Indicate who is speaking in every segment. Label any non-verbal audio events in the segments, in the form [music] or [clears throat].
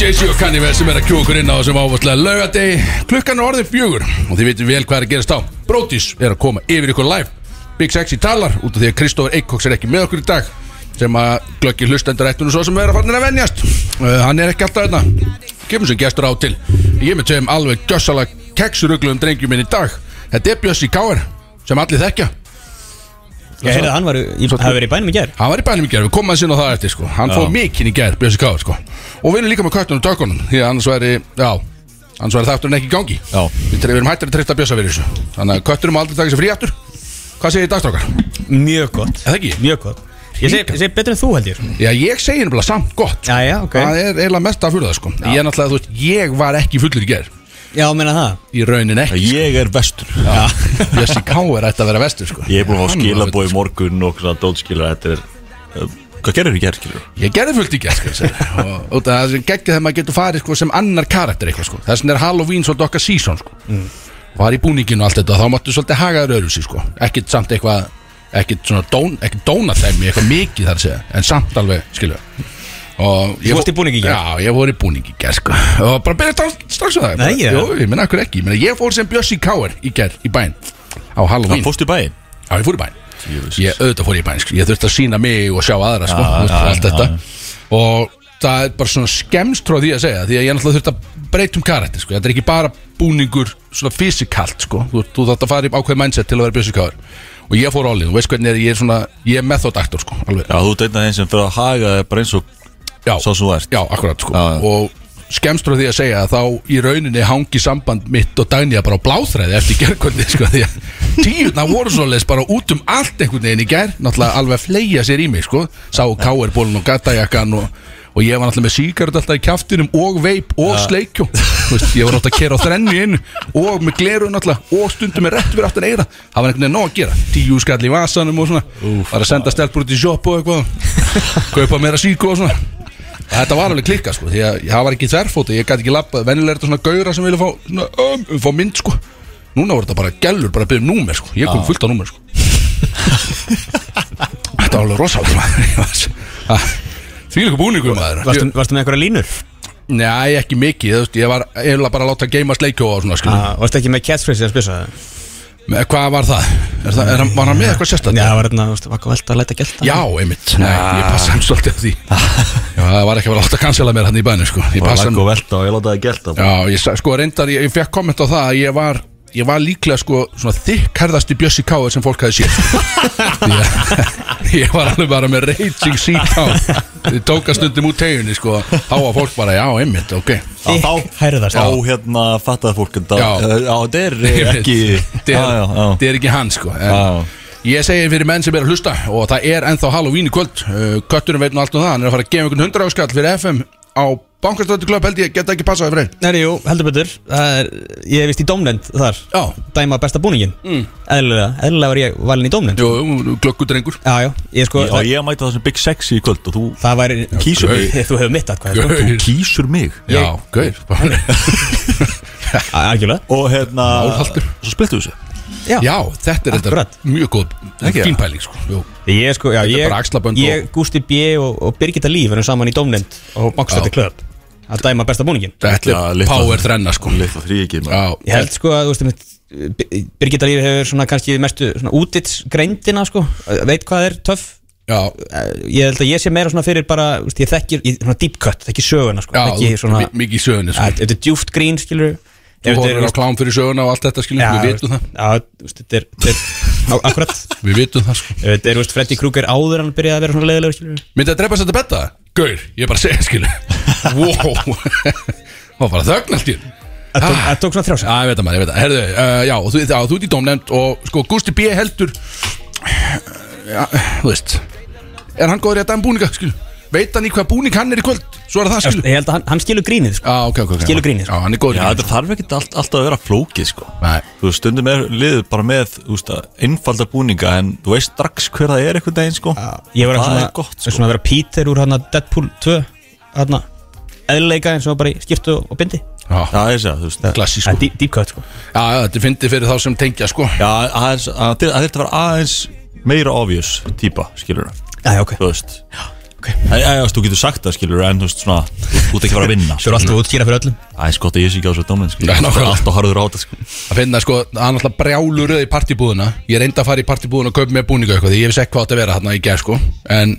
Speaker 1: Jay-Z og Kanye West sem er að kjúa okkur inn á þessum ávarslega laugadegi Klukkan er orðið fjögur og þið veitum vel hvað er að gerast á Brótis er að koma yfir ykkur live Big Sexy talar út af því að Kristófur Eikóks er ekki með okkur í dag sem að glöggi hlustendur ættunum svo sem er að farnir að venjast uh, Hann er ekki alltaf þarna Kemur sem gestur á til Ég er með tveim alveg gjössala keksurugluðum drengjum minn í dag Þetta er Bjössi Káar sem allir þekkja
Speaker 2: Ég heyrði að hann var, ég hafi verið í bænum í gerð
Speaker 1: Hann var í bænum í gerð, við komum aðeins inn á það eftir sko Hann
Speaker 2: Já.
Speaker 1: fór mikinn í gerð, Björnsi Káður sko Og við erum líka með köttunum og tökunum Því að annars væri, já Annars væri þátturinn ekki í gangi
Speaker 2: Já.
Speaker 1: Við tre- við erum hættir að treysta Björnsa fyrir þessu Þannig að kötturinn má aldrei taka sér frí aftur Hvað segir dagstrákar?
Speaker 2: Mjög gott
Speaker 1: Eða ekki?
Speaker 2: Mjög gott Ég segi, ég segi betur en þú held ég
Speaker 1: Já, ég segi nefnilega samt gott sko.
Speaker 2: Já, já, ok
Speaker 1: Það er eiginlega mest að fyrir það sko Ég er náttúrulega, þú veist, ég var ekki fullur í gerð
Speaker 2: Já, menna það
Speaker 1: Í raunin ekki
Speaker 3: Ég er vestur
Speaker 1: Björnsi Káður ætti að vera vestur sko
Speaker 3: Ég er búin að fá
Speaker 1: Hann var-
Speaker 3: skilabói morgun og svona dótskilur Þetta er uh, Hvað gerir þú gerð skilur?
Speaker 1: Ég gerði fullt í gerð sko, ég segi. og, og það er sem geggja þegar maður getur farið sko, sem annar karakter eitthvað sko. þess vegna er Halloween svolítið okkar season sko.
Speaker 2: Mm.
Speaker 1: var í búninginu og allt þetta þá máttu svolítið hagaður öðruvísi sko. ekkit samt eitthvað ekkit svona dón, ekkit dóna þeim eitthvað mikið þar að segja en samt alveg skilja og
Speaker 2: Þú varst í búningi í gær?
Speaker 1: Já, ég voru í búningi í gerð sko. og bara byrja strax, strax á það
Speaker 2: Nei,
Speaker 1: Bara,
Speaker 2: ég-
Speaker 1: Jú, ég menna okkur ekki, ég, menna, ég fór sem Bjössi Káar í gerð í bæn á Halloween
Speaker 3: Það fórst í bæinn
Speaker 1: Já, ég fór í bæn
Speaker 3: Jöfus.
Speaker 1: Ég auðvitað fór ég í bæn sko. Ég þurfti að sína mig og sjá aðra sko.
Speaker 3: Já,
Speaker 1: ja,
Speaker 3: já,
Speaker 1: Allt
Speaker 3: já,
Speaker 1: þetta Og það er bara svona skemst frá því að segja Því að ég náttúrulega þurfti að breyta um karakter sko. Þetta er ekki bara búningur svona fysikalt sko. Þú, þú þátt að fara í ákveð mindset til að vera bjössikáður Og ég fór álið, þú veist hvernig er ég er svona Ég er methodaktor sko, alveg
Speaker 3: Já, þú ert einn af þeim sem fyrir að haga þér bara eins og
Speaker 1: Já,
Speaker 3: Sá sem þú ert
Speaker 1: já akkurat sko.
Speaker 3: Já, já.
Speaker 1: Og skemst frá því að segja að þá í rauninni hangi samband mitt og Dagnýja bara á bláþræði eftir gerkvöldi sko, því að tíurna voru svoleiðis bara út um allt einhvern veginn í ger náttúrulega alveg að fleia sér í mig sko. sá káerbólun og gattajakkan og, og ég var náttúrulega með síkarut alltaf í kjaftinum og veip og sleikjó Þú veist, ég var náttúrulega að kera á þrennu inn og með glerun náttúrulega og stundum með rétt fyrir aftan eira það var einhvern veginn nóg að gera tíu skall í vasanum og svona var að senda stelpur út í sjoppu og eitthvað kaupa meira síku og svona Og Þetta var alveg klikka sko Því að það var ekki þverfóti Ég gæti ekki labbað Venjulega er þetta svona gauðra sem vilja fá, svona, um, fá mynd sko Núna voru þetta bara gælur Bara að byrja um númer sko Ég kom fullt á númer sko Þetta var alveg rosalega maður Því líka búningur maður
Speaker 2: Varstu, varstu með einhverja línur?
Speaker 1: Nei, ekki mikið þú veist, Ég var eiginlega bara að láta geima sleikjó og svona skilur
Speaker 2: Ah, varstu ekki með catchphrase að spisa það?
Speaker 1: Með- Hvað var það? Er það er, hann- var hann með eitthvað
Speaker 2: Ah. Já, Ah.
Speaker 1: sérstaklega?
Speaker 2: það var hérna, varstu vakka velta að læta gælta
Speaker 1: Já, einmitt Nei, ég passa hann svolítið
Speaker 2: [laughs]
Speaker 1: að því Já, það var ekki að vera látt að cancela mér hann í bænum sko Ég
Speaker 3: Bara
Speaker 1: passa hann
Speaker 3: lakka og velta og ég láta það gert það
Speaker 1: Já, ég sa- sko reyndar, ég, ég fekk komment á það að ég var Ég var líklega sko svona þykkarðasti Bjössi Káður sem fólk hefði séð Því að [laughs] Ég var alveg bara með raging seat á Þið tóka stundum út teginni sko Þá var fólk bara, já, einmitt, ok
Speaker 3: Já, þá-
Speaker 2: Þykk hærðast
Speaker 3: Þá hérna fattaði fólk en það
Speaker 1: Já.
Speaker 3: Já, þetta er eh, ekki
Speaker 1: [laughs] Þetta
Speaker 3: Já, já, já.
Speaker 1: er- þetta er ekki hann sko
Speaker 3: Já.
Speaker 1: en, Ég segi fyrir menn sem er að hlusta Og það er ennþá Halloween í kvöld Uh, Kötturinn veit nú allt um það Hann er að fara að gefa einhvern hundra áskall fyrir FM Á bankastöðuklöp held ég geta ekki passaði fyrir einn
Speaker 2: Nei, jú, heldur betur Það er, Ég er vist í dómnend þar
Speaker 1: Já.
Speaker 2: Dæma besta búningin mm. Eðlilega, eðlilega var ég valin í dómnend
Speaker 1: Jú, glöggudrengur
Speaker 2: Já, já, ég sko
Speaker 3: Já,
Speaker 2: það,
Speaker 3: ég mæta það sem Big Sexy í kvöld og þú
Speaker 2: það væri
Speaker 3: Kísur
Speaker 1: gaur.
Speaker 3: mig
Speaker 2: Þú hefur mitt atkvæði sko.
Speaker 3: Þú kísur mig
Speaker 1: Já, gauð
Speaker 2: A- Algjörlega
Speaker 3: Og hérna
Speaker 1: Áhaldur.
Speaker 3: Svo splittu þessu
Speaker 1: [laughs] Já, þetta er þetta
Speaker 2: Akkurat.
Speaker 1: mjög góð
Speaker 3: Ekki,
Speaker 1: fín
Speaker 3: ja.
Speaker 1: pæling sko Jú.
Speaker 2: Ég sko, já,
Speaker 1: Þetta er
Speaker 2: ég,
Speaker 1: bara axlabönd og-
Speaker 2: ég Gústi B. og, og Birgitta Líf erum saman í Dómnend og Bankstætti
Speaker 1: Já.
Speaker 2: Klöp að dæma besta búningin
Speaker 1: Þetta
Speaker 3: Já,
Speaker 1: er
Speaker 3: litla-
Speaker 1: power þrenna sko
Speaker 3: Litla þrý ekki maður.
Speaker 1: Já,
Speaker 2: Ég held sko að, þú veist, einmitt, B- Birgitta Líf hefur svona kannski mestu svona útitsgreindina sko veit hvað er töff
Speaker 1: já,
Speaker 2: Eh, Ég held að ég sé meira svona fyrir bara, þú veist, ég þekkir ég, svona deep cut, þekki söguna sko
Speaker 1: já
Speaker 2: þekki
Speaker 1: þú-
Speaker 2: svona,
Speaker 1: mi- mikið í sögunni
Speaker 2: að,
Speaker 1: sko
Speaker 2: þetta er djúft grín skilur
Speaker 1: Þú horfir á klám fyrir söguna og allt þetta skilur Við vitum það,
Speaker 2: Já, þú veist, þetta er, þetta er á, akkurat
Speaker 1: við vitum það sko
Speaker 2: Þetta er, þú veist, Freddy Krueger áður en hann byrjaði að vera svona leiðilegur, skilur
Speaker 1: Myndi að drepa þetta betta? Gaur, ég er bara að segja skilur Wow [laughs] Það var bara þögn allt í einu.
Speaker 2: Það tók- það tók svona þrjá
Speaker 1: Já, ég veit að maður, ég veit að Herðu, uh, já, þú, já, þú ert í dómnefnd og sko, Gusti B. heldur Já, þú veist Er hann góður í að dæma búninga, skilur Veit hann í hvað búning hann er í kvöld? Svo er það, skilur
Speaker 2: Ég held að hann, hann skilur grínið, sko
Speaker 1: Já, ok, ok, ok
Speaker 2: Skilur grínið,
Speaker 1: Já,
Speaker 2: sko.
Speaker 1: hann er góður
Speaker 3: Já,
Speaker 1: í grínið
Speaker 3: þetta þarf ekki allt, alltaf að vera flókið sko
Speaker 1: Nei.
Speaker 3: Þú veist, stundum er liðið bara með þú veist, að einfalda búninga en þú veist strax hver það er einhvern daginn sko
Speaker 2: Ég var
Speaker 3: Það
Speaker 2: svona,
Speaker 3: er gott
Speaker 2: sko.
Speaker 3: sko
Speaker 2: svona að vera Peter úr hann Deadpool 2 Hann eðleika eins og bara í skiptu og bindi
Speaker 1: Já,
Speaker 3: Það er það, þú veist Já,
Speaker 1: klassísku
Speaker 2: Það er deep, deep cut, sko
Speaker 1: Já, já, þetta er fyndið fyrir þá sem tengja sko
Speaker 3: aðeins, að, að, að þetta var aðeins meira obvious típa, skilur
Speaker 2: Já, já, ok
Speaker 3: Þú veist Æ, æ, æ, þú getur sagt það skilur en þú veist svona þú þú ert ekki að fara að vinna
Speaker 2: Svo er alltaf að útskýra fyrir öllum
Speaker 3: Æ, sko, það ég sé ekki á þessu dómin sko.
Speaker 1: Já, nákvæmlega.
Speaker 3: Alltaf harður á þetta sko.
Speaker 1: að finna sko, hann alltaf brjálur í partibúðuna ég reyndi að fara í partibúðuna og kaupa mér búninga eitthvað því ég vissi ekki hvað átt að vera þarna í gerð sko en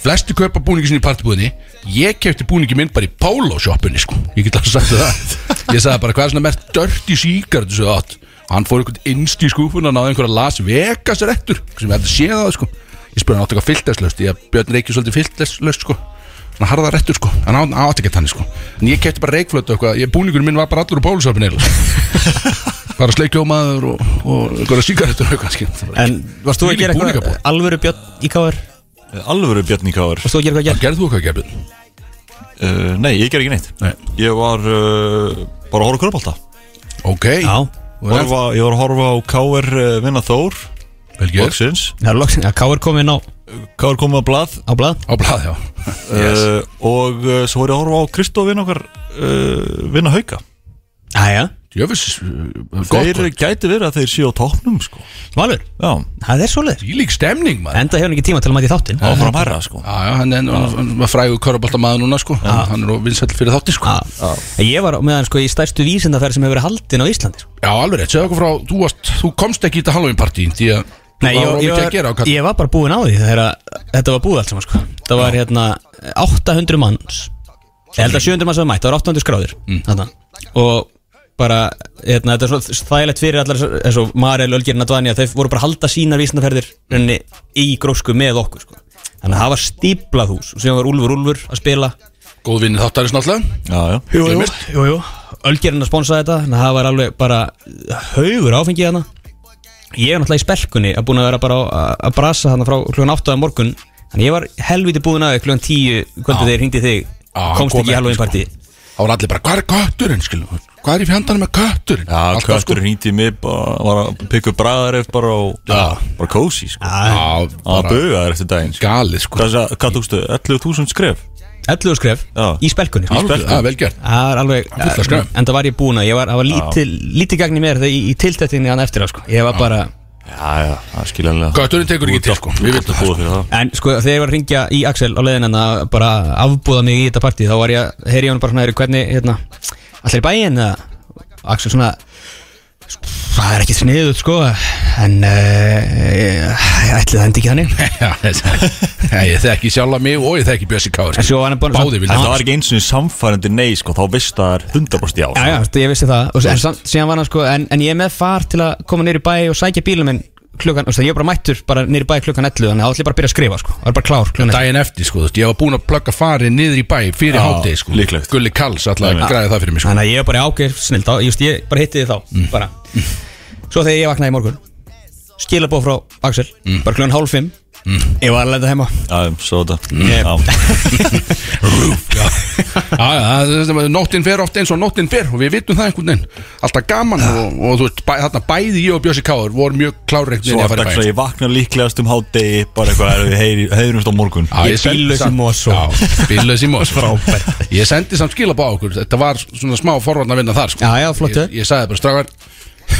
Speaker 1: flesti kaupa búningi sinni í partibúðinni ég kefti búningi minn bara í pólósjoppunni sko ég get alltaf sagt þér
Speaker 2: [laughs]
Speaker 1: það ég sagði bara hvað er svona mert dörti síkart þessu átt og hann fór einhvern innst í skúfuna og náði einhverja Las Vegas rektur sem ég hefði séð að það sko ég spurði hann átti eitthvað fylltæslaust ég björn reykjum svolítið fylltæslaust sko svona harða réttur sko hann á- á átti ekki þannig sko en ég kefti bara reykflötu og eitthvað ég, búningur minn var bara allur úr pólusöfni
Speaker 2: [laughs]
Speaker 1: bara sleikjómaður og, og einhverja sígarettur og eitthvað skil
Speaker 2: En varst þú að
Speaker 1: Þvílík
Speaker 2: gera eitthvað
Speaker 1: búningabúð.
Speaker 2: alvöru björn í káður?
Speaker 3: Eh, Alvöru Bjarni Káur
Speaker 2: Varst þú að gera eitthvað að
Speaker 1: gerðu þú eitthvað gefið?
Speaker 3: uh, Nei, ég ger ekki neitt
Speaker 1: Nei.
Speaker 3: Ég var uh, bara að horfa körpálta
Speaker 1: ok
Speaker 2: gera?
Speaker 1: Og er-
Speaker 3: horfa, Ég var að horfa á Káur uh, vinna Þór
Speaker 1: vel gert
Speaker 3: Loksins
Speaker 2: Það er loksin, að káður komið inn á,
Speaker 3: Káur komið á blað
Speaker 2: á blað
Speaker 1: á blað já
Speaker 3: yes. Og uh, svo var ég að horfa á Kristof vinna okkar uh, vinna hauka
Speaker 2: Æja,
Speaker 1: jöfis eh, gott
Speaker 3: Þeir gæti verið að þeir séu á tóknum sko.
Speaker 2: Valur,
Speaker 3: Já,
Speaker 2: það er svoleiðis
Speaker 1: í lík stemning maður
Speaker 2: Enda hefur hann ekki tíma til að mæti þáttin
Speaker 3: áfram herra sko.
Speaker 1: já já hann, hann, hann, hann var frægur körbaltamaður núna sko hann, hann er vinsall fyrir þátti sko
Speaker 2: Já. En Ég var meðan sko í stærstu vísindaferð sem hefur verið haldin á Íslandi sko.
Speaker 1: já alveg rétt segðu okkur frá þú, varst, þú komst ekki í þetta Halloween partín því að
Speaker 2: Nei,
Speaker 1: þú
Speaker 2: ég,
Speaker 1: var of
Speaker 2: ég,
Speaker 1: mikið að gera á
Speaker 2: var,
Speaker 1: kall
Speaker 2: ég var bara búinn á því þegar að, þetta var búið allt saman sko. Það var hérna 800 manns Ég held að 700 manns var mætt, það var 800 skráðir mm. Og bara, hérna, þetta er svo þægilegt fyrir allar þessar- eins og Marel, Ölgerina, Dvanja Þeir voru bara að halda sínar vísindaferðir rauninni, í grósku með okkur sko. Þannig að það var stíplað hús og sem var Úlfur Úlfur að spila
Speaker 1: góð vinni þáttarins náttúrulega
Speaker 3: Já, já
Speaker 2: Jú, jú, jú, jú. Ölgerinn að sponsa þetta þannig að Það var alveg bara haugur áfengið hana Ég er náttúrulega í spelkunni að búin að vera bara á- að, að brasa hana frá klukkan 8 að morgun Þannig ég var helviti búin að því klukkan 10
Speaker 1: Já.
Speaker 2: kvöldu þeir hringdi í þig
Speaker 1: Já,
Speaker 2: Komst
Speaker 1: kom
Speaker 2: ekki
Speaker 1: ekki,
Speaker 2: í Halloween
Speaker 1: sko.
Speaker 2: party
Speaker 1: þá var allir bara hvað er kötturinn skilum hvað er í fjandanum með kötturinn
Speaker 3: Já,
Speaker 1: Alltaf, sko.
Speaker 3: köttur hringdi í mig bara, var að pikka upp bræðar eftir bara og
Speaker 1: Já.
Speaker 3: bara kósi sko.
Speaker 2: Já,
Speaker 1: já
Speaker 3: að
Speaker 1: bara
Speaker 3: buga þér eftir daginn sko.
Speaker 1: galið sko
Speaker 3: Hvað sa- Hvað tókstu? 11.000 skref
Speaker 2: 11 skref
Speaker 3: Já.
Speaker 2: í spelkunni
Speaker 1: Alveg,
Speaker 3: spelku.
Speaker 1: já, vel gert [laughs]
Speaker 2: Það er alveg
Speaker 1: Það er fullt af skref.
Speaker 2: En það var ég búin að Ég var, það var lítið, lítið gagn í mér þegar í, í tiltættinni hann eftir á sko Ég var bara
Speaker 3: Já, já, það er skiljanlega
Speaker 1: Götturinn tekur ekki til, sko. Við
Speaker 3: Við
Speaker 1: vitum
Speaker 3: viltum búa fyrir það
Speaker 2: En sko þegar ég var að ringja í Axel á leiðin að bara afbúða mig í þetta partí þá var ég að heyri hann bara svona "Heyrðu, hvernig hérna, allir í bæinn eða?" Og Axel svona það er ekki sniðut sko en uh, ég, ég ætli það endi ekki þannig
Speaker 1: Já, Nei, ég þekki sjálfa mig og ég þekki Bjössi Káur
Speaker 2: en svo var hann bara
Speaker 1: Báðir vilja.
Speaker 3: En það var ekki eins og samfærandi nei sko, þá veist það er 100% já sko.
Speaker 2: Já, já, þú veist, ég vissi það og, s- en samt, síðan var hann sko en, en ég er með far til að koma niður í bæ og sækja bílum minn klukkan þú veist, ég var bara mættur bara niður í bæ klukkan 11 þannig að þá ætli ég bara að byrja að skrifa sko var bara klár klukkan 11
Speaker 1: Dæin eftir sko, þú veist, ég var búinn að plugga farið niður í bæ fyrir
Speaker 3: Já,
Speaker 1: hátegi sko
Speaker 3: líklegt.
Speaker 1: Gulli Kalls alltaf að
Speaker 3: Einmitt.
Speaker 1: græða það fyrir mig sko
Speaker 2: Þannig að ég var bara ákveð snill þá, just, ég bara hitti þið þá bara. Svo þegar ég vaknaði í morgun Skilabóð frá Axel Bara kljóðan hálf fimm Ég var að lenda heima
Speaker 3: Já, svo þetta
Speaker 2: Ég-
Speaker 3: Já,
Speaker 1: Já, já, það er sem að nóttin fer oft eins og nóttin fer og við vitum það einhvern veginn Alltaf gaman og, og þú veist, bæ, þarna bæði ég og Bjössi Káur voru mjög klárreikt
Speaker 3: svo
Speaker 1: niður að
Speaker 3: er
Speaker 1: fara í
Speaker 3: dags
Speaker 1: bæ
Speaker 3: að ég vakna líklegast um hádegi bara eitthvað er við heyrumst á morgun
Speaker 1: Já,
Speaker 2: Ég
Speaker 1: sendi
Speaker 2: bíllaus í
Speaker 1: samt-
Speaker 2: mos og-
Speaker 1: Já, bíllaus í mós
Speaker 2: [laughs] Frábært.
Speaker 1: Ég sendi samt skilabá á okkur, þetta var svona smá forvarn að vinna þar sko.
Speaker 2: Já, já, flott, eh.
Speaker 1: Ég, ég sagði bara strafgar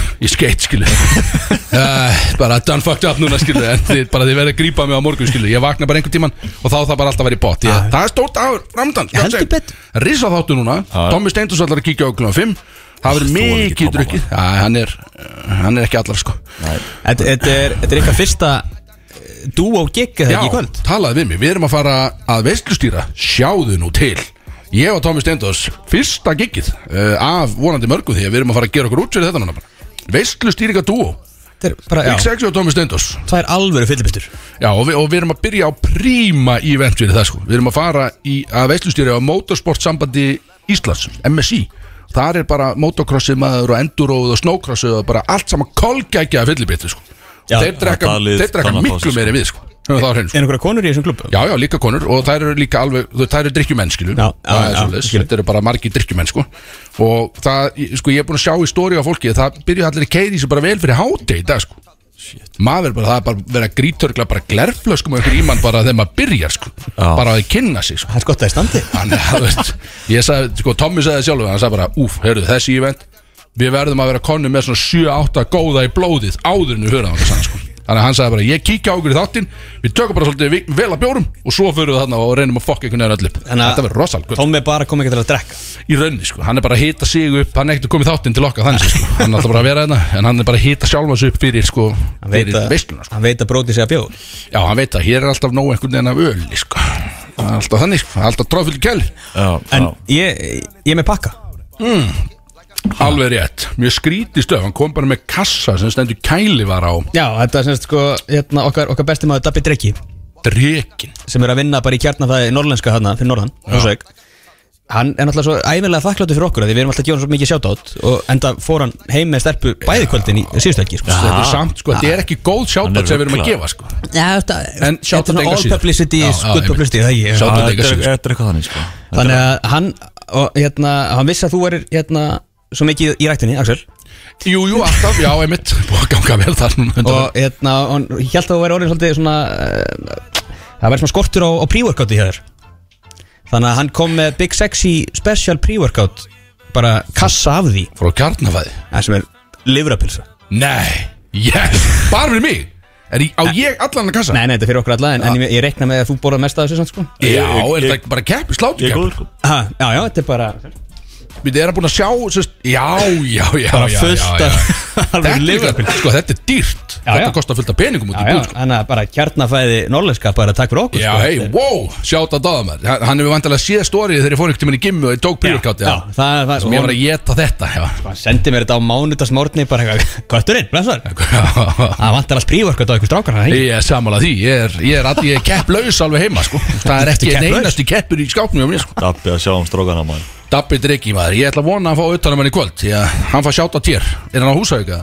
Speaker 1: [laughs] Ég skeitt
Speaker 2: [laughs]
Speaker 1: skilu uh, Bara done fucked up núna skilu En þið, bara þið verðið að grípa mig á morgun skilu Ég vakna bara einhvern tíman og þá það bara alltaf verið bótt ég, Það er stórt áður, framdann
Speaker 2: Heldur betur.
Speaker 1: Risa þáttu núna, Tommi Steindus allar að kíkja á klunum 5 Það verður
Speaker 3: Þú er ekki
Speaker 1: mikið
Speaker 3: Tommi,
Speaker 1: drukkið Já, hann er, hann er ekki allar sko
Speaker 2: Þetta þetta er, þetta er eitthvað fyrsta eh, Dúo gig eða
Speaker 1: Já,
Speaker 2: ekki í kvöld
Speaker 1: talaði við mig, við erum að fara að veistlustýra, sjáðu nú til Ég og Tómi Steindós, fyrsta giggið uh, af vonandi mörgu því að við erum að fara að gera okkur út fyrir þetta núna bara Veistlustýringa dúo,
Speaker 2: Þetta er bara, já,
Speaker 1: X6 og Tómi Steindós
Speaker 2: það er alvöru fyllibittur
Speaker 1: Já, og við, og við erum að byrja á príma event fyrir það sko Við erum að fara í, að veistlustýra á Motorsportsambandi Íslands, MSI Þar er bara motocrossið maður og enduróð og snowcrossið og bara allt saman kolgækja fyllibittu sko
Speaker 2: Já,
Speaker 1: Þeir drekka,
Speaker 3: það lið
Speaker 1: þeir drekka
Speaker 3: kann að fá
Speaker 1: miklu
Speaker 3: sig, sko.
Speaker 1: meiri en við sko Höfum það á hreinu, sko.
Speaker 2: Er einhverja konur í þessum klubbu?
Speaker 1: Já, já, líka konur og þær eru líka alveg, þú- þær eru drikkjumenn, skilur
Speaker 2: Já, já,
Speaker 1: það er
Speaker 2: já,
Speaker 1: svoleiðis,
Speaker 2: skilur.
Speaker 1: þetta eru bara margi drikkjumenn, sko Og það, ég- sko, ég er búin að sjá í stóri á fólki að Það byrja allir í keiri sem bara vel fyrir hátegi í dag, sko Maður er bara, það er bara verið að grítörgla bara glerflöskum og einhver ímann bara þegar maður byrjar, sko
Speaker 3: Já.
Speaker 1: Bara að þið kynna sig, sko
Speaker 2: Það er gott að það er standi
Speaker 1: Þannig að, þú veist, ég sagði, sko, Tommi sagði sjálfur Hann sagði bara, úf, heyrðu, þessi event Við verðum að vera konu með svona 7-8 góða í blóðið áður en við höfum það, sko Þannig að hann sagði bara ég kíkja á ykkur í þáttinn Við tökum bara svolítið vi- vel að bjórum Og svo fyrir við þarna og reynum að fokka einhvern veginn öll upp
Speaker 2: Þannig að-
Speaker 1: Þetta verður rosalega gott.
Speaker 2: Tommy er bara komið ekki til að drekka
Speaker 1: Í rauninni sko, hann er bara að hita sig upp Hann er ekkert að koma í þáttinn til okkar þannig séð, sko. Hann er alltaf bara að vera þarna En hann er bara að hita sjálfa sig upp fyrir sko
Speaker 2: Hann veit
Speaker 1: Fyrir
Speaker 2: að,
Speaker 1: veisluna sko
Speaker 2: hann veit að bróti sig að bjóð
Speaker 1: Já, hann veit að hér er alltaf nóg einhvern veginn af öl sko. Það er Alltaf þannig sko, alltaf tróðfylg kæl
Speaker 3: já,
Speaker 2: En
Speaker 3: já.
Speaker 2: ég, ég er með pakka
Speaker 1: Alveg rétt, mjög skrítið stöf Hann kom bara með kassa sem stendur kæli var á
Speaker 2: Já, þetta er semst sko hérna, okkar, okkar besti maður Dabbi Drekki
Speaker 1: Drekin
Speaker 2: sem er að vinna bara í kjarnafæði norlenska hana fyrir norðan, Húsveik Hann er náttúrulega svo ævinlega þakkláttur fyrir okkur af því við erum alltaf að gefa hann svo mikið sjátátt og enda fór hann heim með stelpu bæði kvöldin í síðustu ekki sko.
Speaker 1: Þetta er samt sko, þetta er ekki góð
Speaker 3: Hann er
Speaker 1: sjátt sem við erum að
Speaker 3: ruglaður.
Speaker 1: gefa sko
Speaker 2: Já, þetta
Speaker 1: En
Speaker 2: þetta er
Speaker 1: shoutout
Speaker 2: svona
Speaker 1: engu
Speaker 2: all
Speaker 1: síður.
Speaker 2: publicity
Speaker 1: Já,
Speaker 2: is
Speaker 1: já,
Speaker 2: good
Speaker 1: einmitt.
Speaker 2: publicity það ég
Speaker 1: Shoutout
Speaker 3: Já,
Speaker 1: engu
Speaker 3: þetta er
Speaker 1: sigur.
Speaker 3: þetta er eitthvað þannig sko
Speaker 2: Þannig að hann og, hérna, hann vissi að þú er hérna, svo mikið í ræktinni, Axel
Speaker 1: Jú, jú, alltaf, já, einmitt [laughs] Búið að ganga vel þar núna
Speaker 2: og hérna, hann ég held að þú væri orðin svolítið svona uh, það væri svona skortur á, á pre-workouti hjá þér þannig að hann kom með Big Sexy Special pre-workout bara kassa af því
Speaker 1: Frá kjarnafæði
Speaker 2: það sem er livrapilsa
Speaker 1: Nei, yes, bara fyrir mig Er ég, á ég allan að kassa?
Speaker 2: Nei, nei, þetta er fyrir okkur alla en, en ég, ég reikna með að þú borðað mest af þessu samt sko
Speaker 1: Já, er
Speaker 3: Ég-
Speaker 1: þetta ekki bara kepp,
Speaker 3: Ég
Speaker 1: sláttu
Speaker 3: er góður
Speaker 1: kepp
Speaker 3: sko
Speaker 2: ha, Já, já, þetta er bara
Speaker 1: Við erum búin að sjá, sérst, já, já, já
Speaker 2: Bara
Speaker 1: já,
Speaker 2: fullt
Speaker 1: já,
Speaker 2: af-
Speaker 1: já.
Speaker 2: [laughs] alveg
Speaker 1: Þetta er
Speaker 2: lyfjapil.
Speaker 1: líka- Sko, þetta er dýrt
Speaker 2: Já, já.
Speaker 1: Þetta kostar fullt af peningum út
Speaker 2: Já,
Speaker 1: í
Speaker 2: já,
Speaker 1: búð sko.
Speaker 2: þannig að bara kjarnafæði norlenska bara takk fyrir okkur
Speaker 1: Já,
Speaker 2: sko.
Speaker 1: hei, wow, sjátt að daða maður Hann- Hann hefur vantilega séð stórið þegar ég fór ykkur tímann í gimmu og ég tók príkjátti
Speaker 2: Já, það, það,
Speaker 1: Sem ég var að geta þetta, já [laughs]
Speaker 2: Hann sendi mér þetta á mánudagsmórni bara eitthvað, [laughs] kötturinn, blessar Það vantar allt prívorkot á ykkur strákar hann
Speaker 1: Ég er samanlega því, ég er, ég er, all, ég er kepplaus alveg heima sko Það er ekki
Speaker 2: Ertu
Speaker 1: einn
Speaker 2: kepplaus?
Speaker 1: einasti keppur í skápnum hjá mér sko
Speaker 3: Dabbi að sjá um strókana maður
Speaker 1: Dabbi Dryggi maður, ég ætla að vona að hann fá utanum hann í kvöld Því að hann fá sjátt á tér Er hann á húsauk eða?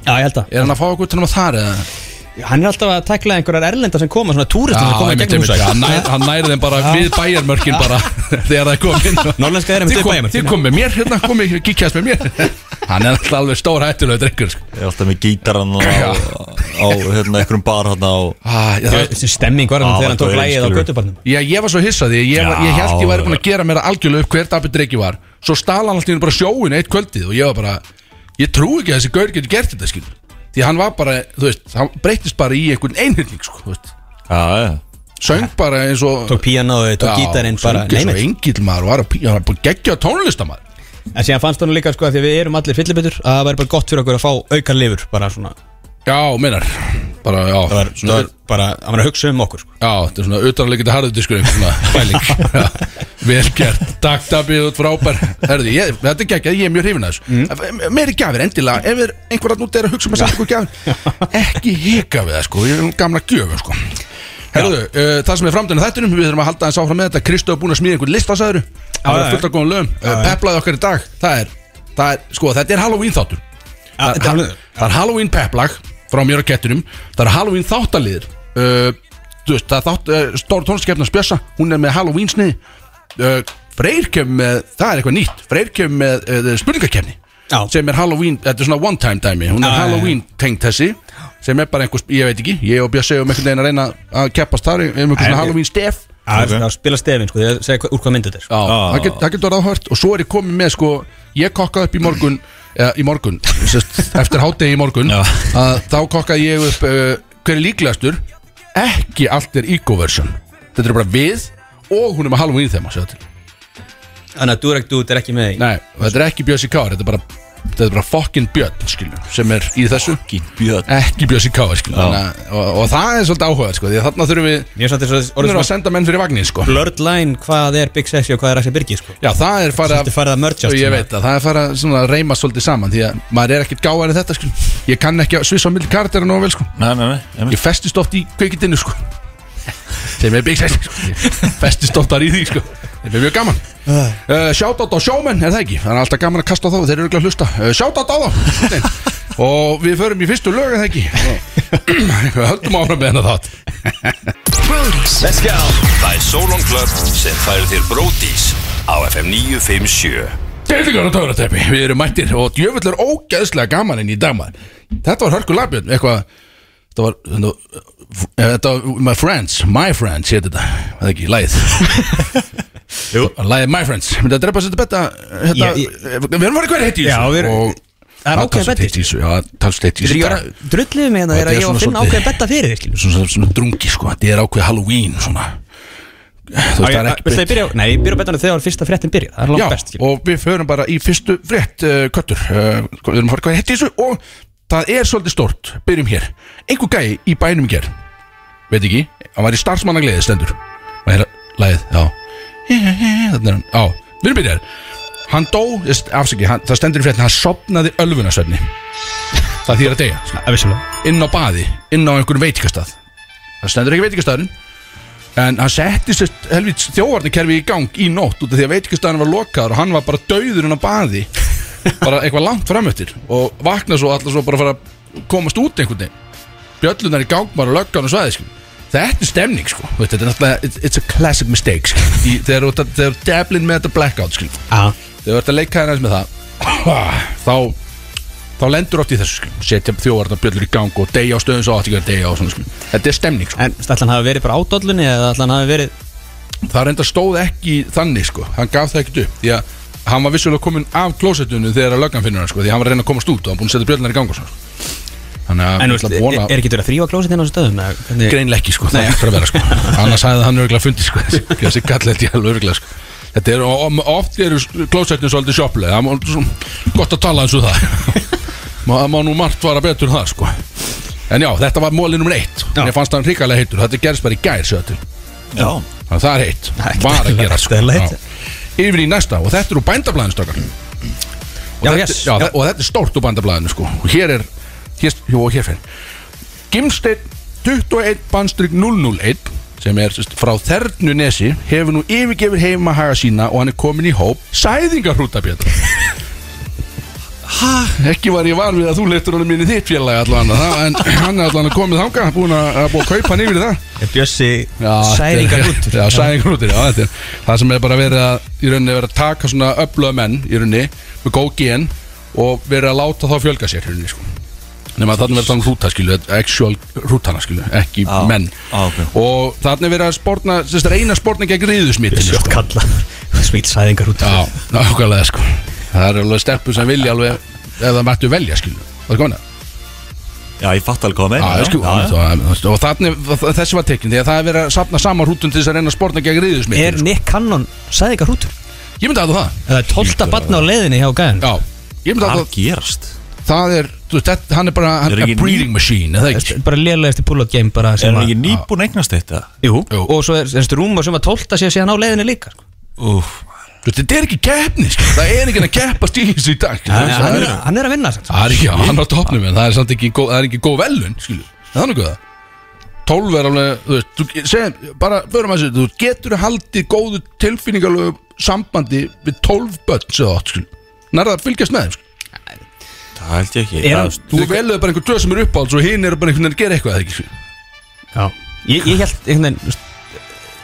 Speaker 2: Já, ég held að
Speaker 1: Er hann að fá okkur utanum að þar eða?
Speaker 2: Hann er alltaf að tekla einhverjar erlenda sem koma Svona túristar sem koma í
Speaker 1: einmitt,
Speaker 2: gegnum
Speaker 1: einmitt. hann,
Speaker 2: húsa
Speaker 1: nær, hann næri þeim bara við bæjarmörkin bara [laughs] Þegar það kom inn
Speaker 2: Norlenska er einmitt
Speaker 1: Þið
Speaker 2: upp
Speaker 1: kom-
Speaker 2: bæjarmörkin,
Speaker 1: Þið
Speaker 2: já.
Speaker 1: kom með mér, hérna kom ég, kíkjast með mér Hann er alltaf alveg stór hættulega drengur sko.
Speaker 3: Ég er alltaf með gítarann á, á, á hérna, einhverjum bar hérna á
Speaker 1: ah, ég, það-
Speaker 2: Þessi stemming var hann
Speaker 3: Já,
Speaker 2: þegar hann
Speaker 3: þetta
Speaker 2: tók
Speaker 3: var
Speaker 2: lægið á
Speaker 3: skilur.
Speaker 2: göttubarnum
Speaker 1: Já, ég var svo hissaði, ég, var, ég held ég væri búin að gera mér algjörlega upp hver Dabbi Dreki var Svo stala hann alltaf bara sjóin eitt kvöldið og ég var bara Ég trú ekki að þessi gaur getur gert þetta skil Því hann var bara, þú veist, hann breytist bara í einhvern einhyrning sko, þú veist
Speaker 3: Já, já
Speaker 1: Söng bara eins og
Speaker 2: Tók píanoði, tók gítarinn bara
Speaker 1: Söng eins og
Speaker 2: Neymið
Speaker 1: engil maður, var að pí, hann var bara geggja tónlistamaður
Speaker 2: En síðan fannst hann líka sko að því að við erum allir fyllibitur Að það væri bara gott fyrir okkur að fá aukar lifur Bara svona
Speaker 1: Já, minnar, bara, já
Speaker 2: Það var
Speaker 1: svona,
Speaker 2: svona bara Hann var að hugsa um okkur sko
Speaker 1: Já, þetta er svona utanleikandi harðudiskur einhver svona
Speaker 2: [laughs]
Speaker 1: bæling Já, Vel gert, takk Dabbi, þú ert frábær Herði, ég, þetta er geggjað, ég er mjög hrifin að þessu mm. Meiri gjafir, endilega, ef er einhverjarn út er að hugsa um að senda ykkur gjafir Ekki hika við það, sko, ég er um gamla gjöfum, sko Herðu, uh, það sem er framdöðin á þættinum, við þurfum að halda aðeins áfram með þetta Kristó er búin að smíða einhvern listasæður Það
Speaker 2: já,
Speaker 1: var fullt af góðan lögum, uh, peplaði okkar í dag Það er, það er, sko, þetta er Halloween þáttur
Speaker 2: Ja,
Speaker 1: Það
Speaker 2: þetta
Speaker 1: er-
Speaker 2: var-
Speaker 1: það er Halloween peplag frá mér og kettinum Það er Halloween þáttaliðir uh, Þú veist, það er þátt uh, Stóra tónlistkefna spjössa, hún er með Halloween sniði uh, Freyr kemur með Það er eitthvað nýtt, Freyr kemur með uh, spurningakefni
Speaker 2: Já.
Speaker 1: sem er Halloween, þetta er svona one time dæmi hún er
Speaker 2: Já, já, já.
Speaker 1: Halloween tengt þessi sem er bara einhvers, ég veit ekki, ég og Björn um einhvern veginn að reyna að keppast þar um einhvern svona
Speaker 2: Nei,
Speaker 1: Halloween stef
Speaker 2: Það
Speaker 3: Ok.
Speaker 2: er að spila stefin sko Þegar segja hva- úr hvað myndið þetta er sko.
Speaker 1: Já, það get- það getur aðhört og svo er ég komið með sko, ég kokkaði upp í morgun eða, í morgun, [laughs] sest, eftir hátegi í morgun
Speaker 2: Já.
Speaker 1: að þá kokkaði ég upp uh, hver er líklegastur ekki allt er eco-version þetta er bara við og hún er með Halloween þema sjá til.
Speaker 2: Þannig að Durek Dude er ekki með í
Speaker 1: nei, þetta er ekki Bjössi Kár þetta er bara, þetta er bara fokkin Björn skilju, sem er í þessu
Speaker 3: Gín björn
Speaker 1: ekki Bjössi Kár skilju, þannig að- og, og það er svolítið áhugað sko, því að þarna þurfum við
Speaker 2: Mér er samt þess að
Speaker 1: hún er
Speaker 2: orðið
Speaker 1: að
Speaker 2: svona
Speaker 1: senda menn fyrir vagninn sko
Speaker 2: blurred line Hvað er Big Sexy og hvað er Axel Birgi sko
Speaker 1: Já, það er farið
Speaker 2: Svolítið farið að mergeast
Speaker 1: Ég
Speaker 2: svona.
Speaker 1: veit að það er farið að svona reyma svolítið saman Því að maður er ekkert gáðar en þetta sko Ég kann ekki að svissa á milli karaktera nógu vel sko
Speaker 3: Nei, nei, nei, nei
Speaker 1: Ég festist oft í kveikindinu sko Sem er Big Sex sko Ég festist oft þar í því sko Það er mjög gaman uh, Shoutout á sjómenn, er það ekki? Það er alltaf gaman að kasta á þá, þeir eru ekki að hlusta uh, Shoutout á þá Nei. Og við förum í fyrstu lög, er það ekki? Við höldum áfram með hennar þátt
Speaker 4: Brody's
Speaker 5: Let's go Það er Solon Club sem færir þér bródís á FM 957
Speaker 1: Deildingar og töfrateppi, við erum mættir og djöfull er ógeðslega gaman inn í dagmaður Þetta var Hörgur Labjörn, eitthvað Þetta var, þetta var, eh, þetta var My Friends, My Friends hétt þetta Það er ekki,
Speaker 2: [laughs]
Speaker 1: lægið Jú Lægið My Friends, myndi að drepa sér þetta betta hérna,
Speaker 2: Ég-
Speaker 1: Við erum farið hverju heiti í
Speaker 2: Já, við erum-
Speaker 1: og
Speaker 2: Það er ákveðin
Speaker 1: talsvert
Speaker 2: betti.
Speaker 1: heitt í þessu, Já, talsveit heitt í
Speaker 2: Ég
Speaker 1: þessu
Speaker 2: er
Speaker 1: dag.
Speaker 2: að drulluðu mig hérna
Speaker 1: Þetta
Speaker 2: þegar
Speaker 1: er
Speaker 2: ég var
Speaker 1: svona
Speaker 2: að finna
Speaker 1: svolítið-
Speaker 2: ákveðin betta fyrir þér skilur.
Speaker 1: Svona, svona, svona drungi sko, þetta er ákveð Halloween svona Þú
Speaker 2: Á,
Speaker 1: veist, það er
Speaker 2: ég-
Speaker 1: ekki
Speaker 2: Viltu að ég byrja á- Nei, ég byrja á bettanum þegar fyrsta fréttin byrja Það er
Speaker 1: Já,
Speaker 2: langt best skilur.
Speaker 1: og við förum bara í fyrstu frétt uh, Köttur, uh, við erum að fara hvað hétt í þessu Og það er svolítið stort Byrjum hér, einhver gæi í bænum í ger Veit ekki, hann var í starfsmannagliði Stendur, maður er að lagið Já, [laughs] þannig er hann Já, við erum byrjar Hann dó, afsaki, hann, það stendur í fréttin Hann sopnaði ölvunarsvefni Það þýr að deyja, sko
Speaker 2: Það er vissulega
Speaker 1: inn á baði inn á einhverjum veitingastað það stendur ekki veitingastaðurinn en hann setti sér helvits þjóvarnikerfi í gang í nótt út af því að veitingastaðurinn var lokaður og hann var bara dauður inn á baði bara eitthvað langt framöttir og vakna svo allar svo bara að fara að komast út einhvern veginn bjöllunar í gang bara löggan og svæði sko. þetta er stemning sko Þú veist, þetta er náttúrulega it's- it's a classic mistake sko. í, þegar þú ert að- þegar þú ert deblin með þetta blackout sko. þegar þú ert að leika hérna með það [coughs] þá þá lendur oft í þessu skilum setja þjóðarna bjöllur í gang og deyja á stöðum svo átti ekki að deyja á svona skilum þetta er stemning sko
Speaker 2: En ætlan hafi verið bara ádollunni eða ætlan hafi verið
Speaker 1: það reyndar stóð ekki þannig sko hann gaf það ekkert upp því að hann var vissulega kominn af klósettunum þegar að löggan finnur hann sko því að hann var að reyna að komast út og hann búinn að setja bjöllunar í gang og svona sko. þannig að
Speaker 2: En þú veist, e-
Speaker 1: ætla að
Speaker 2: er, er ekki verið að þrýfa klósetin á þessu stöðum? eða hvernig-
Speaker 1: greinlega ekki sko, það
Speaker 2: Nei.
Speaker 1: lítur að
Speaker 2: [laughs]
Speaker 1: vera sko annars hefði hann örgulega fundið sko þessi- þessi gallið í alveg örgulega sko Þetta er, og- og- oft eru klósettin svolítið sjopplega það má svo, gott að tala eins og það [laughs] Má- það má nú margt vara betur en það sko en já, þetta var móli nummer eitt
Speaker 2: Já.
Speaker 1: en ég fannst hann hrikalega heitur, þetta gerst bara í gær sér til
Speaker 3: Já,
Speaker 1: Þannig að það er heitt,
Speaker 2: Nei,
Speaker 1: var að
Speaker 2: þetta er-
Speaker 1: gera sko
Speaker 2: þetta er leitt.
Speaker 1: Já. Yfir í næsta og þetta eru bændablaðinstakar
Speaker 2: Já,
Speaker 1: þetta,
Speaker 2: yes.
Speaker 1: já,
Speaker 2: Já.
Speaker 1: og þetta er stórt úr bandablaðinu sko og hér er hér, jú, og hér fyrir Gimsteinn 21 bandstrykk 001 sem er sest, frá Þernunesi hefur nú yfirgefur heimahaga sína og hann er komin í hóp sæðingarhrútabjörn ekki var ég var við að þú leittur honum minni þitt félagi allan það, en hann er allan komið þanga búin að, að búið að kaupa hann yfir í það
Speaker 3: Bjössi
Speaker 1: Já,
Speaker 2: Særingarhrútur.
Speaker 1: þetta er- Já,
Speaker 2: [laughs]
Speaker 1: særingarútur, já, þetta er Það sem er bara verið að, í rauninni, verið að taka svona öfluga menn, í rauninni, með góð gen og verið að láta þá fjölga sér, í rauninni, sko Nefnum að þannig verið þannig rúta, skilu, actual rútana, skilu, ekki
Speaker 3: Já,
Speaker 1: menn
Speaker 3: já, ok.
Speaker 1: Og þannig verið að spórna, sérst, reyna að spórna gegn riðusmitinu,
Speaker 2: Sjótt
Speaker 1: sko
Speaker 2: kalla Smít sæðingar út
Speaker 1: Já, nákvæmlega, sko Það er alveg steppu sem vilja alveg, ef það mættu velja, skilu Það er komin að
Speaker 3: Já, ég fatt alveg hvað það meina
Speaker 1: Já, sko, og þannig, þessi var tekin því að það er verið að sapna saman rútun til þess að reyna að spórna gegn riðusmitinu sko.
Speaker 2: Er Nick Cannon sæðingar út?
Speaker 1: Ég myndi að það
Speaker 2: Það er 12 batna á leiðinni hjá gæðan
Speaker 1: Já Ég myndi að
Speaker 3: Hvað
Speaker 1: það
Speaker 3: gerast?
Speaker 1: Það er Þú veist þetta Hann er bara hann,
Speaker 3: Er
Speaker 1: A
Speaker 3: ekki
Speaker 1: breeding machine Eða ekki
Speaker 2: Þetta er Bara lélegasti pull-out game bara sem
Speaker 3: Er hann
Speaker 2: að-
Speaker 3: ekki nýbúin að eignast þetta?
Speaker 2: Jú,
Speaker 1: Jú.
Speaker 2: og svo er þessi rúma sem að 12 sé síðan á leiðinni líka sko.
Speaker 3: Úf,
Speaker 1: Þú veist þetta er ekki keppni sko. Það er ekki að keppa stílis í dag sko.
Speaker 2: hann,
Speaker 1: Það
Speaker 2: hann,
Speaker 1: er-
Speaker 2: er, hann er að vinna sem sagt.
Speaker 1: Það er ekki Hann er á topnum En það er samt ekki góð- Það er ekki góð velun Skilju Það er nokkuð það 12 er alveg Þú veist þú, segjum, Bara förum að segja Þú getur haldið góðu tilfinningalögu sambandi Við 12 börn Sér það skilju Nærða að fylgjast með þeim skilju
Speaker 3: það held ég ekki
Speaker 2: Er hann-
Speaker 3: Það-
Speaker 1: Þú velur bara einhver tvö sem er uppáhalds og hinn eru bara einhvern veginn að gera eitthvað eða ekki skilju
Speaker 2: Já. Ég, ég, held, ég,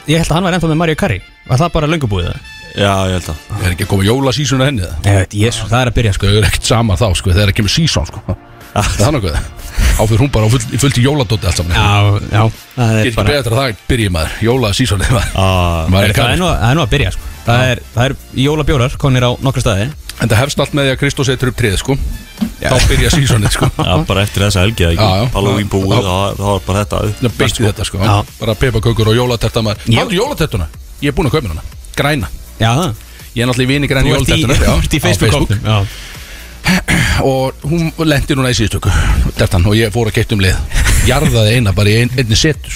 Speaker 2: ég held að hann var ennþá með Mario Kari Var það bara löngubúið það?
Speaker 3: Já, ég held að
Speaker 1: Það er ekki að koma jólasísuna henni það
Speaker 2: Ég veit, jésu, það er að byrja
Speaker 1: sko,
Speaker 2: sko
Speaker 1: þau eru ekkert sama þá sko, þegar það kemur sísón sko.
Speaker 2: Ah.
Speaker 1: það er nokkuð áfyrir hún bara á full, í fullt í jóladóti allt saman
Speaker 2: Já, já um Það
Speaker 1: Get
Speaker 2: er
Speaker 1: ekki
Speaker 2: bara
Speaker 1: betra að það byrjið maður, jóla sísónið maður
Speaker 3: Ah.
Speaker 1: Maður er
Speaker 2: Það er
Speaker 1: kall.
Speaker 2: nú, það er nú að byrja sko. það, er, það er jólabjórar konir á nokkra staði
Speaker 1: En það hefst allt með því að Kristó setur upp treð sko. Þá byrja sísónið
Speaker 2: [laughs]
Speaker 1: sko.
Speaker 3: Já, bara eftir þessa helgi
Speaker 1: Já,
Speaker 3: eða
Speaker 1: já.
Speaker 3: ekki Halloween búið,
Speaker 1: Já.
Speaker 3: þá þá var bara þetta upp.
Speaker 1: Það beitt í þetta sko.
Speaker 2: Já.
Speaker 1: Bara peipakökur og jólaterta maður
Speaker 2: Ég-
Speaker 1: Haldur jólatertuna? Ég er búin að kaupa hana Græna
Speaker 2: Já, það
Speaker 1: Ég er náttúrulega í vini græni
Speaker 2: Þú ert í,
Speaker 1: jólatertuna
Speaker 2: [laughs] þú ert í Facebook-kóptum
Speaker 1: og hún lendi núna í síðustöku dertan, og ég fór að geta um lið jarðaði eina bara í ein, einni setur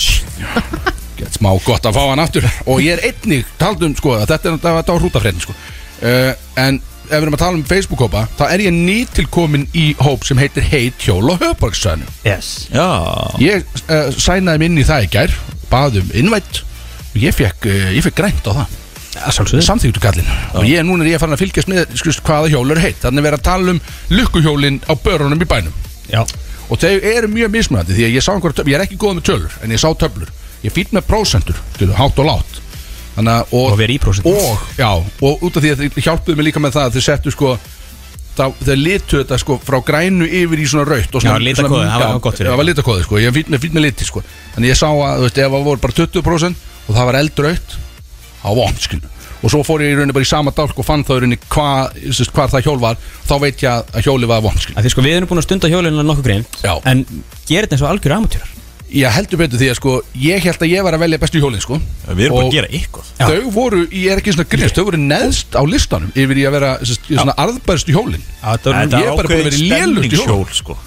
Speaker 1: get smá gott að fá hann aftur og ég er einnig, taldum sko að þetta er þetta var hrútafréttin sko uh, en ef við erum að tala um Facebook-hópa þá er ég nýtilkomin í hóp sem heitir Heit Hjól og Höfborgsöðnum
Speaker 2: Yes
Speaker 3: Já,
Speaker 1: ég uh, sænaði mig inn í það í gær baðum innvætt og ég fekk, uh, ég fekk grænt á það
Speaker 2: Sjálfsögðu
Speaker 1: samþýttu kallinn og ég núna er ég farin að fylgjast með skurst, hvaða hjól er heitt þannig er verið að tala um lukkuhjólin á börunum í bænum
Speaker 2: Já
Speaker 1: og þau eru mjög mismunandi því að ég sá einhverja töflur, ég er ekki góð með tölur en ég sá töflur, ég fýtt með prósentur skilu, hátt og látt Þannig, að- og,
Speaker 2: Og vera í prósentum.
Speaker 1: og, já, og út af því að þið hjálpuðu mig líka með það að þið settu sko þá- þau litu þetta sko frá grænu yfir í svona rautt og svona,
Speaker 2: Já, litakóði,
Speaker 1: svona-
Speaker 2: það var
Speaker 1: já,
Speaker 2: gott fyrir
Speaker 1: það var litakóði sko, ég er fýtt með, fínn með liti sko þannig ég sá að, þú veist, ef það voru bara 20% og það var eldrautt á vond, skilur og svo fór ég í rauninni bara í sama dálk og fann þá í rauninni hvað hva það hjól var þá veit ég að- að hjóli var vonskil
Speaker 2: Af Því sko við erum búin að stunda hjólinu nokkuð grein
Speaker 1: Já.
Speaker 2: En gerir þetta eins og algjör amatýrar
Speaker 1: ég heldur betur því að sko ég held að ég var að velja bestu hjólin sko
Speaker 3: Við erum bara
Speaker 1: Og-
Speaker 3: að gera eitthvað
Speaker 2: Já.
Speaker 1: Þau voru, ég er ekki svona grínast, þau voru neðst á listanum yfir í að vera sem sagt, svona arðbæðstu hjólin
Speaker 2: Þetta
Speaker 1: Nei,
Speaker 2: var
Speaker 1: ég er bara búin að vera í lélust hjól.
Speaker 3: stemningshjól sko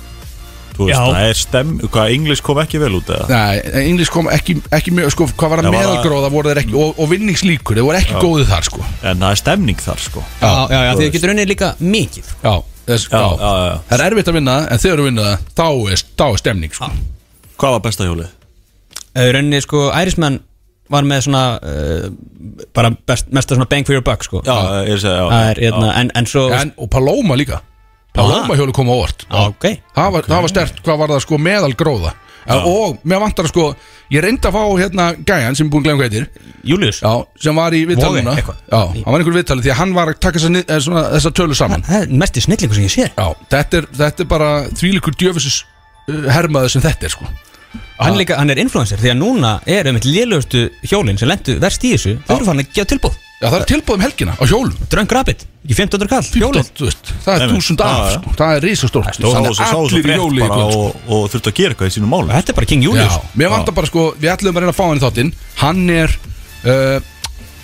Speaker 3: Þú veist,
Speaker 2: Já.
Speaker 3: það er stem, hvað, English kom ekki vel út eða?
Speaker 1: Nei, English kom ekki, ekki mjög, sko, hvað var að
Speaker 3: Það var að-
Speaker 1: meðalgróða voru þeir ekki og, og vinningslíkur, þeir voru ekki góðið þar sko
Speaker 3: En það er stemning þar sko
Speaker 2: Já, já, já,
Speaker 3: þú
Speaker 2: því þið
Speaker 3: veist.
Speaker 2: getur unnið líka mikið
Speaker 1: Já, þess, já,
Speaker 3: Já, já, já.
Speaker 1: Það er erfitt að vinna það, en þegar þú vinna það, þá er, þá er stemning sko.
Speaker 3: Hvað var besta hjólið?
Speaker 2: Það er unnið sko, Ærismenn var með svona uh, Bara best, mesta svona bang for your buck sko
Speaker 3: Já, ég Ah. er að segja, já
Speaker 2: Það er, hérna, en, en svo
Speaker 1: en, Og Paloma líka Paloma hjólu kom á orð
Speaker 2: Já, ok
Speaker 1: það, var, það var stert, hvað var það sko, meðalgróða Eh, Og mér vantar að sko, ég reyndi að fá hérna gæjan sem er búin að glemma hvað heitir
Speaker 2: Július
Speaker 1: Já, sem var í
Speaker 2: Vogi,
Speaker 1: viðtaluna Já,
Speaker 2: eitthvað.
Speaker 1: hann var einhver viðtalið því að hann var að taka þessa, ni- eh, svona, þessa tölu saman
Speaker 2: Það er mesti snillingu sem ég sé
Speaker 1: Já, þetta er, þetta er bara þvílikur djöfisus hermaður sem þetta er sko
Speaker 2: hann, líka, hann er influencer því að núna er um eitt lélugustu hjólinn sem lendu verst í þessu Þau eru fann að gefa tilbúð
Speaker 1: Já, það er tilbúðum helgina á hjólum
Speaker 2: Drunk Rabbit Í 1500 kall
Speaker 1: Hjólum,
Speaker 2: Hjólinn
Speaker 1: þú veist, það er
Speaker 3: Einmitt.
Speaker 1: þúsund af
Speaker 3: Já, já.
Speaker 1: sko. Það er risastórt
Speaker 3: Stóð
Speaker 1: Þannig
Speaker 3: og svo sá þessu
Speaker 1: allir í
Speaker 3: frétt
Speaker 1: hjóli í
Speaker 3: bara
Speaker 1: kvöld sko.
Speaker 3: og, og þurfti að gera eitthvað í sínum málum
Speaker 2: Þetta er bara King
Speaker 1: Já,
Speaker 2: Július
Speaker 1: mér vantar bara sko, við ætlum að reyna að fá hann í þáttinn Hann er uh,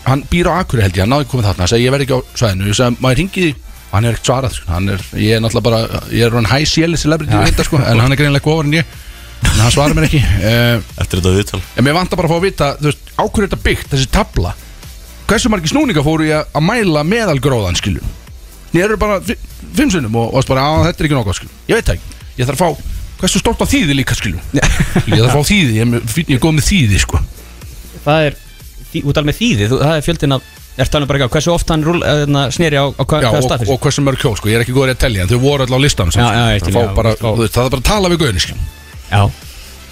Speaker 1: Hann býr á Akurey held ég, hann náði komið þarna Segði ég verð ekki á svæðinu, ég sagði maður ringi Hann er ekkert svarað, sko. hann er, ég er náttúrulega bara Ég er hann high CL celebrity ja. sko, En hann er greinlega góður en ég En hann svarar mér ekki [laughs] uh,
Speaker 3: Eftir þetta viðtal
Speaker 1: En mér vantar bara að fá að vita, þú veist, á hverju er þetta byggt, þessi tabla Hversu margir snúninga fóru ég að mæla meðalgróðan, skiljum Ég eru bara fi- fimm sinnum og varst bara, að þetta er ekki nokkuð, skiljum Ég veit það ekki, ég þarf að fá, hversu stórt á þýði líka,
Speaker 2: [laughs]
Speaker 1: skiljum Ég þarf að fá þýði, ég er með- fínn- ég er góð með þýði, sko
Speaker 2: Það er því- Út alveg þýði þú- Það er fjöldin af Er talað bara ekki á hversu oft hann rúl, eðna, sneri á, á hva,
Speaker 1: Já,
Speaker 2: hvaða
Speaker 1: og,
Speaker 2: staðfyrir
Speaker 1: og hversu mörg hjól, sko, ég er ekki góður í að telja En þau voru alltaf á listanum, samt,
Speaker 2: Já,
Speaker 1: sko. Þarf að
Speaker 2: já, ég skil,
Speaker 1: fá
Speaker 2: já,
Speaker 1: bara,
Speaker 2: sko.
Speaker 1: þú veist, Það er bara að tala við gauðin, skiljum
Speaker 2: Já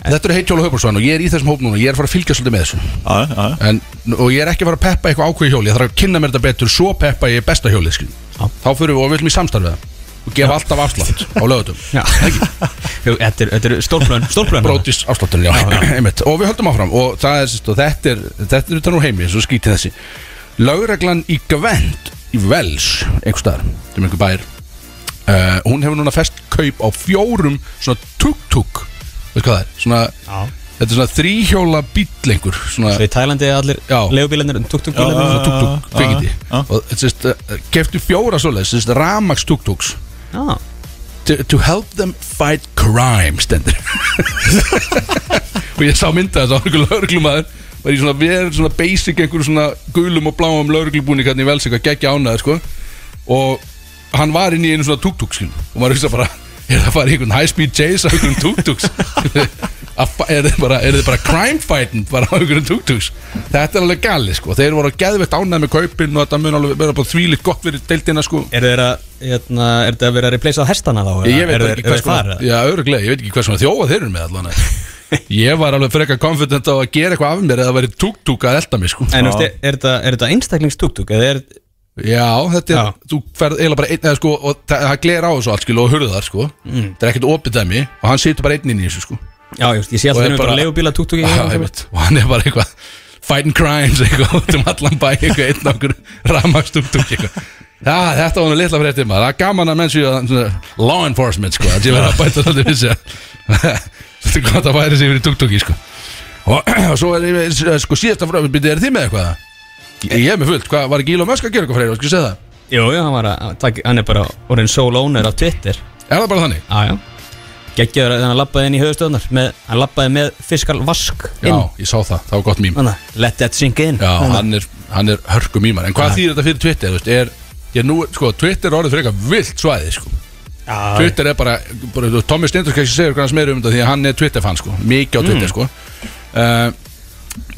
Speaker 1: Þetta eru heitjól og höfbúrsvæðan og ég er í þessum hóp núna Ég er að fara að fylgja svolítið með þessu
Speaker 3: Já, já, já.
Speaker 1: en, og ég er ekki að fara að peppa eitthvað ákveð hjóli ég þarf að kynna mér þetta betur, svo peppa ég besta hjóli skil.
Speaker 2: Já.
Speaker 1: þá fyrir við og við viljum í samstarfið það og gefa alltaf afslátt á lögutum
Speaker 2: Já [laughs] Jú, Þetta er, þetta er stórplön Stórplön
Speaker 1: brótis afsláttunni, já, [clears throat] einmitt og við höldum áfram og það er, sérst, og þetta er þetta er utan úr heimi, svo skítið þessi lögreglan í Gvend í Vels, einhver staðar, sem einhver bær uh, hún hefur núna fest kaup á fjórum svona tuk-tuk veist hvað það er, svona
Speaker 2: Já.
Speaker 1: þetta er svona þríhjóla bíll einhver svona,
Speaker 2: Svo í Tælandi allir
Speaker 1: Já.
Speaker 2: Leigubílarnir Tuk-tuk
Speaker 1: svona
Speaker 2: bílarnir
Speaker 1: tuk-tuk, kvikindi
Speaker 3: já.
Speaker 1: og sérst, uh, keftu fjóra svoleiðis, sérst, ramax tuk-tuks
Speaker 2: Já
Speaker 1: to, to help them fight crime stendur [laughs] og ég sá mynda þess að einhver lauruglumæður var í svona, við erum svona basic einhverju svona gulum og bláum hérna lauruglubúni hvernig vel sig að gegja ánaði sko og hann var inn í einu svona tuk-tuk skil og maður hugsa bara er það bara einhvern high speed chase á einhverjum tuk-tuks [laughs] Að fa- er þið bara, er þið bara crime fighting bara á einhverjum tuk-tuks þetta er alveg gali sko þeir voru geðveitt ánæð með kaupin og þetta mun alveg vera bara þvílitt gott fyrir deildina sko
Speaker 2: Er þeir að, hérna, er þetta að vera að replacea hestana þá?
Speaker 1: Ég, ég veit
Speaker 2: er,
Speaker 1: ekki hvers konar Já, öruglega, ég veit ekki hvers konar þjófa þeir eru með
Speaker 2: [laughs]
Speaker 1: allan Ég var alveg frekar confident á að gera eitthvað af mér eða það væri túk-túk að elda mig sko
Speaker 2: En þú veist, er- er þetta- er þetta einstaklingstúktúk? Eða er,
Speaker 1: Já, þetta er,
Speaker 2: Já.
Speaker 1: þú ferð eiginlega bara einn eða sko og það það glera á þessu allt skil og hurðar sko
Speaker 2: Mm.
Speaker 1: Það er ekkert opið dæmi og hann situr bara einn inn í þessu sko
Speaker 2: já, ég, veist, ég sé
Speaker 1: Og
Speaker 2: alltaf
Speaker 1: er
Speaker 2: þeim bara
Speaker 1: bara-
Speaker 2: leigubíla túktúk
Speaker 1: Já, ég veit. og hann er bara eitthvað fighting crimes [laughs] eitthvað út um allan bæ eitthvað einn okkur ramastúk-túk eitthvað Já, þetta var nú litla fréttir maður, það er gaman að menn séu að svona, law enforcement sko, að ég verið að bæta svolítið við [laughs] sér Þetta er gott að færa sig fyrir tuk-tuki sko Og [clears throat] svo er ég, sko síðasta frá, byrjuð er þið með eitthvað það? Ég er með fullt, hvað var ekki Elon Musk að gera eitthvað fyrir, skal ég segja það?
Speaker 2: Jú, jú, hann, var að, hann takk- hann er bara orðin sole owner á Twitter
Speaker 1: Er það bara þannig?
Speaker 2: Já, já Gekkjaður að hann lappaði inn í höfustöðunar með, Hann lappaði með fiskal vask
Speaker 1: Já,
Speaker 2: inn
Speaker 1: ég sá það, það var gott mím
Speaker 2: Þannig, að let that sink in
Speaker 1: Já, hann er, hann er hörku mýmar En hvað þýðir þetta fyrir Twitter, þú veist, er, ég nú, sko, Twitter er orðið fyrir eitthvað vilt svæði, sko
Speaker 2: já,
Speaker 1: Twitter er bara, bara þú- Tommy Stendur kannski segir hvernig meira um þetta því að hann er Twitter-fan, sko Mikið á
Speaker 2: Mm.
Speaker 1: Twitter, sko uh,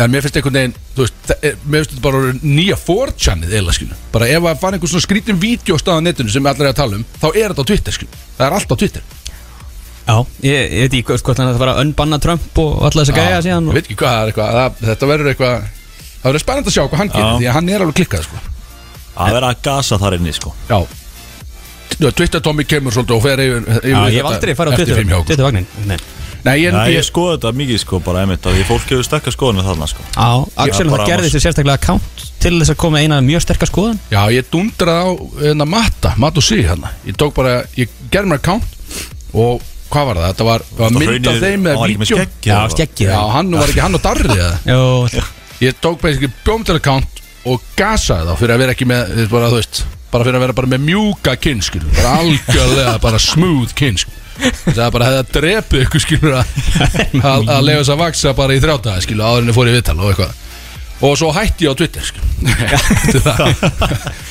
Speaker 1: En mér finnst einhvern veginn, þú veist, það er- mér finnst þetta bara orðið nýja 4chanið eða, skilu Bara ef að fara einhver svona skrítin vídeo á staða netinu sem allir er að tala um Þá er þetta á Twitter, skilu Það er allt á Twitter
Speaker 2: já ég, ég veit ekki hvort- hvort hann ætlar að fara að unbanna Trump og alla þess að gæja síðan
Speaker 1: Ég
Speaker 2: og,
Speaker 1: veit ekki hvað það er eitthvað, það, þetta verður eitthvað Það verður spennandi að sjá hvað hann gerir,
Speaker 3: Já.
Speaker 1: því að hann er alveg klikkað, sko
Speaker 3: Að vera að gasa þar inni sko
Speaker 1: Já Twitter Tommy kemur svolítið og fer yfir, yfir
Speaker 2: Já, ég hef aldrei farið á Twitter,
Speaker 1: Twitter
Speaker 2: Twitter vagnin Nei,
Speaker 1: Nei, en
Speaker 3: Já, ég
Speaker 1: ég,
Speaker 3: skoði þetta mikið sko bara einmitt að því fólk hefur stakka skoðinu þarna sko
Speaker 2: Á, Axel,
Speaker 3: Já,
Speaker 2: það
Speaker 3: bara
Speaker 2: gerði
Speaker 3: annars.
Speaker 2: sér sérstaklega account til þess að koma með eina mjög sterkar skoðun
Speaker 1: já, ég dundraði á hérna, matta, mat og sí hérna Ég tók bara, ég gerði mér account Og hvað var það? Þetta var, það var mynd af þeim eða vídeo
Speaker 3: Já,
Speaker 2: Já, skeggið
Speaker 1: Já, hann var ekki hann og darrið eða
Speaker 2: Jó,
Speaker 1: Ég tók basically bjómtel account og gasaði þá fyrir að vera ekki með, þú veist, bara, þú veist bara fyrir að vera bara með mjúka kyn, skilur bara algjörlega, bara smooth kyn skilur. það er bara að hefða drepið ykkur skilur að, að, að leifa þess að vaksa bara í þrjátaði skilur, áður en ég fór í viðtal og eitthvað og svo hætti ég á Twitter skilur Eftir það.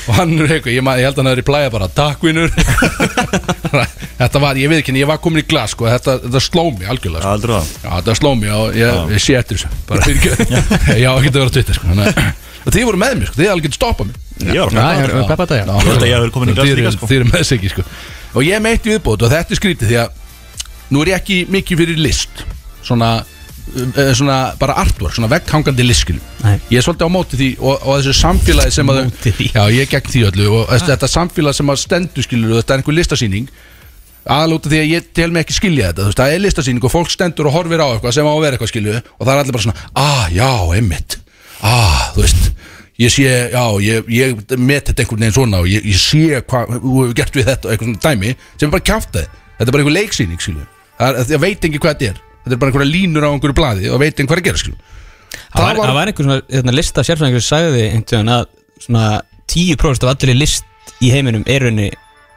Speaker 1: og hann er eitthvað, ég, man- ég held að hann er í plæja bara takk vinnur [laughs] þetta var, ég veit ekki, en ég var komin í glas sko, þetta, þetta sló mig algjörlega sko.
Speaker 3: aldrei það
Speaker 1: Já, það sló mig og ég, ég sé eftir þessu bara fyrir ekki [laughs] Já, ekki að vera á Twitter sko þannig að- Þið voru með mér sko, þið alveg getur stoppað mér
Speaker 3: Ég var að
Speaker 2: Já, ég var
Speaker 3: peppa
Speaker 2: að
Speaker 3: þetta,
Speaker 2: peppa þetta, já.
Speaker 3: Ég held að ég hafi verið komin í glas
Speaker 1: Þið
Speaker 3: líka,
Speaker 1: eru-
Speaker 3: sko.
Speaker 1: Þið eru með þessu ekki sko Og ég er meitt í viðbót og þetta er skrítið því að Nú er ég ekki mikið fyrir list Svona, um, eh, svona bara artwork, svona vegghangandi liskil
Speaker 2: Nei.
Speaker 1: Ég er svolítið á móti því og, og þessu samfélagi sem að þau-
Speaker 2: Móti því.
Speaker 1: Já, ég er gegn því öllu og þessi- þetta samfélag sem að stendur skilur Þetta er einhver listasýning aðlúta því að ég tel mig ekki skilja þetta þú veist, það er listasýning og fólk stendur og horfir á eitthvað sem á að vera eitthvað skilju og það er allir bara svona ah, já, einmitt, ah, þú veist ég sé, já, ég, ég met þetta einhvern veginn svona og ég, ég sé hvað þú hefur gert við þetta og eitthvað svona dæmi sem er bara kjáftaði, þetta er bara einhver leiksýning skilju, það er, það veit ekki hvað þetta er þetta er bara einhverja línur á einhverju blaði og veit ekki hvað er að gera skilju
Speaker 2: Það var, það var einhver svona hérna, lista sérfræðingur sem sagði einhvern veginn að svona 10% af allir list í heiminum er raunni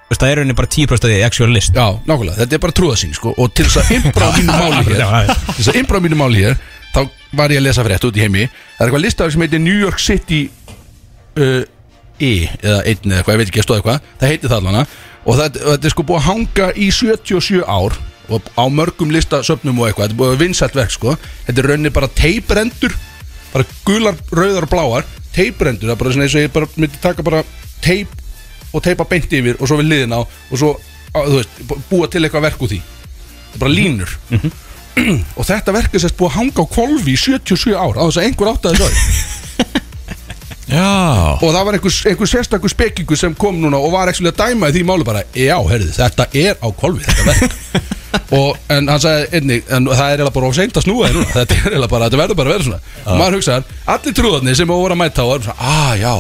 Speaker 2: veist, það er raunni bara 10% af því actual list
Speaker 1: Já, nákvæmlega, þetta er bara trúðasýn sko og til þess að imbra á
Speaker 2: [laughs]
Speaker 1: mínu máli hér
Speaker 2: Já, já.
Speaker 1: til þess að imbra á mínu máli hér þá var ég að lesa frétt út í heimi það er eitthvað listaður sem heitir New York City uh, E eða einn eða eitthvað, ég veit ekki að stóð eitthvað það heitir það alveg og þetta, og þetta er sko búið að hanga í 77 ár og á mörgum listasöfnum og eitthvað þetta er búið að vera vinsælt verk sko þetta er raunni bara teiprendur bara gular, rauðar og bláar teiprendur, það er bara svona eins og ég bara myndi taka bara teip og teipa beint yfir og svo við liðin á og svo, á, þú veist, bú- búa til eitthvað verk úr því þetta er bara línur og þetta verk er sérst búið að hanga á kvolfi í 77 ár á þess að einhver áttaði svo [laughs]
Speaker 3: Já
Speaker 1: og það var einhver, einhver sérstakur spekingu sem kom núna og var ekki að dæma í því máli bara já, herðu, þetta er á kvolfi þetta verk og, en hann sagði einnig, en það er eiginlega bara of seint að snúa þér núna, þetta er eiginlega bara, þetta verður bara að vera svona og maður hugsaðar, allir trúðarnir sem voru að mæta og erum svona, ah, já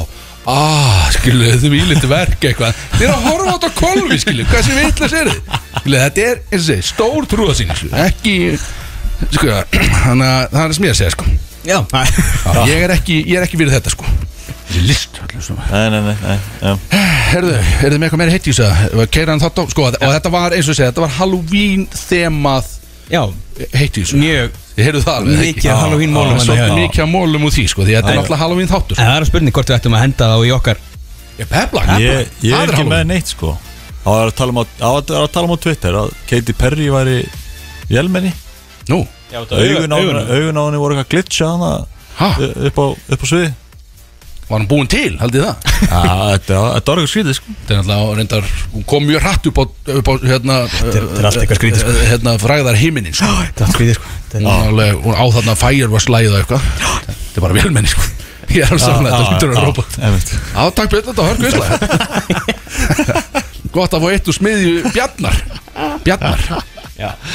Speaker 1: ah, skilu, þau íliti verk eitthvað þið eru að horfa á þetta á kvolfi, skilu hvað sem vitlega sér þið, skilu, þetta er eins og þessi, stór trúðarsýn, skilu, ekki sko, þannig að það er sem ég að segja, sko
Speaker 2: Já,
Speaker 1: Já, ég er ekki, ég er ekki fyrir þetta, sko þessi list, allir svona
Speaker 3: Nei, nei, nei, nei já.
Speaker 1: Herðu, er þið með eitthvað meira hitt í þessu? Keiran þátt á, sko, og þetta var eins og segja, þetta var Halloween þemað
Speaker 2: [laughs] já
Speaker 1: hitt í þessu
Speaker 2: mjög
Speaker 1: Þið heyrðu það alveg,
Speaker 2: Mikið af Halloween málum
Speaker 1: hérna
Speaker 2: hérna,
Speaker 1: Svo
Speaker 2: já.
Speaker 1: mikið af mólum úr því, sko, því þetta er náttúrulega Halloween þáttur
Speaker 2: En það er að spurning hvort við ættum að henda þá í okkar
Speaker 1: Ég pepla,
Speaker 3: Ég, ég
Speaker 1: það er
Speaker 3: er ekki með
Speaker 1: Halloween
Speaker 3: neitt sko Það var að tala um á, á, að, að tala um á Twitter að Katy Perry var í Jælmenni
Speaker 1: Nú,
Speaker 3: Augun á henni augun á henni voru eitthvað glitcha hana
Speaker 1: ha,
Speaker 3: upp á, upp á sviði
Speaker 1: var hann búin til, haldið þið það?
Speaker 3: Já, Þetta þetta var eitthvað skrítið sko
Speaker 1: Þetta er náttúrulega, reyndar, hún kom mjög hratt upp á, upp á hérna Þetta
Speaker 2: þetta er allt eitthvað skrítið, sko.
Speaker 1: Hérna, fræðar himinin, sko
Speaker 2: Það er skrítið sko
Speaker 1: Hún
Speaker 2: Þannig-
Speaker 1: alveg- Hún á þarna Firewash-lægið og eitthvað
Speaker 2: Ah.
Speaker 1: Þetta er bara velmenni, sko [laughs] Ég er alveg saman þetta, hún
Speaker 3: Já,
Speaker 1: trúið að robot
Speaker 3: einmitt.
Speaker 1: Já, takk fyrir þetta hörkvisla
Speaker 2: [laughs]
Speaker 1: Gott að fá eitt úr smiðju Bjarnar Bjarnar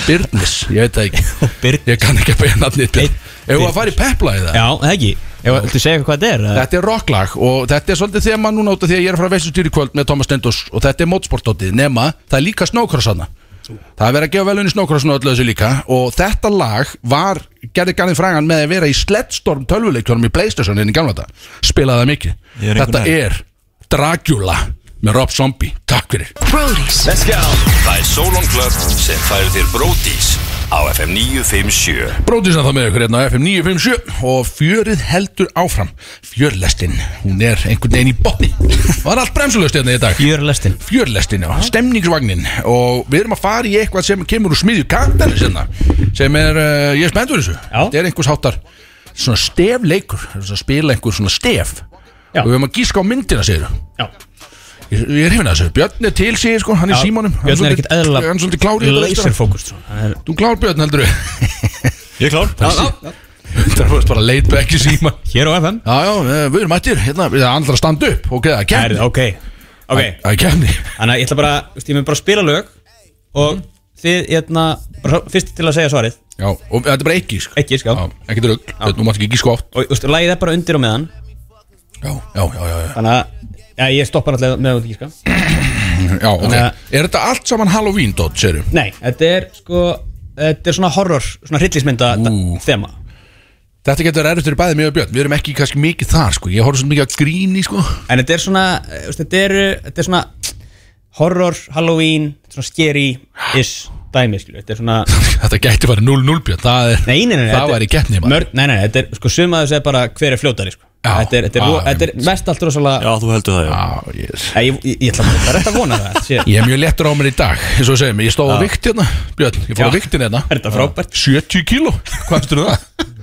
Speaker 1: Byrnis, ég veit það ekki
Speaker 2: Birn-
Speaker 1: Ég kann ekki að beina nafnið Bjarn
Speaker 2: Einn
Speaker 1: Ef við að fara í pepla í það
Speaker 2: Já, það ekki Ef að- Viltu segja eitthvað hvað þetta er? eða?
Speaker 1: Þetta er rocklag og þetta er svolítið þema núna út af því að ég er að fara að veist í kvöld með Thomas Stendos og þetta er mótsportótið nema það er líka snókrossanna Það er verið að gefa velunni snókrossan og öllu þessu líka og þetta lag var gerði garðin frægan með að vera í Sledstorm tölvuleikjónum í Playstation hérna í gamla þetta spilaði það mikið
Speaker 3: Ég er einhvern
Speaker 1: Þetta er Dracula með Rob Zombie Takk fyrir
Speaker 4: Brody's.
Speaker 5: Það er Solon Club sem færir þér Bródís á FM 957
Speaker 1: Bróðis að það með ykkur hérna á FM 957 og fjörið heldur áfram Fjörlestin, hún er einhvern veginn í botni Var allt bremsulöst hérna í dag
Speaker 2: Fjörlestin
Speaker 1: fjörlestin á stemningsvagnin og við erum að fara í eitthvað sem kemur úr smiðju kantarins hérna sem er, uh, ég er spenntur þessu
Speaker 2: Já.
Speaker 1: þetta er einhvers háttar svona stefleikur það er svona að spila einhver svona stef
Speaker 2: Já.
Speaker 1: og við erum að gíska á myndina segir
Speaker 2: Já
Speaker 1: ég, ég er hefina þessu, Björn er til segir sko hann er í símanum, hann
Speaker 2: Björn er ekkert
Speaker 1: svolítið- hann er svolítið klár í
Speaker 2: eðla
Speaker 1: þetta leikstjóra.
Speaker 2: Laserfókust sko. Hann er-
Speaker 1: þú klár Björn
Speaker 2: [laughs]
Speaker 1: heldur
Speaker 3: Ég er klár
Speaker 1: það fórst bara leit back í síman
Speaker 2: Hér á FM
Speaker 1: já já, eh, við erum mættir, hérna, við erum andra að standa upp ok, það er
Speaker 2: Herðu,
Speaker 1: kemni
Speaker 2: ok Ok
Speaker 1: það er kemni
Speaker 2: Þannig að ég ætla bara, veist, ég mun bara að spila lög og þið, hérna, bara svo- fyrst til að segja svarið
Speaker 1: Já, og þetta er bara ekki sko.
Speaker 2: Ekki, sko
Speaker 1: Já, ekkert rugg, nú máttu ekki gíska oft
Speaker 2: Og, þú veist, lagið er bara undir og meðan
Speaker 1: Já, sko. já, já, já, já.
Speaker 2: Þannig að, já, ég stoppar alltaf meðan þú ekki, sko
Speaker 1: já ok
Speaker 2: Þannig að-
Speaker 1: Er þetta allt saman Halloween, Dótt, sérum?
Speaker 2: Nei, þetta er, sko, þetta er svona horror, svona hryllismynda
Speaker 1: Ú.
Speaker 2: þema
Speaker 1: Þetta getur erfitt fyrir bæði mjög björn Við erum ekki kannski mikið þar, sko Ég horf svo mikið að gríni, sko [laughs]
Speaker 2: En þetta er svona, eh, þú veist, þetta er, þetta er svona horror, Halloween, svona scary-ish dæmi, skilju Þetta er svona,
Speaker 1: Þetta gæti verið 0-0 björn Það er,
Speaker 2: nei, nei, nei
Speaker 1: það
Speaker 2: þetta-
Speaker 1: væri keppni, maður.
Speaker 2: mörg, Nei, nei, nei, þetta er, sko, sumaðu segir bara hver er fljótari, sko
Speaker 1: Já,
Speaker 2: Þetta er, þetta er,
Speaker 1: já,
Speaker 2: ro- þetta er mest allt rosalega
Speaker 3: Já, þú heldur það, já
Speaker 1: Já, yes.
Speaker 2: Nei, Ég, ég, ég ætla bara, það er rétt að vona
Speaker 1: [laughs]
Speaker 2: það sé.
Speaker 1: Ég er mjög lettur á mér í dag eins og við segjum, ég stóð á vikt hérna Björn, ég fór á
Speaker 2: Já.
Speaker 1: viktin hérna
Speaker 2: Er þetta frábært?
Speaker 1: 70 kíló, hvað finnst þú það?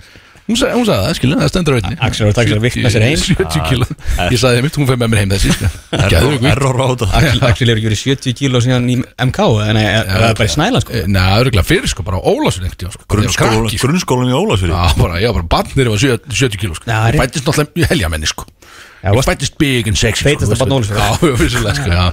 Speaker 1: Hún sagði, hún sagði það, skilja, það stendur á veitni
Speaker 2: Axel var að taka sér vikt með sér heim. Ah.
Speaker 1: 70 kíló, ég sagði mitt, hún fer með mér heim þessi
Speaker 2: [laughs]
Speaker 1: Gæðu
Speaker 3: Error-
Speaker 1: vikt
Speaker 3: Error á þetta
Speaker 2: Axel Axel hefur ekki verið 70 kíló síðan í MK eða nei, eh, það er bara í snæla sko
Speaker 1: Næ, örgulega Eh, fyrir sko, bara á Ólasun einhvern tíma sko.
Speaker 3: Grunnskólan,
Speaker 1: Ég var krakki, sko.
Speaker 3: grunnskólan í Ólafsfjörði
Speaker 1: Já, bara, já, bara barnir var 70 kíló sko.
Speaker 2: Já,
Speaker 1: Ég
Speaker 2: rétt.
Speaker 1: fættist náttúrulega helja menni sko
Speaker 2: Já,
Speaker 1: Ég
Speaker 2: varst-
Speaker 1: fættist big and sexy
Speaker 2: Feitasta
Speaker 1: sko,
Speaker 2: barn
Speaker 1: veistu.
Speaker 2: Ólafsfjarðar.
Speaker 1: Já, [laughs] vissulega sko, já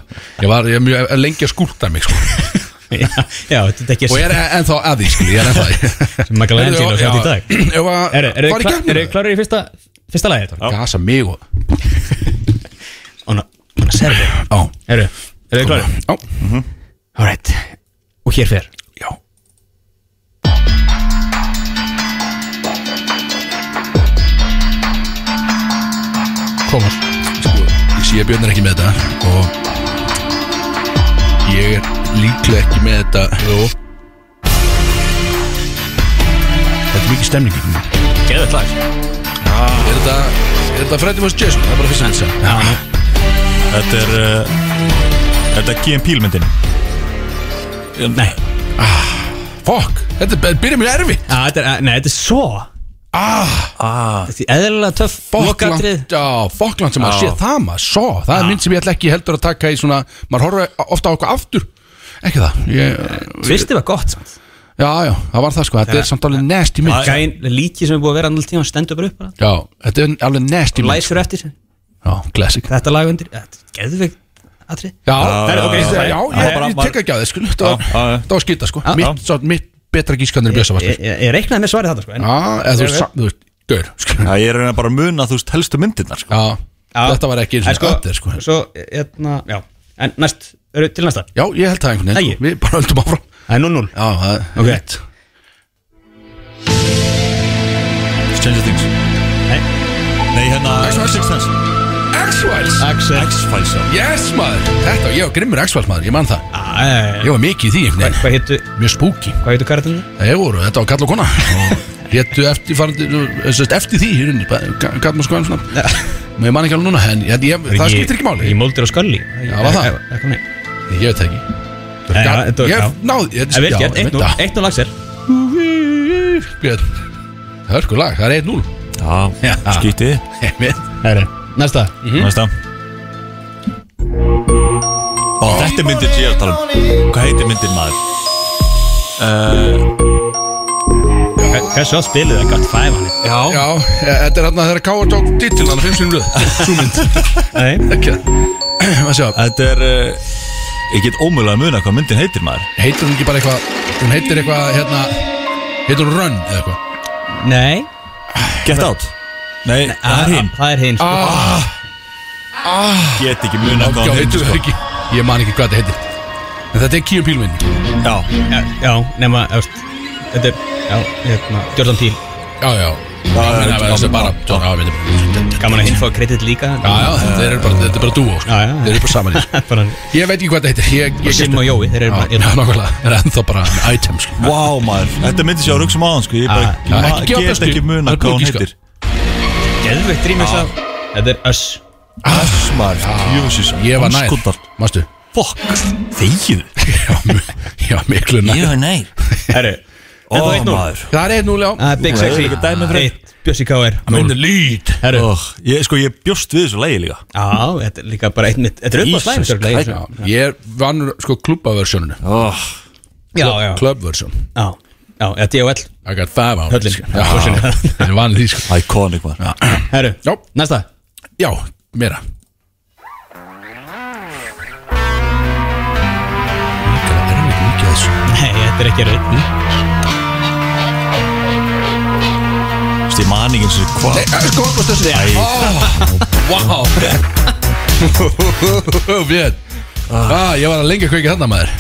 Speaker 1: Ég var ég er mjög lengi að skúrta mig sko
Speaker 2: [laughs] Já, já, þetta er ekki
Speaker 1: Og ég er e- ennþá að því, skil, ég er ennþá að því. [laughs]
Speaker 2: Michelangelo
Speaker 1: Heyrðu,
Speaker 2: sem þetta í
Speaker 1: já,
Speaker 2: dag
Speaker 1: [clears throat] ef að-
Speaker 2: Eru
Speaker 1: fara
Speaker 2: eru
Speaker 1: í
Speaker 2: þið klá-
Speaker 1: gegnum
Speaker 2: eru þið
Speaker 1: það?
Speaker 2: klárir í fyrsta, fyrsta lagi þetta?
Speaker 1: Gasa mig og
Speaker 2: Óna, óna, serði
Speaker 1: Já
Speaker 2: Eru eru þið klárir?
Speaker 1: Já
Speaker 2: Alright, og hér fer
Speaker 1: Já
Speaker 2: Komar
Speaker 1: Sko, ég sé að Björn er ekki með þetta Og Ég er líklega ekki með þetta Jú Þetta er mikið stemning í því.
Speaker 2: Geðið klar
Speaker 1: Er þetta Er þetta Freddy vs. Jason? Það er bara fyrst að lýsa
Speaker 3: Þetta er uh, Þetta er G.M. Pílmyndin
Speaker 2: Um, Nei,
Speaker 1: Fuck Þetta er- byrja mjög erfi
Speaker 2: Á, þetta er, eh, nei, þetta er svo
Speaker 1: Ah
Speaker 2: Þetta er eðlilega töff lokatrið.
Speaker 1: Fokkland Já, Fokkland sem maður sé það maður Svo, það er mynd sem ég ætla ekki heldur að taka í svona Maður horfa ofta á okkur aftur Ekki það ég,
Speaker 2: Tvistið var gott samt.
Speaker 1: Já, já, það var það sko Þetta er samt alveg nasty mynd
Speaker 2: Gæn, líki sem er búið að vera annar tíma stendur bara upp bara.
Speaker 1: Já, þetta er alveg nasty mynd
Speaker 2: Læsur eftir
Speaker 1: Já, classic Já,
Speaker 2: Þetta lag undir Geðvig atrið
Speaker 1: já, já,
Speaker 2: ok, sorry.
Speaker 1: já,
Speaker 3: Já,
Speaker 1: ég,
Speaker 3: bara-
Speaker 1: ég tek ekki á þið sko Þetta var-
Speaker 3: Já, já, já.
Speaker 1: þetta var skýta sko
Speaker 2: Já,
Speaker 1: Mitt, svo, mitt betra gískanir bjösa var
Speaker 2: Ég,
Speaker 1: sko Já,
Speaker 2: ég, ég reiknaði með svarið þetta sko en,
Speaker 1: eða þú veist, þú veist, gaur sko.
Speaker 3: Já, ég er að reyna bara að muna þú veist helstu myndirnar sko.
Speaker 1: Já,
Speaker 2: Já.
Speaker 1: þetta var ekki
Speaker 2: En
Speaker 1: eins og öll sko
Speaker 2: Svo, hérna, já En næst, eru til næsta
Speaker 1: Já, ég held það einhvern veginn
Speaker 2: Æi.
Speaker 1: sko. Við bara höldum áfram
Speaker 2: Það er 0-0
Speaker 1: Já, það
Speaker 2: Ok.
Speaker 1: er rétt
Speaker 3: Stranger Things
Speaker 2: Nei.
Speaker 3: Nei, hérna
Speaker 1: X-Files.
Speaker 3: Sixth Sense
Speaker 1: X-Files
Speaker 2: Axel
Speaker 3: X-Files já.
Speaker 1: Yes maður, þetta, ég var grimmur X-Files maður, ég man það Ég var mikið í því, einhvern
Speaker 2: Hvað
Speaker 1: veginn
Speaker 2: héttu,
Speaker 1: Mjög spooky
Speaker 2: hvað héttu karatinn?
Speaker 1: Ég voru, þetta var kall og kona Og Réttu eftir, farandi, sest, eftir því í rauninni, bara, ga- Gat maður sko enn svona Mér man ekki alveg núna, en ég, ég, það skiptir ekki máli
Speaker 2: Í
Speaker 1: Ég,
Speaker 2: moldir og skalli
Speaker 1: Já, var það?
Speaker 2: Það kom neitt
Speaker 1: ég veit það ekki
Speaker 2: Nei, já, þetta var-
Speaker 1: Ég
Speaker 2: já.
Speaker 1: náði ég-
Speaker 2: Það er
Speaker 1: já,
Speaker 2: vel gert,
Speaker 1: ég veit
Speaker 2: 1-0 1-0 Axel
Speaker 1: það. Björn, Hörku lag, það er 1-0
Speaker 3: Já, Mhm.
Speaker 1: Já.
Speaker 3: skýti
Speaker 1: Ég veit.
Speaker 2: Herri, næsta
Speaker 3: Næsta Ó, Þetta er myndir ég er að tala um Hvað heitir myndir maður?
Speaker 2: Hver- Hversu átt spilið það gott fæf hann
Speaker 1: Já, e- þetta er hérna þegar K.A. tók titil Þannig fimm sinni
Speaker 2: [laughs]
Speaker 1: blöð, svo mynd
Speaker 2: Nei
Speaker 1: Ekki það Hvað sjá,
Speaker 3: Þetta er uh, Ég get ómögulega að muna hvað myndin heitir maður
Speaker 1: heitir hún ekki bara eitthvað Hún heitir eitthvað, hérna Heitir hún Run eða eitthvað
Speaker 2: Nei Ah,
Speaker 3: Get Out Nei, það er hinn
Speaker 2: Það er hinn sko.
Speaker 1: Ah,
Speaker 3: Get ekki muna
Speaker 1: já,
Speaker 3: hvað
Speaker 1: heitir
Speaker 3: hún heitir
Speaker 1: það
Speaker 3: sko.
Speaker 1: ekki Ég man ekki hvað þetta heitir En þetta er Kíum Pílminn
Speaker 3: Já,
Speaker 2: Já, Já, nema, eftir Þetta er, já, hérna Jordan Peele
Speaker 1: Já, já
Speaker 3: já,
Speaker 1: Það
Speaker 3: já,
Speaker 1: er þessi
Speaker 3: já,
Speaker 1: bara
Speaker 3: já.
Speaker 1: Já, við veitum.
Speaker 2: Gaman að hinn fá kredit líka
Speaker 1: Já, já, þetta er bara, þetta er bara dúo sko.
Speaker 2: Já, já, já.
Speaker 1: Þeir eru bara saman í þessu.
Speaker 2: [laughs] Bara
Speaker 1: Ég veit ekki hvað þetta heitir Ég, ég
Speaker 2: Sim og Jói, þeir eru bara hérna,
Speaker 1: Já, nákvæmlega Það er ennþá bara en item sko.
Speaker 3: Vá maður, þetta myndi sér að hugsa maður sko Ég bara
Speaker 1: Ah, Já,
Speaker 3: ma-
Speaker 1: ekki gefa
Speaker 3: get
Speaker 1: bestu.
Speaker 3: ekki muna
Speaker 1: Það er
Speaker 3: hvað hún
Speaker 1: ekki, sko.
Speaker 3: heitir
Speaker 2: Geðveikt rýmis af Þetta er Us
Speaker 3: Ass maður, jöfisins
Speaker 1: Ég var nær Mástu
Speaker 3: Fuck, þegið
Speaker 1: Já, mi- já, miklu nær
Speaker 3: var nær
Speaker 2: Herru
Speaker 3: Ó
Speaker 2: Þetta var 1-0
Speaker 3: Oh, maður
Speaker 1: Það er einn núlega
Speaker 2: Það er Big
Speaker 3: Það er
Speaker 2: Sexy
Speaker 3: líka dæmi fyrir-
Speaker 2: Eitt, Bjössi K.R.
Speaker 1: Minni lít
Speaker 2: Herru
Speaker 3: Oh, ég, sko, ég bjóst við þessu lægi líka
Speaker 2: Já, þetta er líka bara eitt mitt Þetta er upp á
Speaker 3: Jesus
Speaker 2: slæmi
Speaker 3: Christ.
Speaker 2: Já,
Speaker 1: Ég vann sko klubbaversjóninu
Speaker 3: oh.
Speaker 2: já
Speaker 1: Klubversjón
Speaker 2: Já, já, þetta er DOL
Speaker 1: I got five on
Speaker 2: Höllin.
Speaker 1: Já, [laughs] ég vann því sko
Speaker 3: Iconic maður
Speaker 2: Herru,
Speaker 1: Já.
Speaker 2: næsta
Speaker 1: Já, meira Líka erfitt mikið að þessu
Speaker 2: Nei, þetta er ekki erfitt
Speaker 3: Vist, ég man ekki eins og hvað
Speaker 1: Skólkostössi
Speaker 3: Æ.
Speaker 1: Vá Björn ah, Ég var að lengja kveiki þarna maður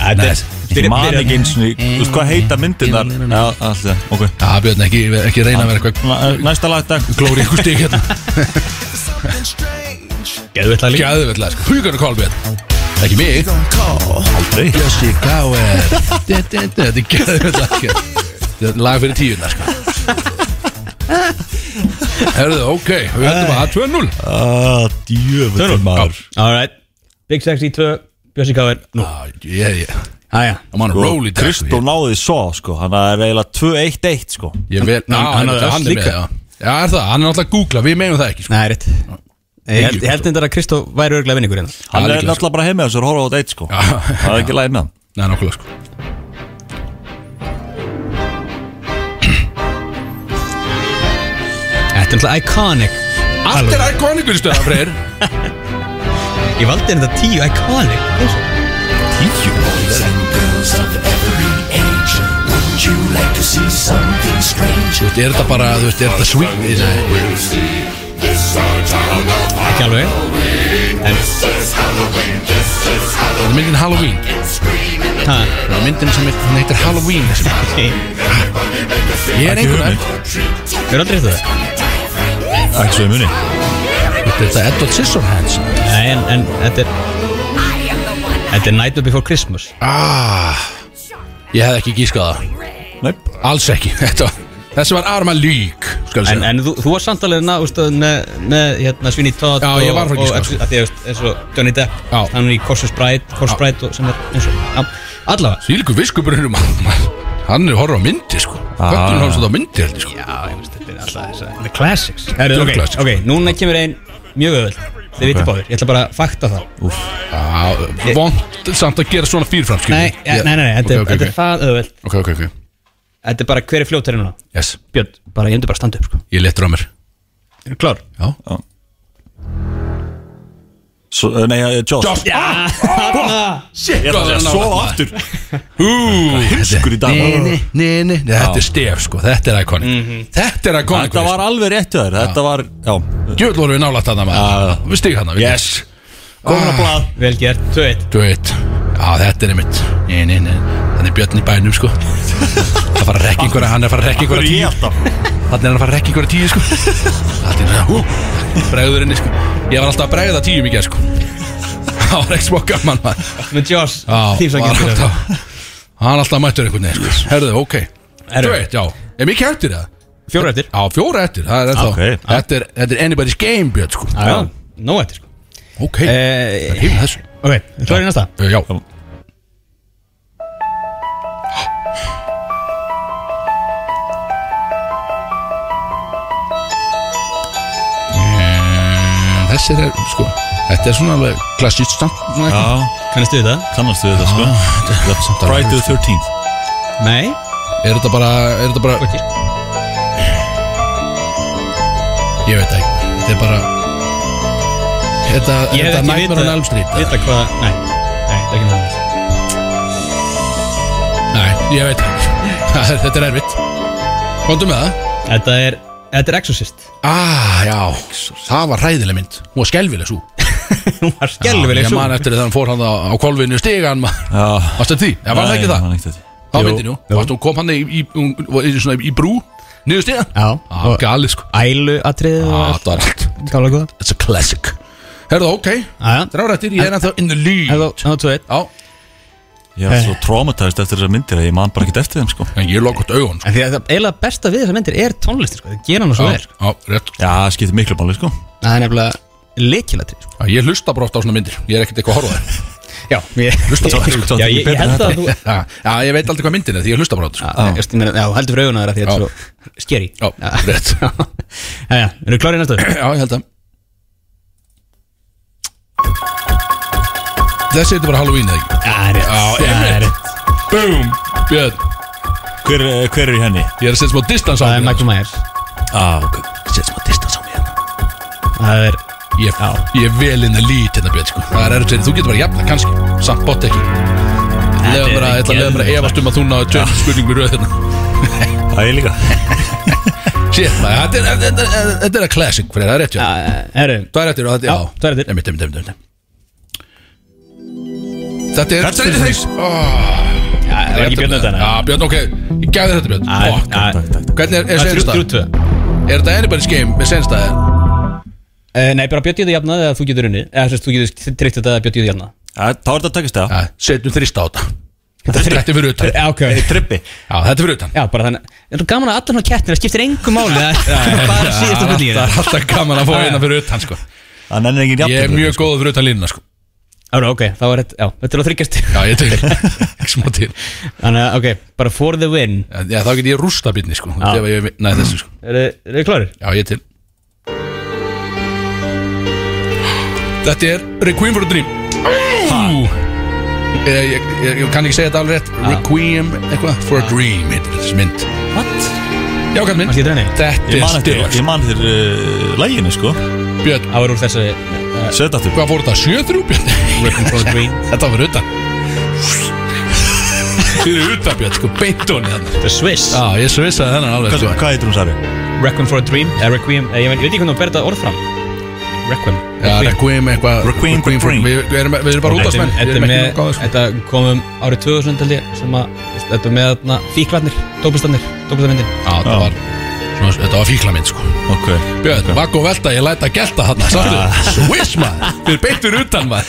Speaker 2: Þetta
Speaker 1: Nei,
Speaker 2: er
Speaker 3: Ég
Speaker 2: byrja-
Speaker 3: man
Speaker 2: byrja-
Speaker 3: ekki eins og Þú veist hvað heita myndirnar Já, allt það Ok
Speaker 1: Já Björn ekki, ekki reyna að vera eitthvað
Speaker 3: Næ- Næsta lagdag
Speaker 1: Glóri ykkur stík hérna
Speaker 2: Geðveitt lag líka.
Speaker 1: Gæðuvellega sko Hugan og Kolbjörn Ekki mig
Speaker 3: Aldrei
Speaker 1: Bjössi Gáer Þetta er gæðuvellega sko Þetta er lag fyrir tíuna sko Herðu, ok, við höldum að 2-0
Speaker 3: Ah, djöfull maður
Speaker 2: All right Big Sexy 2 Bjössi Káir Nú
Speaker 1: Ah, Ég, ég,
Speaker 2: Æja
Speaker 1: I'm on a roll í dag
Speaker 3: Kristó náði svo sko Hann er eiginlega 2-1-1 sko
Speaker 1: Ég vel, ná,
Speaker 2: hann-
Speaker 1: hann, hann,
Speaker 2: hann- hann
Speaker 1: hann er
Speaker 2: líka.
Speaker 1: með, já. Já, er það, hann er náttúrulega að googla, við meginum það ekki sko.
Speaker 2: Nei, rétt Ég held- ég held þetta að Kristó væri örglega vinningur hérna
Speaker 3: Hann er
Speaker 1: líklega, sko.
Speaker 3: náttúrulega bara heim með þessu og horfa á þetta eitt sko Það er ekki læg með hann
Speaker 1: Nei, nákvæmlega sko
Speaker 2: Þetta er náttúrulega iconic
Speaker 1: Allt er iconic, viðstu það, Freyr
Speaker 2: Ég valdi hérna tíu iconic
Speaker 1: Þú veist, er þetta bara, þú veist, er þetta sweet Ég segi,
Speaker 2: Ekki alveg
Speaker 1: Þetta er myndin Halloween Þetta
Speaker 2: Ha,
Speaker 1: er myndin sem er- hún heitir Halloween þessi mynd.
Speaker 2: Ég
Speaker 1: Ég er einhvern veginn
Speaker 2: er aldrei eftir það
Speaker 3: Ekki svo í muni
Speaker 1: Þetta er þetta Edward Scissorhands
Speaker 2: Nei, en, en þetta er Þetta er Night Before Christmas
Speaker 1: Ah, Ég hef ekki gískað það
Speaker 3: Nei
Speaker 1: Alls ekki, [laughs] þetta var Þessi var arma lík, skal ég
Speaker 2: En,
Speaker 1: segja
Speaker 2: en þú, þú var samt alveg ná, úst, með, með hérna, Svinni Todd
Speaker 1: Já, ég var
Speaker 2: og,
Speaker 1: frá
Speaker 2: og,
Speaker 1: Gíska.
Speaker 2: að því, veist, eins og Johnny Depp
Speaker 1: Já.
Speaker 2: hann er í Corsus Bride, Corsus
Speaker 1: Já.
Speaker 2: Bride og, sem er eins og já, allavega
Speaker 1: Svílíku viskupurinn um Hann er að horfa á myndi, sko Hvað er hann svo á myndi, heldur, sko
Speaker 2: Ah. Já, ég veist, þetta er alltaf þess að The Classics Heru,
Speaker 1: Þetta eru
Speaker 2: okay,
Speaker 1: classics.
Speaker 2: ok, núna kemur ein mjög öðvöld þið vitið báðir, ég ætla bara að fakta það
Speaker 1: Já, vond Ah, samt að gera svona fyrirfram, skilur
Speaker 2: Eh. Nei, ja, nei, nei, nei, þetta,
Speaker 1: Ok, ok,
Speaker 2: er, þetta er það öðvöld
Speaker 1: ok, ok, ok
Speaker 2: Þetta er bara hver er fljótari núna
Speaker 1: Yes,
Speaker 2: Björn, bara ég endur bara að standa upp sko.
Speaker 1: ég letur á mér
Speaker 2: Er klár?
Speaker 1: Já
Speaker 3: Svo- eh, Nei, eh, Joss
Speaker 1: Joss.
Speaker 2: Já,
Speaker 3: Ég ætla að segja svo aftur Himskur í dag
Speaker 1: Nei, nei, nei, nei, nei, þetta er stef sko, þetta er iconic
Speaker 2: Mhm.
Speaker 1: Þetta er iconic
Speaker 3: Þetta var alveg rétt hjá þér Þetta var, já
Speaker 1: Gjöld voru við nálægt þarna maður Við stík hana við
Speaker 3: Yes Komin að blað
Speaker 2: vel gert, 2-1
Speaker 1: Þú veit, já þetta er einmitt Nei, nei, nei, þannig er björn í bænum sko [laughs] Það fara að rekka einhverja, hann er að fara að rekka einhverja
Speaker 3: Hvað er ég
Speaker 1: tíu
Speaker 3: alltaf?
Speaker 1: Þannig er hann að fara að rekka einhverja tíu sko Þannig er hann að, hú, bregður inni sko Ég var alltaf að bregða tíum í gerð sko Það var ekki smá gaman maður
Speaker 2: Með Joss,
Speaker 1: Já,
Speaker 2: tímsangin
Speaker 1: var alltaf- Hann alltaf mættur einhvern veginn sko. Herðu, ok
Speaker 2: Herðu.
Speaker 1: Þú veit, já Er mikið eftir það?
Speaker 2: Fjóra eftir
Speaker 1: Já, fjóra eftir, það er ennþá
Speaker 3: Ok.
Speaker 1: þetta, er, þetta er anybody's game, Björn, sko
Speaker 2: Já, já, nóg eftir sko.
Speaker 1: Ok,
Speaker 2: Eh,
Speaker 1: hefur þessu
Speaker 2: Ok, klár í næsta
Speaker 1: Eh, Já, Eh, þessi er, sko Þetta er svona alveg klassíkt stand svona eitthvað.
Speaker 3: Já,
Speaker 2: Kannastu við það?
Speaker 3: kannastu við þetta sko That's
Speaker 1: samt alveg
Speaker 3: Friday the 13th
Speaker 2: Nei
Speaker 1: Er þetta bara, er þetta bara
Speaker 2: Ok.
Speaker 1: Ég veit það ekki, þetta er bara Er þetta, er
Speaker 2: Ég hef
Speaker 1: þetta
Speaker 2: ekki
Speaker 1: Nightmare on
Speaker 2: vitað-
Speaker 1: Elm Street eða?
Speaker 2: Vita hvað, nei Nei, það er ekki náttúrulega
Speaker 1: Nei, ég veit það ekki [laughs] Það er- Þetta er erfitt Komdu með það
Speaker 2: Þetta er, þetta er Exorcist
Speaker 1: Ah, já, það var hræðileg mynd Hún var skelvileg svo
Speaker 2: [laughs] Hún var skelvileg
Speaker 1: Ég
Speaker 2: svo
Speaker 1: man eftir þegar hann fór hann á, á kolvinu stigan [laughs] Varstu
Speaker 3: Já
Speaker 1: eftir því? Já, var það ekki það? Það var myndin, jú Varstu, hún kom hann í, í, í, í, svona í brú Niður stigan?
Speaker 2: Já,
Speaker 1: ah,
Speaker 2: og
Speaker 1: Gali, sko
Speaker 2: ælu atrið
Speaker 1: Ah, það var allt
Speaker 2: Gála góða
Speaker 1: It's a classic Herðu, ok
Speaker 2: Aja,
Speaker 1: Drárættir, ég er ennþá in the lead
Speaker 2: hefðu, hefðu tvö eitt
Speaker 1: Já,
Speaker 3: Ég
Speaker 1: Eh.
Speaker 3: er svo traumatized eftir þessar myndir að ég man bara ekkert eftir þeim sko
Speaker 1: en ég lokast augun sko.
Speaker 2: En því að það eiginlega besta við þessar myndir er tónlistin sko. Það gera hann svo
Speaker 1: Já,
Speaker 2: verð
Speaker 1: já, rétt
Speaker 3: Já, það skiptir miklu máli sko
Speaker 2: Það er nefnilega leikilatri sko.
Speaker 1: Já, Ég hlusta bara oft á svona myndir Ég er ekkert eitthvað að horfa á þær
Speaker 2: Já, ég,
Speaker 1: Hlusta bara
Speaker 3: Tóttir- tóttir-
Speaker 2: já, ég, ég held að þú Já,
Speaker 1: Já, já, ég veit aldrei hvað myndin er því ég hlusta bara á þetta sko.
Speaker 2: ég veist, ég meina, já, heldur fyrir augun að það því að þetta er svo skeri
Speaker 1: Já,
Speaker 2: [laughs]
Speaker 1: rétt
Speaker 2: Jæja, eru klárið næstu?
Speaker 1: Já, ég held að Þessi heitir bara Halloween eða ekki
Speaker 2: Já, rétt
Speaker 1: Já,
Speaker 2: það er
Speaker 1: einmitt.
Speaker 2: rétt.
Speaker 1: Boom Björn,
Speaker 3: Hver, eh, hver er í henni?
Speaker 1: ég er að setja smá distans á
Speaker 2: Það er
Speaker 1: mig
Speaker 2: Michael Myers
Speaker 3: Ah, ok
Speaker 1: Setja smá distans á mig hérna.
Speaker 2: Það er
Speaker 1: Ég, ég er vel inn að lít hérna Björn sko. Það er erfitt fyrir, þú getur bara jafna kannski Samt bótt ekki Lefa mér að, ég ætla að lefa mér að efast um að þú náðu tveim spurningu röð hérna
Speaker 3: Það er líka [laughs]
Speaker 1: Shit, maður, þetta er- þetta er- þetta er að classic fyrir það er rétt, já
Speaker 2: Herru,
Speaker 1: Það er réttir og þetta,
Speaker 2: Já,
Speaker 1: er
Speaker 2: tvær réttir.
Speaker 1: Einmitt, einmitt, einmitt, einmitt Þetta er
Speaker 3: Þetta er þess.
Speaker 2: það var ekki björn þetta
Speaker 1: Já, Björn, ok Ég gæði þetta Björn Fuck. Hvernig er, er senstað? Er þetta anybody's game með senstað?
Speaker 2: Eh, Nei, bara björn í þetta jafnað eða þú getur unni Eða þess að þú getur tryggt þetta björn í þetta jafnað
Speaker 3: Ja, Þá er þetta að takast það
Speaker 1: Setjum þrista á þetta Þetta er fyrir utan
Speaker 2: Já, ok
Speaker 3: Þetta er trippi
Speaker 1: Já, þetta er fyrir utan
Speaker 2: Já, bara þannig En þú gaman að allar svona kettir, það skiptir engum máli Það er bara síðast að
Speaker 1: Það
Speaker 2: fullið
Speaker 1: er alltaf gaman að fá eina fyrir utan sko.
Speaker 3: Það nennir engin
Speaker 1: Ég er
Speaker 3: jafntefli.
Speaker 1: mjög góð fyrir utan línuna sko.
Speaker 2: Já, ok, þá er þetta, já, þetta er að þryggjast
Speaker 1: Já, ég
Speaker 3: [laughs]
Speaker 1: til Ekki smá til
Speaker 2: Þannig að, ok, bara for the win
Speaker 1: Já, þá get ég rústa bitni sko.
Speaker 2: Já.
Speaker 1: Ef ég næði þessu sko.
Speaker 2: Eru þið klárir?
Speaker 1: Já, ég til Þetta er Requiem for a Dream Ú. Eh, Ég, ég, ég, ég kann ekki segja þetta alveg rétt Requiem eitthvað for a Dream heitir þessi mynd
Speaker 3: What?
Speaker 1: Já, kann minn
Speaker 2: Manstu ekki draunni?
Speaker 1: Þetta
Speaker 3: Ég
Speaker 1: er
Speaker 3: man eftir,
Speaker 1: styrk
Speaker 3: ég man eftir uh, læginu sko
Speaker 1: Björn,
Speaker 2: Það var úr þessu
Speaker 3: Sveit aftur
Speaker 1: hvað fór þetta? 7-3 Björn?
Speaker 2: Looking for a dream
Speaker 1: þetta var utan Fyrir utan Björn, sko, beint honum þarna
Speaker 2: The Swiss
Speaker 1: Já, ég svissaði þennan alveg
Speaker 3: Hvað
Speaker 1: sko.
Speaker 3: hvað heitir hún sari?
Speaker 2: Ah, Requiem for a dream Eða Requiem eh, Ég veit ég veit ekki hvernig þú berð þetta orð fram Requiem
Speaker 1: Já, Requiem eitthvað
Speaker 3: Requiem for a
Speaker 1: for-
Speaker 3: Dream.
Speaker 1: Við við erum við erum bara
Speaker 2: Þetta er-
Speaker 1: útastmenn Við
Speaker 2: Þetta er
Speaker 1: erum ekki
Speaker 2: með
Speaker 1: nokkuð sko.
Speaker 2: Þetta komum árið 2000 held ég Sem að Þetta er með þarna Fíklarnir Tópistarnir Tópistarmyndin
Speaker 1: Já, þetta var svona- Þetta var fíklamynd sko
Speaker 3: Ok
Speaker 1: Björn, vakk og velta, ég læta gelta þarna Sattu, swiss maður, við beittur utan maður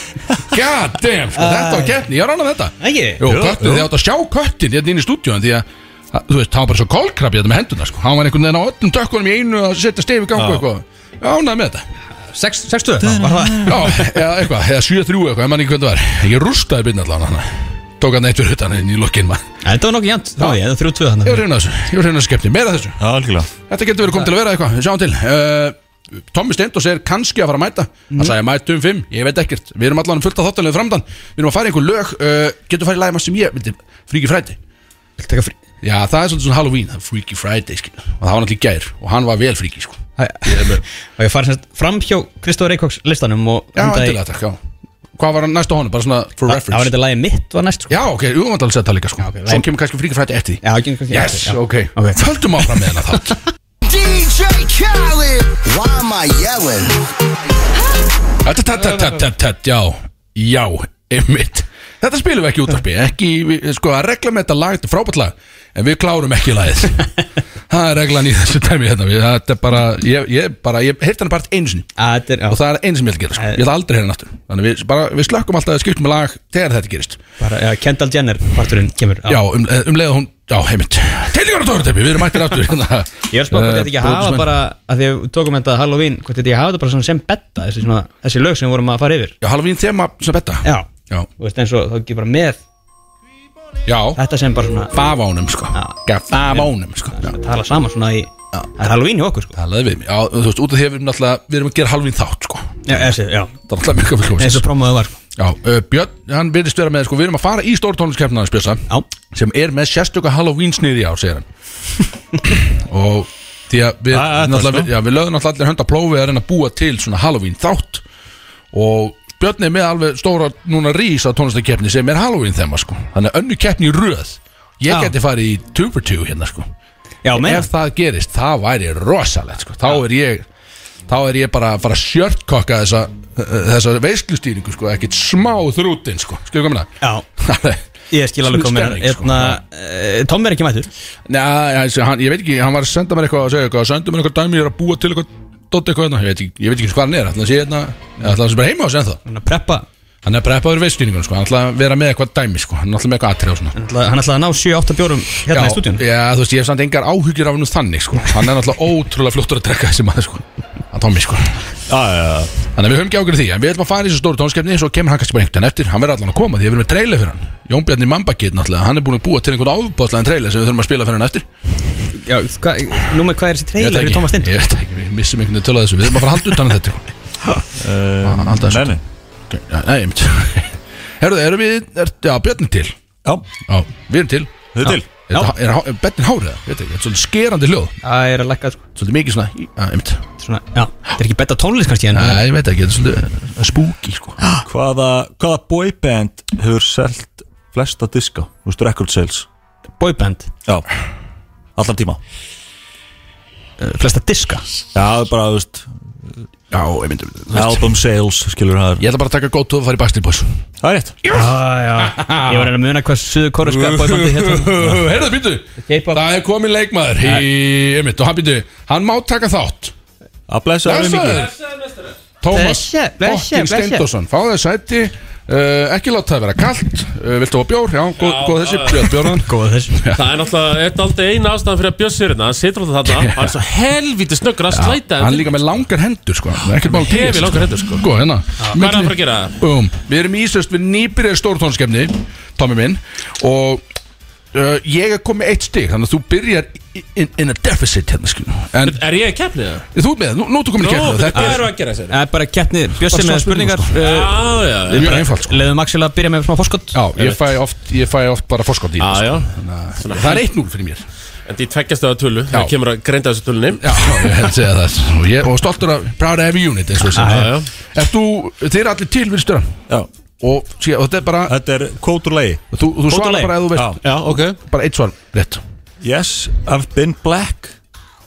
Speaker 1: God damn, sko, þetta var keppni, ég er annað þetta
Speaker 2: Ægir
Speaker 1: Jú, köttin, þið átt að sjá köttin hérna inn í stúdíun Því að, að, þú veist, hann var bara svo kolkrabbi þetta með hendurna sko. Hann var einhvern veginn á öllum tökkunum í einu að setja stefi gangu eitthvað Já, ánægð með þetta
Speaker 2: 6-2 Var það
Speaker 1: Já, eða eitthvað, eða 7-3 eitthvað, ef mann ekki hvernig var Ég rústaði byrna allan hann Tók hann eitt fyrir utan inn í lokkin maður
Speaker 2: Þetta var nokkuð jæmt Það var ég Eða 3-2
Speaker 1: Ég var
Speaker 2: þannig
Speaker 1: reyna þessu, ég var reyna þessu keppni, meira af þessu
Speaker 3: Já, algjörlega
Speaker 1: Þetta getur verið komið til að vera eitthvað, við sjáum til uh, Tommi Steindos er kannski að fara að mæta Hann sagði mæta um fimm, ég veit ekkert Við erum allan um fullt af þáttanlega framdann Við erum að fara í einhver lög, uh, getur farið í lagum sem ég vildi Freaky Friday
Speaker 2: Viltu taka frí
Speaker 1: Já, það er svolítið svona Halloween, það er Freaky Friday skil. Og það var náttúrulega í gær og hann var vel freaky sko.
Speaker 2: Æ, Og ég fari semst fram hjá Kristóður Eikóks listanum og
Speaker 1: Já,
Speaker 2: endaði-
Speaker 1: endilega takk, já Hvað var hann næst á honum, bara svona for
Speaker 2: Það það var
Speaker 1: reference
Speaker 2: þetta lagið mitt var næst sko.
Speaker 1: Já, ok, umvandal setja líka sko.
Speaker 2: ok,
Speaker 1: Svo
Speaker 2: lægum.
Speaker 1: kemur kannski Freaky Friday eftir því
Speaker 2: Já, ekki ekki-
Speaker 1: Yes,
Speaker 2: já.
Speaker 1: ok,
Speaker 2: Ok.
Speaker 1: Földum áfram með hennar
Speaker 2: [laughs]
Speaker 1: þátt
Speaker 6: DJ Khaled. Why am I yelling?
Speaker 1: Þetta, þetta, þetta, þetta, þetta, já Já, einmitt Þetta spilum við ekki í útarpi, ekki, við- sko að regla með þetta lag, þetta er frábært lag En við klárum ekki lagið
Speaker 2: [laughs]
Speaker 1: Það er reglan í þessu dæmi hérna við- Þetta er bara, ég, ég bara, ég heyrti hann bara einu sinni
Speaker 2: Að Ah, Þetta er já,
Speaker 1: Og það er einu sem ég ætla að gera,
Speaker 2: Eh.
Speaker 1: sko, ég ætla aldrei að heyra hann aftur Þannig við, bara, við slökkum alltaf að skiptum lag þegar þetta gerist
Speaker 2: bara já, Kendall Jenner parturinn kemur
Speaker 1: Já, um, eh, um leið að hún, já, einmitt Teilingar og Tórateppi, við erum mættir
Speaker 2: [laughs]
Speaker 1: aftur Hérna. Eh,
Speaker 2: Ég er að spá hvort þetta ekki að hafa bara að því að við tókum þetta Halloween hvort þetta ekki að hafa þetta bara svona sem betta þessi, svona, þessi lög sem við vorum að fara yfir
Speaker 1: Já, Halloween þema, sem betta
Speaker 2: Já,
Speaker 1: Já,
Speaker 2: þú veist eins og þá ekki bara með
Speaker 1: já,
Speaker 2: þetta sem bara svona
Speaker 1: faf ánum, sko Gaf af ánum, sko Já.
Speaker 2: að tala saman svona í það er Halloween hjá okkur sko
Speaker 1: talaði við mig, já, þú veist, út af því að við erum náttúrulega við erum að gera halvín þátt, sko það
Speaker 2: Já, þessi, já,
Speaker 1: er náttúrulega mjög komið
Speaker 2: eins
Speaker 1: komið
Speaker 2: og promoðu var sko
Speaker 1: já, uh, Björn, hann virðist vera með, sko, við erum að fara í stórtónliskeppna hans Björsa,
Speaker 2: Já,
Speaker 1: sem er með sérstöka Halloween sniði á, segir hann og því að við,
Speaker 3: Ah, þetta,
Speaker 1: náttúrulega,
Speaker 3: sko.
Speaker 1: við, já, við lögðum náttúrulega allir hönd að plófi að reyna að búa til svona Halloween þátt og Björn er með alveg stóra núna rísa tónlistakeppni sem er Halloween þema, sko þannig að önnu keppni í röð ég
Speaker 2: Já.
Speaker 1: geti farið í 2 for 2 hérna, sko
Speaker 2: já, meina
Speaker 1: ef það gerist, það væri rosalegt sko. þá er ég þá er ég bara að fara að sjörtkokka þessa, þessa veislustýringu sko. ekkert smá þrútin sko. skilur komina
Speaker 2: [laughs] Já, ég skil alveg komið Hérna, eh, Tom er ekki mættur
Speaker 1: Nei, hans, hann, ég veit ekki, hann var að senda mér eitthvað að segja eitthvað, sendu mér eitthvað dæmi, ég er að búa til eitthvað dótt eitthvað hérna, ég veit ekki, ég veit ekki hvað hann er ætla að sé hérna, ætla að hann sé bara heima á sig ennþá
Speaker 2: Hann er að preppa
Speaker 1: hann er preppaður veistýningun, sko, hann ætla að vera með eitthvað dæmi sko, hann ætla með eitthvað atrið og svona
Speaker 2: Hann ætlaði hann ætlaði að ná 7-8 bjórum hérna í stúdíun
Speaker 1: já, þú veist, ég hef samt engar áhyggjur af hann þannig, sko, hann er náttúrulega ótrúlega fljóttur að drekka þessi maður, sko, að Tommy, sko
Speaker 3: Já, já, já
Speaker 1: Þannig að við höfum ekki ágjörð því En við ætlum að fara í þessu stóru tónskefni Svo kemur hann kannski bara einhvern veginn eftir Hann verður allan að koma því að við erum með trailer fyrir hann Jón Bjarni Mambakit náttúrulega Hann er búin að búa til einhvern áfbáðslegan trailer Sem við þurfum að spila fyrir hann eftir
Speaker 2: Já, hva, númer hvað er þessi
Speaker 1: Ég veit
Speaker 2: trailer
Speaker 1: ekki,
Speaker 2: við Thomas Steindur?
Speaker 1: Ég veit ekki, við missum einhvern veginn til að þessu Við þurfum að fara að halda utan að þetta sko.
Speaker 3: Uh,
Speaker 1: Alltaf þessu.
Speaker 3: Nei, nei
Speaker 1: Ok, já, Nei, ég mynd [laughs] Herðu, erum við er, Já, Bjarni til Já,
Speaker 3: Já,
Speaker 1: við erum til
Speaker 3: þau til
Speaker 1: Er þetta há- Er, há- er Bjarni hárið það? Ég Veit ekki, þetta er svolítið skerandi hljóð
Speaker 2: Það er að lækka sko.
Speaker 1: Svolítið mikið svona Já, ég mynd
Speaker 2: svona, já, það er ekki betta tónlist kannski en
Speaker 1: Nei, ég veit ekki, þetta er svolítið Spooky, sko
Speaker 3: Hvaða, hvaða boyband hefur selt flesta diska Þú veist, record sales
Speaker 2: Boyband,
Speaker 3: Já, allan tíma
Speaker 2: uh, flesta diska
Speaker 3: Já, bara, þú veist,
Speaker 1: Já, ég myndi
Speaker 3: album sales, skilur það
Speaker 1: Ég ætla bara að taka gótt og fara í Backstreet Boys
Speaker 3: Það er rétt
Speaker 2: ah, [laughs] já. Ég var að muna hvað suðu kóreska boybandi hérna
Speaker 1: Herðu, býttu
Speaker 2: K-pop.
Speaker 1: Það er komin leikmaður í, einmitt, Og hann býttu, hann má taka þátt
Speaker 3: Að blessa það
Speaker 1: Blessaður. Tómas
Speaker 3: mingi
Speaker 2: Blessaður, blessaður,
Speaker 1: Fokkin
Speaker 2: blessaður.
Speaker 1: Steindorsson Fá þér sæti uh, Ekki láta það vera kalt uh, Viltu á bjór? Já, góð, góð þessi Björn Björn
Speaker 2: [laughs] Góða þess
Speaker 7: Það er náttúrulega, þetta er alltaf eina ástæðan fyrir að Bjössi er hérna, hann situr alltaf þarna, hann er svo helvítið snöggur að slæta
Speaker 1: Hann er líka með langar hendur sko Ekkert mál til
Speaker 7: Hefi
Speaker 1: þess,
Speaker 7: langar hendur, sko.
Speaker 1: Góð, hérna
Speaker 7: Hvað er hann að fara að gera?
Speaker 1: Um, við erum ísöst við nýbyrðið stórtónskefni Tommy minn Og uh, ég er komið eitt stig Þannig að þú byrjar in, in a deficit hérna skil En
Speaker 7: Er ég í keppnið það?
Speaker 1: þú ert með, nú, nú þú komin í
Speaker 7: Nú,
Speaker 1: kefni
Speaker 7: hvað
Speaker 1: Þetta
Speaker 7: eru
Speaker 1: er
Speaker 7: að gera sér?
Speaker 2: Það er bara kettni Bjössi
Speaker 1: Bara
Speaker 2: með
Speaker 1: spurningar,
Speaker 2: spurningar
Speaker 7: Já,
Speaker 2: uh,
Speaker 7: já, já
Speaker 1: mjög einfalt sko
Speaker 2: Leðum Axel að byrja með smá fórskott
Speaker 1: Já, ég fæ oft, ég fæ oft bara forskot í
Speaker 7: Já,
Speaker 1: þetta,
Speaker 7: já,
Speaker 1: sko. Það er 1-0 fyrir mér
Speaker 7: en því tveggjast það tölu, það
Speaker 1: Já.
Speaker 7: kemur að greinda þessu tölunni
Speaker 1: Já, ég held segja það Og, ég, og stoltur af Proud Heavy Unit eins og þess
Speaker 7: Já, já.
Speaker 1: að Ert þú, þeir eru allir til við stöðan
Speaker 3: Já,
Speaker 1: og, sé- og þetta er bara
Speaker 3: þetta er kótur lei
Speaker 1: Þú, þú svarar
Speaker 2: leið.
Speaker 1: bara eða þú veist
Speaker 7: Já, ok
Speaker 1: Bara eitt svar, rétt
Speaker 3: Yes, I've been black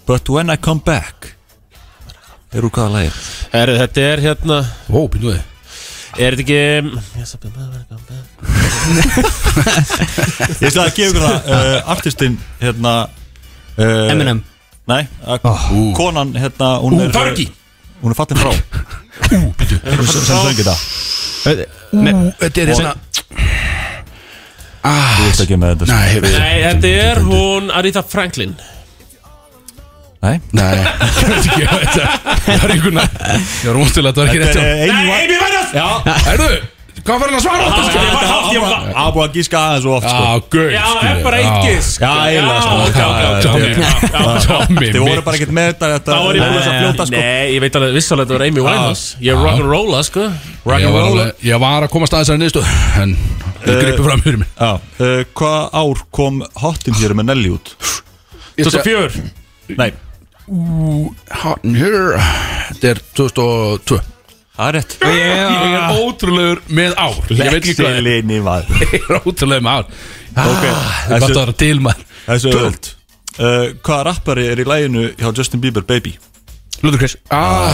Speaker 3: But when I come back Er úr hvaða lei?
Speaker 7: Herru, þetta er hérna,
Speaker 1: Ó, býndu þið
Speaker 7: er þetta ekki Yes, I've been black, I've been black.
Speaker 3: Ég ætla að gefa ykkur það uh, Artistinn, hérna uh,
Speaker 2: Eminem
Speaker 3: Nei, að, konan, hérna Hún
Speaker 1: Ú,
Speaker 3: er
Speaker 1: Fergie.
Speaker 3: Hún er fattin frá Ú, býtu Hún er fattin frá Hún er
Speaker 2: Eh,
Speaker 1: Ú, Þetta er hérna Ah,
Speaker 3: fattin ekki með þetta sko.
Speaker 1: Nei, heyrðu.
Speaker 7: Nei, þetta er hún Aretha Franklin
Speaker 3: Nei
Speaker 1: nei [laughs] Ég veit ekki, ég veit það. Það er einhverna Ég var mústilega að þetta var ekki rétt
Speaker 3: Þetta
Speaker 1: svar.
Speaker 3: er einu
Speaker 7: Amy Winehouse Já,
Speaker 1: Heyrðu, hvað var hann að svara þetta
Speaker 7: já,
Speaker 1: skilur?
Speaker 7: já, já, já.
Speaker 3: Það er búið að gíska aðeins og oft
Speaker 1: Já, [laughs]
Speaker 3: sko
Speaker 1: gauð
Speaker 7: Já, það er bara eitt gisk
Speaker 3: Já, eiginlega, sko.
Speaker 7: ok, ok, ok,
Speaker 1: Tommy,
Speaker 7: ok, já, já.
Speaker 1: Tommy
Speaker 3: Þið voru
Speaker 1: minn.
Speaker 3: bara ekkert með þetta Þetta
Speaker 7: Þá var ég búin að
Speaker 3: Nei,
Speaker 7: fljóta sko Nei, ég veit alveg vissalega þetta var Amy Winehouse Ég er rock'n'rolla sko
Speaker 1: Ég var
Speaker 7: Rock'n'rolla
Speaker 1: alveg- Ég var að komast aðeins að niðurstöð En
Speaker 7: Eh,
Speaker 1: ég gripi fram fyrir mig
Speaker 3: Já, uh, hvað ár kom Hottin hér með Nelly út?
Speaker 7: 2004
Speaker 3: Nei,
Speaker 1: Hot in here Þetta er 2002
Speaker 3: það er rétt
Speaker 1: Ég er ótrúlegur með ár Ég veit ekki hvað er.
Speaker 3: Lexilini var
Speaker 1: Ég er [laughs] ótrúlegur með ár Það
Speaker 3: Ok,
Speaker 1: er bara að
Speaker 3: þessu-
Speaker 1: vera til maður
Speaker 3: þessu öðvöld Uh, hvaða rappari er í læginu hjá Justin Bieber, Baby?
Speaker 2: Lútur Chris
Speaker 1: Ah,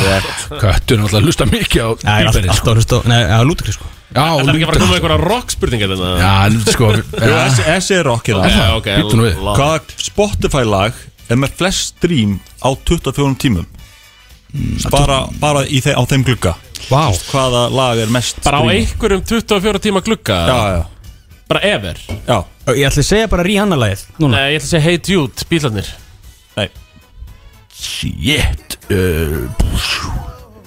Speaker 1: Köttur er náttúrulega að hlusta mikið á
Speaker 2: Það er
Speaker 1: bíberið, sko.
Speaker 2: alltaf hlust og Nei, já, Lútur Chris sko
Speaker 1: Já,
Speaker 7: Það er ekki að fara að koma með
Speaker 1: lúta
Speaker 7: einhverja rock spurningar þarna
Speaker 1: Já, en sko
Speaker 3: Jú,
Speaker 1: já,
Speaker 3: Þessi þessi er rock hérna
Speaker 7: Já, ok,
Speaker 1: Bíddu nú við.
Speaker 7: lá-
Speaker 3: Hvaða Spotify lag er með flest stream á 24 tímum? Bara, bara í þe á þeim glugga
Speaker 2: Vá
Speaker 3: Hvaða lag er mest
Speaker 7: Bara á
Speaker 3: stream?
Speaker 7: einhverjum 24 tíma glugga
Speaker 3: Já, já,
Speaker 7: Bara ever
Speaker 3: já,
Speaker 2: Ég ætla að segja bara Rihanna lagið Núna
Speaker 7: Nei, ég ætla að segja Hey Dude, bílarnir
Speaker 3: nei
Speaker 1: Shit uh,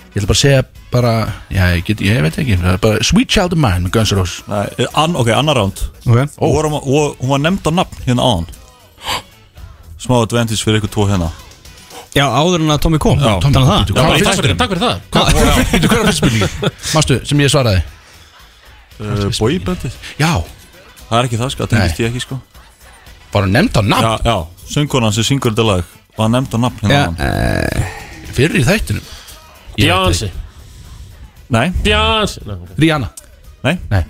Speaker 1: Ég ætla bara að segja bara Já, ég, get, ég veit ekki það er bara, Sweet Child of Mine með Guns N' Roses
Speaker 3: Nei, eh, an, ok, annar ránd
Speaker 2: Ok
Speaker 3: oh. vorum, og, Hún var nefnd á nafn hérna áðan Smá advantage fyrir ykkur tvo hérna
Speaker 2: Já, áður en að Tommy kom
Speaker 3: Já,
Speaker 2: Tommy kom
Speaker 1: Bíddu,
Speaker 2: það
Speaker 1: Hvað var
Speaker 7: Bara Takk
Speaker 1: fyrst
Speaker 7: fyrir, takk fyrir það
Speaker 1: Hvað hvað var fyrst Hvað var fyrst spurningi? Mástu, sem ég svaraði
Speaker 3: uh, Boybandið
Speaker 1: Já,
Speaker 3: Það er ekki það sko, það tengist ég ekki sko
Speaker 1: bara nefnd á nafn
Speaker 3: Já, já, söngunan sem syngur þetta lag var nefnd á nafn hérna
Speaker 2: Já,
Speaker 3: áðan.
Speaker 1: fyrir í þættinum Ég veit
Speaker 7: Beyonce
Speaker 3: Nei,
Speaker 7: Beyonce Nei, ok.
Speaker 1: ekki. Rihanna
Speaker 3: nei,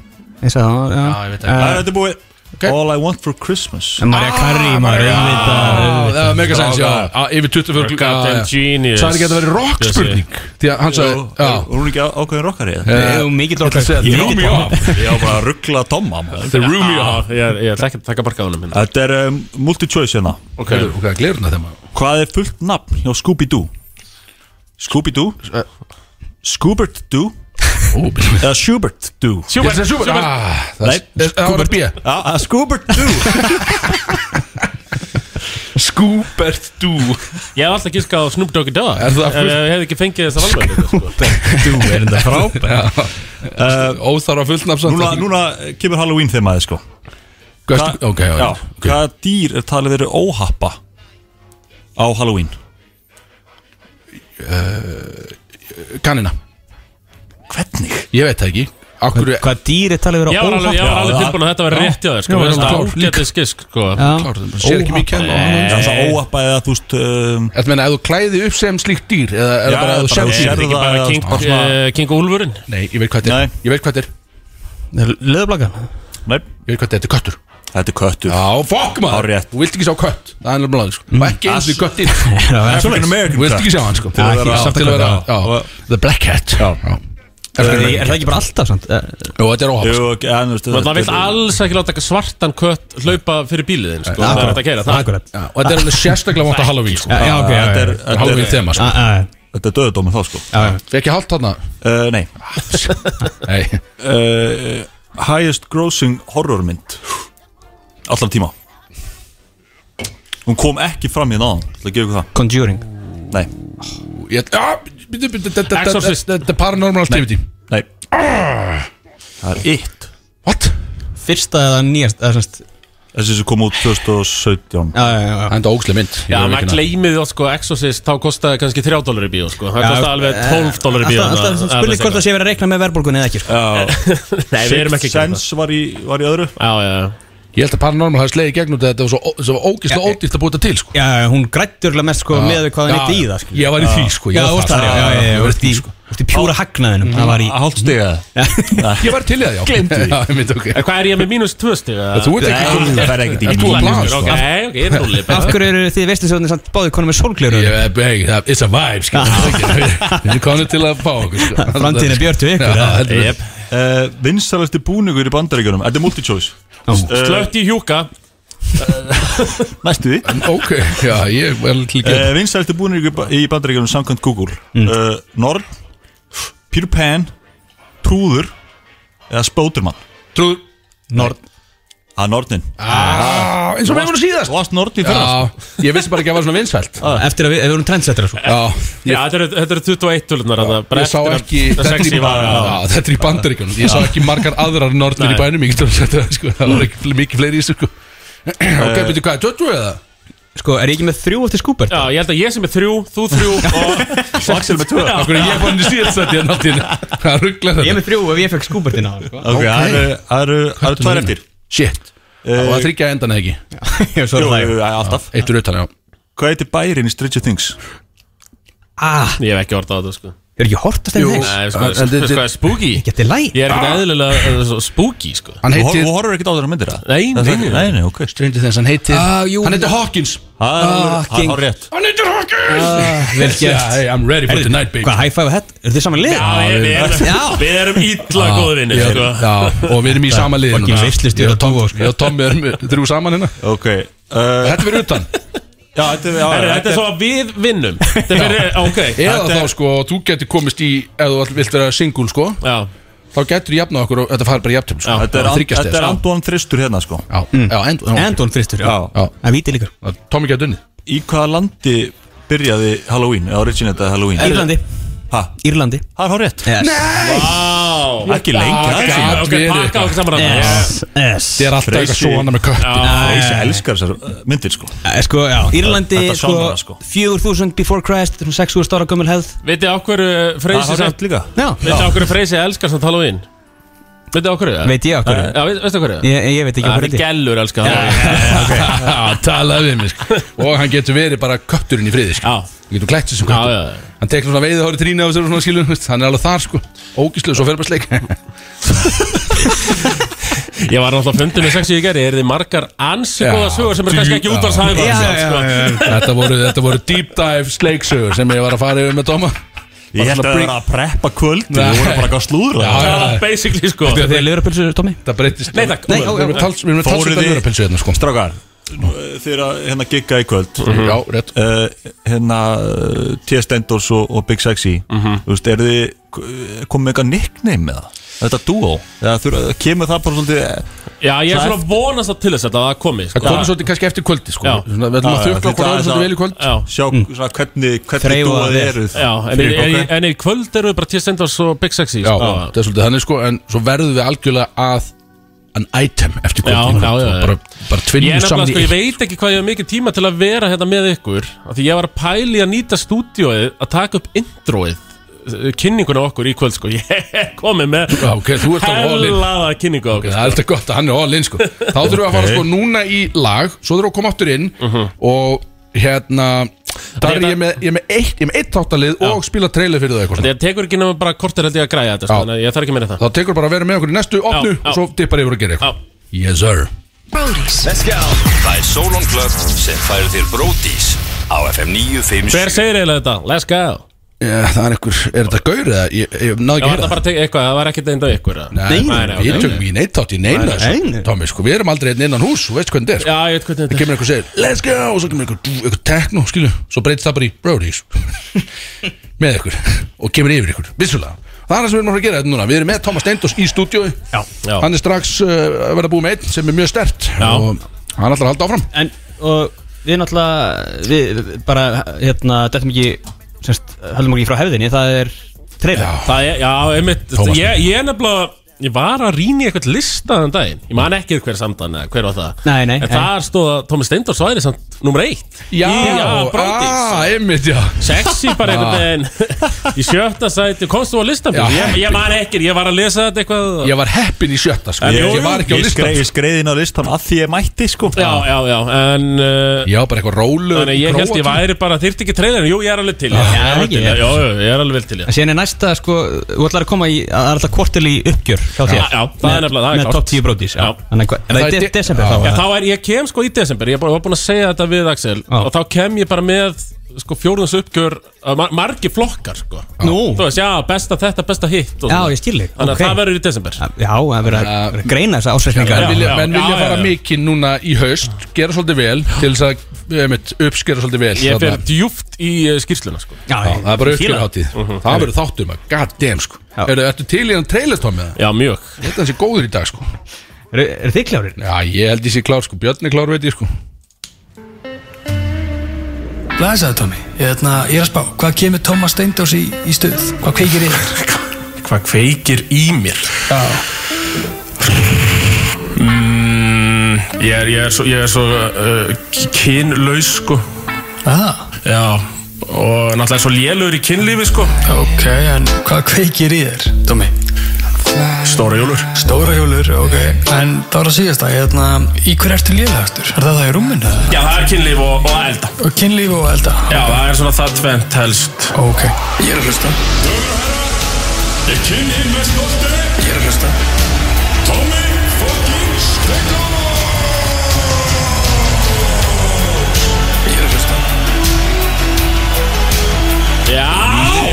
Speaker 2: Ég sagði það Já,
Speaker 1: ég veit
Speaker 3: það er þetta búið
Speaker 1: Eh. Ok.
Speaker 3: All I want for Christmas
Speaker 2: En Marja Karri, maður auðvitað
Speaker 1: Það var mega sens, já
Speaker 3: Strákar.
Speaker 1: Á, Yfir 24 klukka
Speaker 7: Goddamn genius
Speaker 1: Sæði ekki að það verið rock
Speaker 7: Yes,
Speaker 1: spurning Því að hann sagði
Speaker 3: Jú,
Speaker 1: Já
Speaker 3: Hún er ekki á- ákveðin rockari eða?
Speaker 2: Eh,
Speaker 1: [laughs]
Speaker 2: Ég er mikill
Speaker 1: Ég ætla
Speaker 2: okkar
Speaker 1: að segja
Speaker 2: mikill
Speaker 1: Romeo.
Speaker 2: okkar.
Speaker 3: Ég á bara að ruggla Tomma maður.
Speaker 1: The Room
Speaker 7: Já, ég- Ég ætla ekki að taka barka á honum hérna.
Speaker 3: Þetta er um, multi-choice hérna
Speaker 7: Ok
Speaker 1: Ok, glirna þeim að
Speaker 3: Hvað er fullt nafn hjá Scooby-Doo? Scooby-Doo Scoobert-Doo
Speaker 1: Ó, býtum við
Speaker 3: Eða Schubert-Doo
Speaker 1: Ég ætla að sjúpa
Speaker 7: Sjúbert.
Speaker 1: Nei,
Speaker 3: Nei,
Speaker 1: það var B
Speaker 3: Já, að
Speaker 1: [laughs]
Speaker 3: Scoobert-Doo
Speaker 1: Scoobert Dú
Speaker 7: Ég hef alltaf gískað á Snoop Doggy Dogg
Speaker 1: Er það
Speaker 7: Ef
Speaker 1: fullt-
Speaker 7: Ég hef ekki fengið þess að
Speaker 1: [laughs]
Speaker 7: valga
Speaker 2: Þú er þetta frábær
Speaker 1: Óþarfa fullnafn samt.
Speaker 3: Núna, núna kemur Halloween þemaði sko
Speaker 1: Hvað
Speaker 3: Hva-
Speaker 1: ertu- Ok, já, já
Speaker 3: Já, hvaða dýr er talið verið óhappa á Halloween?
Speaker 1: Kannina
Speaker 3: Hvernig?
Speaker 1: Ég veit það ekki Akkur er
Speaker 2: Hvað dýr er talið
Speaker 7: Ég var
Speaker 2: verið
Speaker 7: alveg, ég var alveg tilbúin að þetta var rétt hjá þér sko
Speaker 1: Já,
Speaker 7: Mér
Speaker 1: já,
Speaker 7: finnst Það
Speaker 1: klár,
Speaker 7: er ágætið skisk sko
Speaker 2: Já,
Speaker 1: Klárt, það sér ekki mikið
Speaker 3: Það
Speaker 1: hérna
Speaker 3: er það óhappa eða þú veist um,
Speaker 1: Þetta meina, ef þú klæði upp sem slíkt dýr Eða er
Speaker 3: Já,
Speaker 1: það bara að þú
Speaker 3: bara
Speaker 1: sjálf
Speaker 3: þú
Speaker 1: dýr
Speaker 3: sérð.
Speaker 7: Ekki
Speaker 3: það
Speaker 7: bara
Speaker 3: er
Speaker 7: King,
Speaker 3: svona-
Speaker 7: eh, King Úlfurinn
Speaker 1: Nei, ég veit hvað þetta
Speaker 3: Nei.
Speaker 1: er Ég veit hvað þetta er
Speaker 2: leðublaka
Speaker 3: Nei,
Speaker 1: Ég veit hvað þetta er köttur
Speaker 3: þetta er köttur
Speaker 1: Já, fokk maður
Speaker 3: Hárrétt.
Speaker 1: Þú vilt ekki sjá kött Það er nefnilega sko. Og ekki eins og [laughs] köttir
Speaker 3: African
Speaker 1: Þú
Speaker 3: American
Speaker 1: vilt ekki
Speaker 3: cat.
Speaker 1: sjá hann sko
Speaker 2: Já, ekki,
Speaker 1: Samt
Speaker 2: samt
Speaker 1: til að vera
Speaker 2: að-
Speaker 1: já, The Black Cat Já
Speaker 2: Er er það ekki bara alltaf samt? Eh,
Speaker 1: Jú, þetta er sko. óhaf
Speaker 3: Jú, ok, en, þú veist,
Speaker 7: Maður vill
Speaker 3: þetta er-
Speaker 7: alls ekki láta svartan kött hlaupa fyrir bílið þinn, sko. Það er hægt að keira það.
Speaker 2: Eh, Akkurat
Speaker 1: Já, og þetta er alveg sérstaklega vant að Halloween sko.
Speaker 2: Já, já, ok, Ah, já,
Speaker 3: Þetta er-
Speaker 2: já,
Speaker 1: Það er
Speaker 3: þetta
Speaker 1: Halloween
Speaker 3: er-
Speaker 1: þema sko.
Speaker 2: já, já,
Speaker 3: þetta er döðdómur þá sko
Speaker 2: já, já.
Speaker 1: Fekk ég hálft [laughs] þarna?
Speaker 3: Eh, Nei
Speaker 1: Nei
Speaker 3: Eh, Highest grossing horrormynd Allar tíma Hún kom ekki fram hérna áðan Það gefur það
Speaker 2: Conjuring
Speaker 3: Nei,
Speaker 1: Ég- Já, bíddu, bíddu, þetta- þetta-
Speaker 7: Exorcist.
Speaker 1: Þetta þetta er paranormal activity
Speaker 3: nei Það er eitt
Speaker 1: What?
Speaker 2: Fyrsta eða nýjast eða semst Já,
Speaker 3: Þessi sem kom út 2017
Speaker 2: já, já, já.
Speaker 1: Það er enda ógæslega mynd
Speaker 7: Já,
Speaker 1: Ég veit
Speaker 7: maður
Speaker 1: ekki
Speaker 7: gleymið þátt sko Exorcist, þá kostaði kannski 3 dólar í bíó sko Það
Speaker 2: Já, eh,
Speaker 7: kostaði alveg 12 dólar í bíó
Speaker 2: Alltaf, alltaf
Speaker 7: þarna, eða
Speaker 2: spurning
Speaker 7: eitthvað.
Speaker 2: hvort það sé verið að reikna með verðbólgunni eða ekki sko.
Speaker 7: Nei, við erum ekki að gera það.
Speaker 3: Eh, Sense var í, var í öðru
Speaker 7: Já, já, já
Speaker 1: Ég held að paranormal hafi slegið í gegnum þetta Þetta var svo, ó- svo ógæslega ódýrt að búa þetta til sko.
Speaker 2: Já, já, hún grættur alveg mest sko með við hvað hann
Speaker 1: Já,
Speaker 2: eitt í það sko.
Speaker 1: Ég var í því sko Ég
Speaker 2: Já,
Speaker 1: var
Speaker 2: úrst það,
Speaker 1: þar,
Speaker 2: já, já, já, já,
Speaker 1: Ég var í
Speaker 2: úrst
Speaker 1: því
Speaker 2: í,
Speaker 1: sko
Speaker 2: úrst í pjúra hagnaðinum Það var í
Speaker 3: Hálft stiga
Speaker 1: Ég var til í það, já Glemdu [laughs] Já, ég myndi ok
Speaker 7: En hvað er ég með mínus 2 stig? eða?
Speaker 1: Þú ert ekki
Speaker 3: Nei, það er ekkert í
Speaker 1: Ert þú að
Speaker 3: mínus,
Speaker 1: blaða
Speaker 7: Ok,
Speaker 1: sko
Speaker 7: ok, ég er núli
Speaker 2: Af hverju eru þið veistisjóðinni samt báðið konum með sólgleru?
Speaker 1: Ég- hey, það- It's a vibe sko Við erum komin til að fá okkur sko
Speaker 2: Framtíðin er björt við ykkur,
Speaker 1: Já,
Speaker 2: eða?
Speaker 1: heldur betur.
Speaker 7: Jep.
Speaker 3: uh, Vinsalasti búningur í bandaríkjunum Þetta er multi-choice uh,
Speaker 7: Slögt í hjúka
Speaker 3: Næstu því
Speaker 1: Ok, já, ég var líka
Speaker 3: uh, Vinsalasti búningur í ba- í bandaríkjunum samkvæmt Google uh, Norn Peter Pan Trúður Eða Spótermann
Speaker 1: Trúður
Speaker 2: Norn
Speaker 3: Það er Nornin
Speaker 1: ah, Eins og við vorum síðast
Speaker 3: Þú varst Norn í fyrra
Speaker 1: Já, ég vissi bara ekki að það var svona vinsælt
Speaker 2: Eftir að við, ef við erum trendsettara sko. svo
Speaker 1: Já, ég,
Speaker 7: Já, þetta eru- þetta eru 21 tölunar
Speaker 1: ég sá ekki
Speaker 7: Þetta
Speaker 1: Þetta er í,
Speaker 7: sexy var já.
Speaker 1: já, þetta er í bandaríkjunum Ég sá ekki margar aðrar nornir í
Speaker 7: Nei.
Speaker 1: bænum Ég getur að setja það, sko Það var ekki fle- mikið fleiri í þessu, sko [clears throat] Ok, betur hvað, töttu eða?
Speaker 2: Sko, er ég ekki með þrjú eftir skúpert?
Speaker 7: Já, ég held að ég sem er þrjú, þú þrjú og
Speaker 3: Og Axel hérna með tvö
Speaker 7: Já.
Speaker 1: Akkur er ég fann í síðast þetta í náttíðinu Það rugglar
Speaker 2: Ég er
Speaker 1: þetta
Speaker 2: með þrjú ef ég fekk skúpertina sko.
Speaker 3: Ok, það eru- það eru það eru tvær eftir
Speaker 1: Shit, það var að þryggja endan eða ekki
Speaker 2: Ég
Speaker 3: Jú,
Speaker 2: svo
Speaker 3: jú,
Speaker 2: hlæg
Speaker 3: jú, alltaf
Speaker 1: Eittur utan, já
Speaker 3: Hvað heitir bærin í Stranger Things?
Speaker 2: Ah,
Speaker 7: Ég hef ekki orðað á þetta sko
Speaker 2: er ekki hortast enn
Speaker 1: Jú.
Speaker 2: þess?
Speaker 7: Nei, sko,
Speaker 1: En- en-
Speaker 7: sko, sko, spooky
Speaker 2: Geti læg
Speaker 7: Ég er ekki eðlilega eh, svo spooky sko
Speaker 1: Hann
Speaker 3: Þú hor-
Speaker 1: heitir
Speaker 3: þú horfir ekkert á þeirra myndir það? Það er
Speaker 7: Nei, nei,
Speaker 3: ekki-
Speaker 7: nei.
Speaker 3: nei, nei, ok
Speaker 1: Stranger Things, hann heitir
Speaker 2: Ah, jú.
Speaker 1: Hann heitir Hawkins
Speaker 3: Það er alveg- það
Speaker 2: Fucking-
Speaker 3: er rétt
Speaker 1: Hann heitir Hawkins
Speaker 2: Vel
Speaker 1: Yeah,
Speaker 2: gert
Speaker 1: hey, I'm ready for tonight, baby
Speaker 2: Hvað, high five og hett? Er þið saman lið?
Speaker 7: Já, ég- við erum- við erum illa
Speaker 2: Ah,
Speaker 7: góðir vinnir
Speaker 1: Já,
Speaker 7: sko.
Speaker 1: já, og við erum í sama liðinu
Speaker 2: fucking veislustjóri
Speaker 1: Ég og Tom-
Speaker 2: dúo, sko.
Speaker 1: Ég og Tommi erum þrjú saman hérna
Speaker 3: Ok uh,
Speaker 1: Þetta verður utan
Speaker 3: Já, þetta er- já,
Speaker 7: Herri, Þetta
Speaker 3: þetta
Speaker 7: er svo að við vinnum Þetta er fyrir, ok
Speaker 1: Eða
Speaker 3: Þetta-
Speaker 1: þá sko, þú getur komist í Ef þú all- vilt vera single sko
Speaker 7: Já,
Speaker 1: Þá getur þú jafnað okkur og þetta fari bara jafntöfl sko.
Speaker 7: Já.
Speaker 3: Þetta er, and,
Speaker 1: þryggjast
Speaker 3: þetta er
Speaker 1: eða
Speaker 3: Antoine Þristur hérna sko
Speaker 1: Já, já, endur
Speaker 2: Endon fristur, já
Speaker 3: Já.
Speaker 2: Það víti líka
Speaker 1: Tommi getur unnið
Speaker 3: Í hvaða landi byrjaði Halloween eða originaði Halloween?
Speaker 2: Írlandi
Speaker 3: Ha,
Speaker 2: Írlandi
Speaker 3: það er hár rétt
Speaker 2: Nei
Speaker 7: Vá
Speaker 3: Ekki lengi
Speaker 1: gat
Speaker 3: aðeins
Speaker 7: Ah, Ok,
Speaker 1: verið.
Speaker 7: pakka okkur saman að það
Speaker 2: S S
Speaker 1: Þetta er alltaf eitthvað
Speaker 3: Freysi.
Speaker 1: svona með köttin
Speaker 3: Freysi elskar þessar uh, myndir sko
Speaker 2: Eh, Sko, já Írlandi,
Speaker 3: Þetta sjálfra, sko.
Speaker 2: sko 4000 before Christ Svona 6 úr stóra gömul hefð
Speaker 7: Vitið á hverju eh,
Speaker 3: Það er
Speaker 7: Freysi
Speaker 3: hár
Speaker 7: samt
Speaker 3: rétt líka
Speaker 2: Já
Speaker 7: Veitu á hverju Freysi elskar samt Halloween? Veitu á hverju það?
Speaker 2: Veit ég á hverju?
Speaker 7: Já, veit, veistu á hverju það?
Speaker 2: Ég, ég veit ekki á
Speaker 7: Það
Speaker 2: hverju
Speaker 7: er
Speaker 2: þetta er.
Speaker 7: gellur elskar Halloween [laughs]
Speaker 1: Talaði við mig sko. Og hann getur verið bara kötturinn í friði sko.
Speaker 7: Já,
Speaker 1: Hann getur klætt sér sem
Speaker 7: já, já
Speaker 1: köttur Hann tekur svona veiði hóri trínu á þessu svona skilur veist, Hann er alveg þar sko Ógislega, svo fer bara
Speaker 7: [laughs]
Speaker 1: sleik
Speaker 7: Ég var náttúrulega á fundum með sexu í gerði Er þið margar ansi
Speaker 1: Já,
Speaker 7: góða sögur sem er kannski ekki
Speaker 1: djú-
Speaker 7: út á sæðan
Speaker 2: Já, já,
Speaker 7: sko.
Speaker 2: já, já, já.
Speaker 1: þetta, voru, þetta voru deep dive sleiksögur Sem ég var að fara yfir með Toma
Speaker 3: Ég held að það var að preppa kvöld Þú voru bara eitthvað að slúðra
Speaker 1: Já, já.
Speaker 7: Það er basically sko
Speaker 2: Þegar þið lögurapilsu, Tómi?
Speaker 1: Það breytist
Speaker 7: Nei, takk.
Speaker 1: Við erum með tals- við erum með
Speaker 3: Fóruð
Speaker 1: talsvitað
Speaker 3: þið-
Speaker 1: vörapilsu hérna sko
Speaker 3: Strákar nú, uh, Þegar að, hérna gigga í kvöld
Speaker 1: Já, rétt
Speaker 3: Uh, hérna uh, T. Stendors og, og Big Sexy Þú veist, er þið uh, komið með eitthvað nickname með það? Þetta duo? Eða þurfa- kemur það bara svolítið eh,
Speaker 7: Já, ég er svona að vonast það til þess að það komi sko.
Speaker 1: Það komið svolítið kannski eftir kvöldi sko
Speaker 7: Já.
Speaker 1: Svona, Við ætlum
Speaker 3: Já,
Speaker 1: að
Speaker 3: já,
Speaker 1: þukla okkur
Speaker 3: þetta
Speaker 1: aðeins
Speaker 3: er
Speaker 1: svolítið
Speaker 3: það-
Speaker 1: vel í kvöld
Speaker 7: Já,
Speaker 3: sjá svona, hvernig, hvernig
Speaker 2: Þreifa
Speaker 3: duoð
Speaker 2: þér.
Speaker 3: eruð
Speaker 7: já en,
Speaker 3: Fyrir
Speaker 7: en, en,
Speaker 3: okkar.
Speaker 7: en í kvöld erum við bara T. Stendors og Big Sexy
Speaker 1: Já,
Speaker 7: sko.
Speaker 1: það er svolítið þannig sko En svo verðum við algjörlega að an item eftir kvöldi
Speaker 7: Já,
Speaker 1: í kvöld.
Speaker 7: já, já,
Speaker 1: Og
Speaker 7: já.
Speaker 1: Bara, bara
Speaker 7: Ég er
Speaker 1: tvinnum
Speaker 7: nefnilega,
Speaker 1: saman í
Speaker 7: sko, ég
Speaker 1: eitt
Speaker 7: veit ekki hvað ég hef mikið tíma til að vera hérna með ykkur af Því ég var að pæli að nýta stúdíóið að taka upp introið eh, kynninguna á okkur í kvöld sko [laughs] Ég er komið með
Speaker 1: Já, ok, þú ert alveg all in.
Speaker 7: hellaða kynningu á
Speaker 1: Ok,
Speaker 7: okkur
Speaker 1: Það er alltaf gott að hann er all in sko Þá þurfum við að fara sko núna í lag Svo þurfum við að koma áttur inn Og hérna Það er
Speaker 7: Mhm. Þetta-
Speaker 1: ég er með, ég er með eitt, ég er með eitt þáttalið Og spila trailer fyrir þau eitthvað svona.
Speaker 7: Þetta tekur ekki nema bara kortir held ég að græja þetta sko,
Speaker 1: Já.
Speaker 7: Þannig að ég þarf ekki meira það
Speaker 1: Þá tekur bara að vera með okkur í næstu opnu
Speaker 7: Já, já.
Speaker 1: Og svo dippar yfir að gera eitthvað
Speaker 7: Já,
Speaker 1: Yes sir
Speaker 4: Brody's.
Speaker 5: Það er Solon Club sem færir þér bródís á FM 957
Speaker 7: Hver segir eiginlega þetta? Let's go
Speaker 1: Já, það er einhver, er þetta gaur eða? Ég, ég náði ekki að
Speaker 7: Já, var
Speaker 1: heyra
Speaker 7: það
Speaker 1: það
Speaker 7: bara tek- eitthvað, það var ekkert einnig af ykkur eða?
Speaker 1: Nei,
Speaker 7: Nei, nei,
Speaker 1: við
Speaker 7: ok.
Speaker 1: tökum í neitt átt í neina þessu Tómi, sko, við erum aldrei einn innan hús, þú veist hvernig þetta er sko.
Speaker 7: Já, ég veit hvernig
Speaker 1: Það
Speaker 7: þetta er
Speaker 1: kemur einhver og segir, let's go Og svo kemur einhver, dú, einhver tekno, skilju Svo breytist það bara í brodies [laughs] Með ykkur, og kemur yfir ykkur, vissulega Það er það sem við erum að fara að gera þetta núna Við erum með Thomas Steindós í stúdíói
Speaker 7: já.
Speaker 1: Hann er strax uh, að verða búið með einn sem er mjög stert
Speaker 7: Já.
Speaker 1: Og hann ætlar að halda áfram
Speaker 2: En, og við náttúrulega, við við bara, hérna, dettum ekki, semst, höllum okkur ekki frá hefðinni, það er treyla.
Speaker 7: Það er, já, einmitt
Speaker 1: Tómas.
Speaker 7: Ég ég er nefnilega Ég var að rýna í eitthvað lista þann daginn Ég man ekki hver samdan eða hver var það
Speaker 2: Nei, nei,
Speaker 7: En
Speaker 2: nei.
Speaker 7: þar stóð að Tómi Steindor sværi samt nummer eitt
Speaker 1: Já,
Speaker 7: bróðis
Speaker 1: ah, einmitt, já
Speaker 7: Sexy bara einhvern veginn Í sjötta sæti, komst þú á listan
Speaker 1: Já.
Speaker 7: Ég, ég man ekki, ég var að lesa þetta eitthvað
Speaker 1: Ég var heppin í sjötta, sko
Speaker 7: En
Speaker 1: Ég,
Speaker 7: jú,
Speaker 1: ég var ekki á
Speaker 3: Ég
Speaker 1: listan
Speaker 3: skreið, ég skreið inn á listan að því ég mætti sko
Speaker 7: Já, já, já, en uh,
Speaker 1: Já, bara eitthvað rólu
Speaker 7: Þannig að ég held ég væri bara þyrfti ekki trailerin Jú, ég er alveg til Já, ég er alveg til,
Speaker 2: ekki,
Speaker 7: já, já, ég er alveg vel til já.
Speaker 2: En síðan er næsta, sko, þú ætlar að koma í, það er alltaf kvortil í uppgjör hjá þér.
Speaker 7: Já, já, það er
Speaker 2: Með-
Speaker 7: nefnilega- það er
Speaker 2: Með
Speaker 7: klárt.
Speaker 2: top 10 brótis, já.
Speaker 7: Já.
Speaker 2: Þannig hvað,
Speaker 1: En
Speaker 2: er
Speaker 1: það
Speaker 2: það
Speaker 1: er
Speaker 2: í
Speaker 1: de-
Speaker 2: desember
Speaker 1: já.
Speaker 2: þá?
Speaker 7: Já,
Speaker 2: eða?
Speaker 7: þá er, ég kem sko í desember Ég bara- var búin að segja þetta við Axel
Speaker 2: Já.
Speaker 7: Og þá kem ég bara með sko fjórðans uppgjör af mar Margi flokkar sko
Speaker 2: Nú.
Speaker 7: Þú veist, já, besta þetta, besta hitt og
Speaker 2: Já,
Speaker 7: svona.
Speaker 2: ég skil þig,
Speaker 7: Þannig að
Speaker 2: ok.
Speaker 7: það verður í desember
Speaker 2: Já, það er verið að verið að greina þessa ásveikningar.
Speaker 1: Menn
Speaker 7: Já,
Speaker 1: vilja,
Speaker 7: já,
Speaker 1: menn
Speaker 7: já,
Speaker 1: vilja
Speaker 7: já,
Speaker 1: fara
Speaker 7: já.
Speaker 1: mikið núna í haust Gera svolítið vel Til þess að einmitt, uppskera svolítið vel
Speaker 7: Ég fer
Speaker 1: Þarna.
Speaker 7: djúft í eh, skýrsluna sko
Speaker 2: Já,
Speaker 1: Já, Það er bara
Speaker 2: ég
Speaker 1: uppskera
Speaker 2: fíla
Speaker 1: hátíð Það verður þáttum að god damn sko
Speaker 2: Já.
Speaker 1: Eru, Ertu til í hann trailertómi það?
Speaker 7: Já, mjög
Speaker 1: Þetta er þessi góður í dag sko
Speaker 2: það. Eru eru þið klárir?
Speaker 1: Já, ég held ég sé klár sko Björn er klár veit ég sko
Speaker 8: Læsaði Tómi, hérna, ég er að spá, hvað kemur Tómas Steindós í, í stuð? Hvað kveikir í þér?
Speaker 7: Hvað kveikir í mér?
Speaker 8: Já,
Speaker 7: Mm, Ég er, ég er svo, ég er svo uh, kynlaus sko
Speaker 8: aða,
Speaker 7: Já, og náttúrulega svo lélur í kynlífi sko
Speaker 8: ok, en hvað kveikir í þér, Tómi?
Speaker 7: Stóra jólur
Speaker 8: Stóra hjólur, ok, en það var að síðast að, hérna, í hver ertu lélægastur? Er það það í rúminu? eða?
Speaker 7: Já, það er kynlíf og, og að elda
Speaker 8: Og kynlíf og elda?
Speaker 7: Já, það er svona það tvent helst
Speaker 8: Ok, ég er að hlusta.
Speaker 7: Ég kynni með skorti
Speaker 8: Ég er að hlusta.
Speaker 7: Tómi fokkin stekko
Speaker 8: Ég er að hlusta.
Speaker 7: Já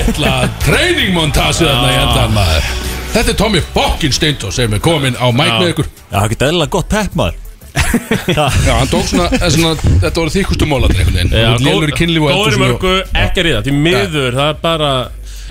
Speaker 1: Ætla treiningmontasið þarna í endan maður Þetta er Tommy fokkin Steindó sem er komin á mæk með ykkur
Speaker 3: Já, það getur eðlilega gott pepp maður
Speaker 1: Já, hann tók svona, eh, svona þetta voru þykustu mólarnir einhvern
Speaker 7: Já,
Speaker 1: veginn Lélur í kynlíf og eldur
Speaker 7: góður í
Speaker 1: svona-
Speaker 7: mörgu, ekki að ríða Því miður, það er bara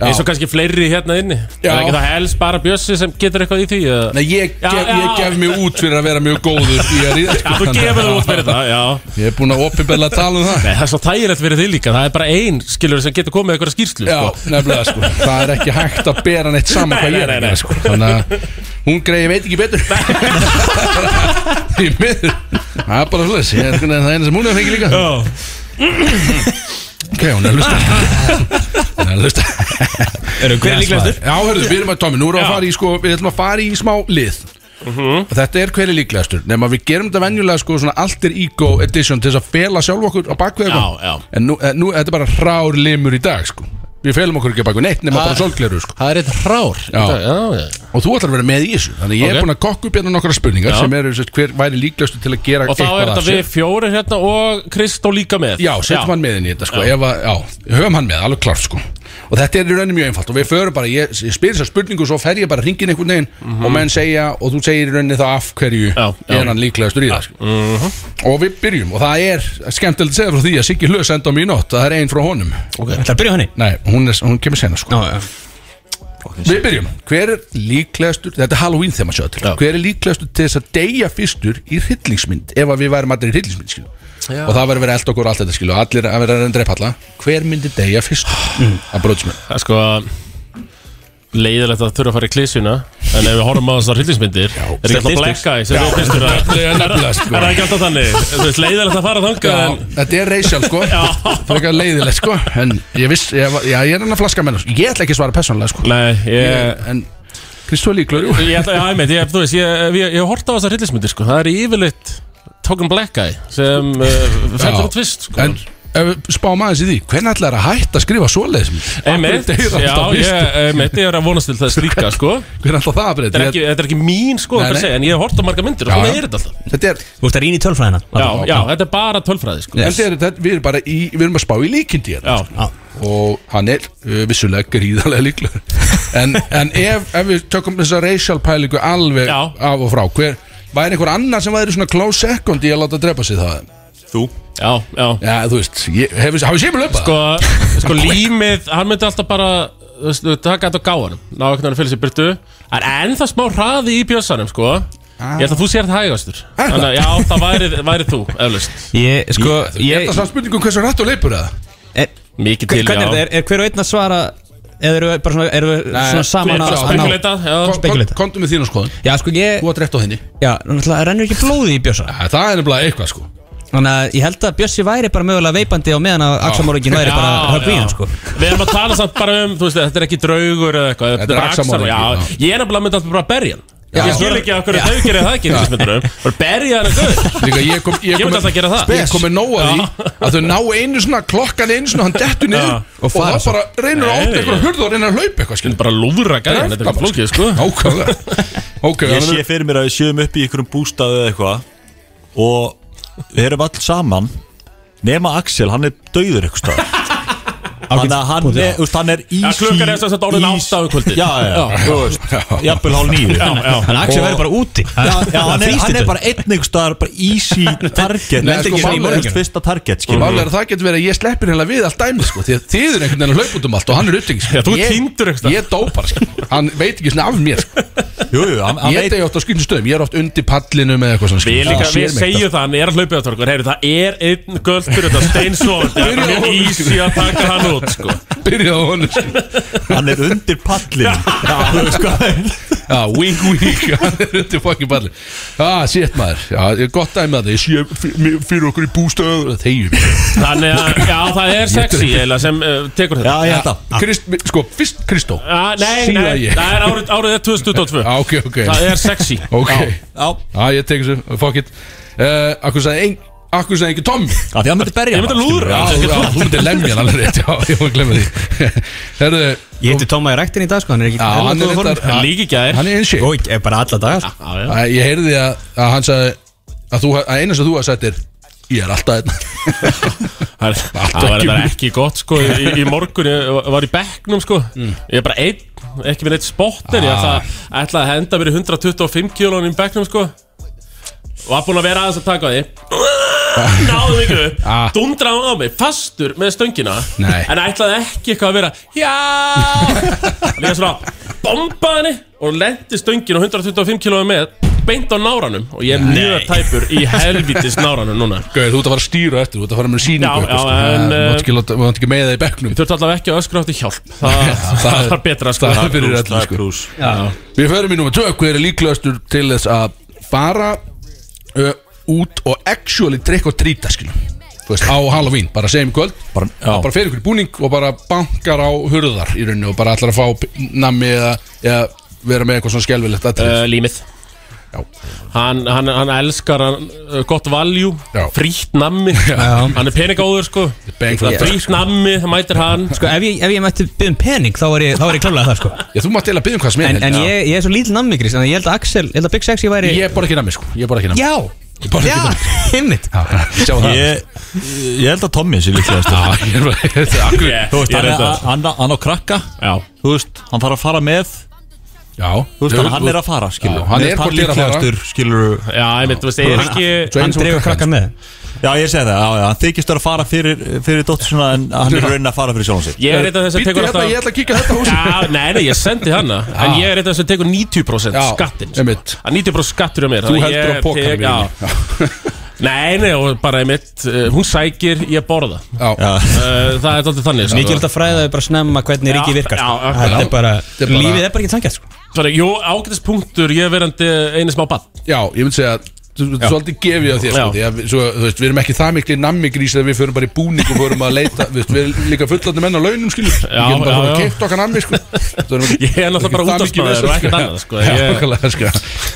Speaker 7: eins og kannski fleiri hérna inni
Speaker 1: Já.
Speaker 7: Það er ekki það helst bara Bjössi sem getur eitthvað í því eða-
Speaker 1: Nei, ég,
Speaker 7: Já,
Speaker 1: gef, ég
Speaker 7: já.
Speaker 1: gef mig út fyrir að vera mjög góður í að
Speaker 7: [laughs]
Speaker 1: ríða sko.
Speaker 7: Já, þú gefur þú út fyrir það, já
Speaker 1: Ég er búin að opinbella að tala um það
Speaker 7: Nei, það er svo þægilegt fyrir því líka Það er bara ein skilur sem getur komið með eitthvað skýrslu
Speaker 1: Já,
Speaker 7: sko.
Speaker 1: nefnilega sko [laughs] Það er ekki hægt að bera neitt saman
Speaker 7: Nei,
Speaker 1: hvað ég er
Speaker 7: nei,
Speaker 1: að
Speaker 7: nei,
Speaker 1: gera
Speaker 7: nei.
Speaker 1: sko Þannig að hún greiði veit ekki betur [laughs] Í miður Það er bara svolítið Það er einhvern veginn það eina sem hún hefur fengið líka
Speaker 7: Já.
Speaker 1: Ok, hún er að
Speaker 7: [laughs]
Speaker 1: hlusta Hún er að hlusta
Speaker 2: Eru hver líklegastur?
Speaker 1: Já, hörðu, við erum að Tommy Nú erum við að fara í sko Við ætlum að fara í smá lið
Speaker 7: Mhm.
Speaker 1: Og þetta er hverju líklegastur Nefn að við gerum þetta venjulega sko Svona alter ego edition Til þess að fela sjálf okkur á bakvið
Speaker 7: Já,
Speaker 1: eitthvað.
Speaker 7: já.
Speaker 1: En nú, eh, nú, þetta er bara hrár limur í dag sko Við felum okkur ekki á bakvið neitt Nefn bara sólgleru sko
Speaker 7: Það er eitt hrár í
Speaker 1: Já.
Speaker 7: dag, já, já.
Speaker 1: Og þú ætlar að vera með í þessu Þannig ég
Speaker 7: Ok.
Speaker 1: er búinn að kokka upp hérna nokkra spurningar
Speaker 7: Já.
Speaker 1: sem eru sett, hver væri líklaustur til að gera
Speaker 7: Og þá er þetta við fjórir hérna og Kristó líka með
Speaker 1: Já, setjum hann með inn í þetta sko ef að, Já, höfum hann með, alveg klart sko Og þetta er í rauninni mjög einfalt Og við förum bara, ég, ég spyr þessar spurningu og Svo fer ég bara hringin einhvern veginn Og menn segja, og þú segir í rauninni það af hverju
Speaker 7: Mhm. Já, já. Mhm.
Speaker 1: Er hann líklaustur í það sko. Og við byrjum, og það er skemmtilegt að segja frá því Að Siggi Hlöð senda á mig í nótt, það er ein frá honum
Speaker 2: Það er að byrja á henni.
Speaker 1: Nei, hún, er, hún kemur sena sko
Speaker 2: Já, já.
Speaker 1: Við byrjum, hver er líklegastur Þetta er Halloween þegar maður sjá til Hver er líklegastur til þess að deyja fyrstur í hryllingsmynd Ef að við værum allir í hryllingsmynd skilu. Og það verður verið allt okkur og allt þetta skilu og Allir að vera að drepa alla Hver myndi deyja fyrstur
Speaker 7: Mm.
Speaker 1: að bróðsmenn
Speaker 7: Það er sko leiðilegt að þurfa að fara í klísuna En ef við horfum á þessar hryllingsmyndir Er ekki alltaf black eye sem við fyrstur
Speaker 1: [laughs]
Speaker 7: að
Speaker 1: nefnilega, nefnilega, sko.
Speaker 7: Er það ekki alltaf þannig? Þú veist, leiðilegt að fara þangað en
Speaker 1: Þetta er reysjál sko Frekar leiðilegt sko En ég viss, ég, var- já, ég er hann að flaska með Ég ætla ekki að svara persónulega sko
Speaker 7: Nei, ég
Speaker 1: En Kristóð líklegur, jú
Speaker 7: Ég ætla, já, ég meint, ég, þú veist, ég, ég, ég horfði á þessar hryllingsmyndir, sko Það er yfirleitt Token Black Eye sem uh, fellur
Speaker 1: Já.
Speaker 7: út fyrst, sko
Speaker 1: En ef við spáum aðeins í því Hvernig ætlar að hætta að skrifa svoleiðis
Speaker 7: Einmitt, já, ég, einmitt, ég er að vonast til
Speaker 1: [laughs]
Speaker 7: þess líka, sko
Speaker 1: Hvernig ætlar það að
Speaker 7: Þetta er
Speaker 1: breyta
Speaker 7: ekki, þetta er ekki mín sko
Speaker 1: Nei,
Speaker 7: nei,
Speaker 1: nei.
Speaker 7: Segja, En ég hef hort á marga myndir og
Speaker 1: Já,
Speaker 7: svona
Speaker 1: já.
Speaker 7: er þetta alltaf
Speaker 1: Þetta er,
Speaker 2: Þú ert að rýna í tölfræðina
Speaker 7: Já,
Speaker 2: Bara.
Speaker 7: já, þetta er bara tölfræði sko
Speaker 1: yes. er þetta, við, erum bara í, við erum að spá í líkindi hérna
Speaker 7: Já,
Speaker 2: Já.
Speaker 1: og hann er uh, vissulega gríðarlega
Speaker 7: [laughs]
Speaker 1: líklegur en, en ef, ef við tökum þessa racial pælingu alveg
Speaker 7: Já.
Speaker 1: af og frá hver, væri einhver annar sem væri svona close second í að láta drepa sig það
Speaker 3: Þú
Speaker 7: já, já
Speaker 1: já, þú veist, ég, hef, hafið sér með löpa
Speaker 7: Sko, sko límið, hann myndi alltaf bara þú veist, taka þetta á gáðanum Ná ekki hann fyrir sér byrtu Það er ennþá smá hraði í bjössanum sko Ég held að þú sér það hægastur Þannig að já, það væri, væri þú, eflaust
Speaker 2: Ég, sko,
Speaker 1: Ég
Speaker 2: ég,
Speaker 1: ætla samt spurningum um hversu rætt og leipur það
Speaker 2: er,
Speaker 7: Mikið til,
Speaker 2: hvernig er þetta?
Speaker 7: já
Speaker 2: Er, er hver og einn að svara Eða eru við bara svona, eru við svona saman að
Speaker 7: bara
Speaker 2: að ná-
Speaker 7: spekulata, já.
Speaker 1: Kon- kon-
Speaker 2: Spekulata.
Speaker 1: Komdu með þínu skoðun
Speaker 2: Já, sko, ég,
Speaker 1: Þú átt rétt á henni
Speaker 2: já, náttúrulega rennur ekki blóði í Bjössa
Speaker 1: Ja, Það er nefnilega eitthvað sko
Speaker 2: Þannig að ég held að Bjössi væri bara mögulega veipandi á meðan að Axamorgin væri bara
Speaker 7: Já,
Speaker 2: höfðu í
Speaker 7: já.
Speaker 2: hann, sko
Speaker 7: Við erum að tala samt bara um, þú veist, þetta er ekki draugur eða eitthvað
Speaker 1: Þetta er axamorðingi,
Speaker 7: axamorðingi, Já, ég er nefnilega myndi alltaf bara að berja hann Ég skil ekki af hverju þau gerir það ekki í þessum myndunum Bara berja hann að guð
Speaker 1: Líka, Ég kom, ég
Speaker 7: Ég
Speaker 1: kom,
Speaker 7: myndi alltaf að gera það.
Speaker 1: ég kom með nóg að
Speaker 7: Já.
Speaker 1: því Að þau ná einu svona klokkan einu svona Hann dettu niður
Speaker 7: Já.
Speaker 1: Og, og það bara reynir að
Speaker 7: Nei.
Speaker 1: opna einhverja hurð Og reynir að hlaupa eitthvað skil
Speaker 7: Bara lúðra gæðin, þetta er ekki flókið, sko
Speaker 1: Nákvæmlega Ok,
Speaker 3: Ég
Speaker 1: þannig að-
Speaker 3: sé fyrir mér að við sjöum upp í einhverjum bústaðu eða eitthvað Og við erum all saman Nema Axel, hann er döður eitthvað
Speaker 1: [laughs]
Speaker 3: stað Þannig að hann er, úst, hann er í
Speaker 7: Já, klukkan er sem sagt orðin
Speaker 3: í-
Speaker 7: átta um kvöldið.
Speaker 3: Já, já,
Speaker 7: Já.
Speaker 3: þú veist Jafnvel hálf nýju
Speaker 7: Já, já
Speaker 2: Þannig að Axel væri bara úti
Speaker 3: Já,
Speaker 2: [laughs]
Speaker 3: já, hann, er, hann er
Speaker 2: Þrýstitur.
Speaker 3: bara einn einhver staðar bara easy target
Speaker 1: Nei, sko,
Speaker 3: Þú
Speaker 1: málið er-
Speaker 3: veist, fyrsta target skilur
Speaker 1: Málega það getur verið að ég sleppir hérna við allt dæmi sko, Því að þið er einhvern veginn að hlaupa út um allt Og hann er upptingis
Speaker 7: Já, þú ert týndur einhvers staðar.
Speaker 1: Ég dó bara sko. Hann veit ekki svona af mér sko.
Speaker 3: Jú, jú, hann, hann
Speaker 1: Ég
Speaker 3: veit
Speaker 1: degi oft á skrýnum stöðum Ég er oft undir pallinum eða eitthvað svona
Speaker 7: Við,
Speaker 1: skilur.
Speaker 7: líka,
Speaker 1: Sér
Speaker 7: við
Speaker 1: mig ekki
Speaker 7: segjum það, hann er að hlaupa á torkur Heyru, það er einn göldur Þetta steinsofandi, það er mjög easy að taka hann út sko.
Speaker 1: alltaf. Byrjaði á honum sko.
Speaker 3: Hann er undir pallin Já, þú veist hvað
Speaker 1: Já, wink wink [laughs] Hann er undir fokkin balli Já, sétt maður Já, ég er gott dæmi að það Ég sé f- mér- fyrir okkur í bústöð Þegjum
Speaker 7: Þannig að, já, það er sexy eiginlega sem uh,
Speaker 3: Já,
Speaker 7: tekur þetta
Speaker 3: ég held að
Speaker 1: Krist, Sko, fyrst Kristó
Speaker 7: Já, Ah, Nei,
Speaker 1: Síðan
Speaker 7: nei,
Speaker 1: ég.
Speaker 7: það er árið, árið er 2022
Speaker 1: Já, ok, ok
Speaker 7: Það er sexy
Speaker 1: Ok
Speaker 3: Já,
Speaker 1: Já, ég tek þessu Fuck it uh, Akkur sagði ein Akkur sagði ekki Tommy
Speaker 3: af því hann myndi berja
Speaker 7: Ég myndi
Speaker 3: hann, skilur
Speaker 7: lúðra.
Speaker 3: við.
Speaker 1: Já,
Speaker 7: Já,
Speaker 1: já, þú myndir lemja hann alveg rétt Já, ég var að glemma því [laughs] Herðu
Speaker 2: Ég hitti Tóma í rektin í dag, sko, hann er ekki
Speaker 1: Já, hann er reyndar
Speaker 7: Hann líka í gær.
Speaker 1: Hann er eins og
Speaker 2: Og ég er bara alla daga, sko
Speaker 7: Já, já.
Speaker 1: Ég heyrði að, að hann sagði Að, þú, að eina sem þú hafði sagt er Ég er alltaf einn
Speaker 7: Það er- það var þetta ekki gott sko í, í morgun, ég var í bekknum sko
Speaker 1: Mm.
Speaker 7: Ég er bara einn, ekki með neitt spotter Ég
Speaker 1: Ah.
Speaker 7: ætla, ætla að henda mér í 125 kílón í bekknum sko Var búinn að vera aðeins að taka á
Speaker 1: [laughs]
Speaker 7: því Náðum ykkur upp
Speaker 1: Ah.
Speaker 7: Dundra á mig, fastur með stöngina
Speaker 1: Nei.
Speaker 7: En ætlaði ekki eitthvað að vera
Speaker 1: [laughs]
Speaker 7: Já Líka svona Bombaði henni og lendi stöngin og 125 kílóði með Beint á náranum Og ég er mjög tæpur
Speaker 1: [laughs]
Speaker 7: í helvitis náranum núna
Speaker 1: Gauð, þú ert að fara að stýra eftir, þú ert að fara með
Speaker 7: Já,
Speaker 1: síningu eitthvað,
Speaker 7: já,
Speaker 1: sko.
Speaker 7: en,
Speaker 1: Þú
Speaker 3: eh,
Speaker 1: mátt ekki láta- þú mátt ekki með það í bekknum
Speaker 7: Þú ert allavega ekki að öskra átti
Speaker 1: [laughs]
Speaker 7: hjálp Það, það var betra sko
Speaker 1: Það er fyrir
Speaker 3: Það
Speaker 1: öllu
Speaker 3: er
Speaker 1: sko
Speaker 3: krús
Speaker 1: Við förum í númer 2 Hver er líklegastur til þess að fara ö, út og actually drikka og trýta skilum Þú veist, á Halloween, bara segjum í kvöld bara,
Speaker 3: já.
Speaker 1: bara fer ykkur í búning og bara bankar á hurðar í rauninu og bara ætlar að fá p- nammi eða, eða vera með eitthvað svona skelfilegt atrið.
Speaker 3: Eh,
Speaker 7: uh, Límið
Speaker 1: Já.
Speaker 7: hann, hann, hann elskar hann, uh, gott valjú
Speaker 1: Já.
Speaker 7: Frítt nammi Hann er peningáður sko
Speaker 1: Bang for the buck.
Speaker 7: Frítt nammi, það mætir hann
Speaker 2: Sko, ef ég, ef ég mætti byggja um pening, þá var ég, þá var ég klálega það, sko
Speaker 1: Já, þú mátt eiginlega byggja um hvað sem er
Speaker 2: En, en
Speaker 1: held ég.
Speaker 2: ég, ég er svo lítil nammigrís, þannig að ég held að Axel, ég held að Big Sexy væri
Speaker 1: Ég borð ekki nammi sko, ég borð ekki nammi
Speaker 2: Já,
Speaker 1: Ég borð
Speaker 2: [laughs] já,
Speaker 1: ekki nammi
Speaker 2: himmit
Speaker 1: Já,
Speaker 3: [laughs]
Speaker 1: Sjá það
Speaker 3: Ég ég held að Tommy sé líklegast
Speaker 1: Já, ég er bara- [laughs] þetta er akkur-
Speaker 7: Yeah,
Speaker 3: Þú veist,
Speaker 7: ég
Speaker 3: hann,
Speaker 7: er
Speaker 3: er,
Speaker 7: þetta.
Speaker 3: hann, hann á krakka
Speaker 7: Já.
Speaker 3: Þú veist, hann þarf að fara með Þú
Speaker 1: Já,
Speaker 3: veist, hann, hann er að fara, skilur
Speaker 1: Já, hann er hvort er að fara.
Speaker 3: skilur
Speaker 7: Já, ég myndi, þú veist, ég er ekki
Speaker 2: Hann
Speaker 1: eins og
Speaker 2: dregur
Speaker 1: krakkan.
Speaker 2: krakkan með
Speaker 3: Já, ég segi það, já, já, hann þykist vera að fara fyrir, fyrir dóttur svona En hann er raunin að fara fyrir sjálfum sig
Speaker 7: Ég er eitt af þess að
Speaker 1: Bíddu
Speaker 7: tekur
Speaker 1: hérna, ég
Speaker 7: alltaf
Speaker 1: ætla að kíkja á þetta hús
Speaker 7: Já, nei, nei, ég sendi hana En ég er eitt af þess að tekur 90%
Speaker 1: Já,
Speaker 7: skattinn sko.
Speaker 1: einmitt.
Speaker 7: Að 90% skattur á mér
Speaker 1: Þú
Speaker 7: þannig að
Speaker 1: heldur
Speaker 7: ég
Speaker 1: á pokanum
Speaker 7: tek-
Speaker 1: í rauninni.
Speaker 7: Já Nei, nei, og bara einmitt, uh, hún sækir, ég borða
Speaker 1: Já,
Speaker 3: Já,
Speaker 7: uh, Það er alltaf þannig sko.
Speaker 2: Mikilvægt að fræða þau bara snemma hvernig
Speaker 7: Já,
Speaker 2: ríki virkar
Speaker 7: já,
Speaker 2: sko.
Speaker 7: já,
Speaker 1: já.
Speaker 2: Þetta er bara,
Speaker 1: er bara-
Speaker 2: lífið er bara ekki sangjast sko.
Speaker 7: Svona, jú, ágætis punktur, ég verandi einu smá bann
Speaker 1: já, ég myndi segja að þú- þú- svolítið gefið á þér sko,
Speaker 7: Já.
Speaker 1: því að, við- svo, þú veist, við erum ekki það mikli nammigrís að við förum bara í búning og förum að leita við, veist, við erum líka fullandi menn á launum skilur við
Speaker 7: Já,
Speaker 1: getum bara
Speaker 7: já,
Speaker 1: að
Speaker 7: já.
Speaker 1: kipta okkar nammi sko. Þú erum ekki-
Speaker 7: Ég er náttúrulega bara
Speaker 1: það mikið
Speaker 7: útvarpsmaður
Speaker 1: vesen,
Speaker 7: og ekkert
Speaker 1: sko.
Speaker 7: annað, sko.
Speaker 1: Já,
Speaker 7: Ég-
Speaker 1: nákvæmlega, sko.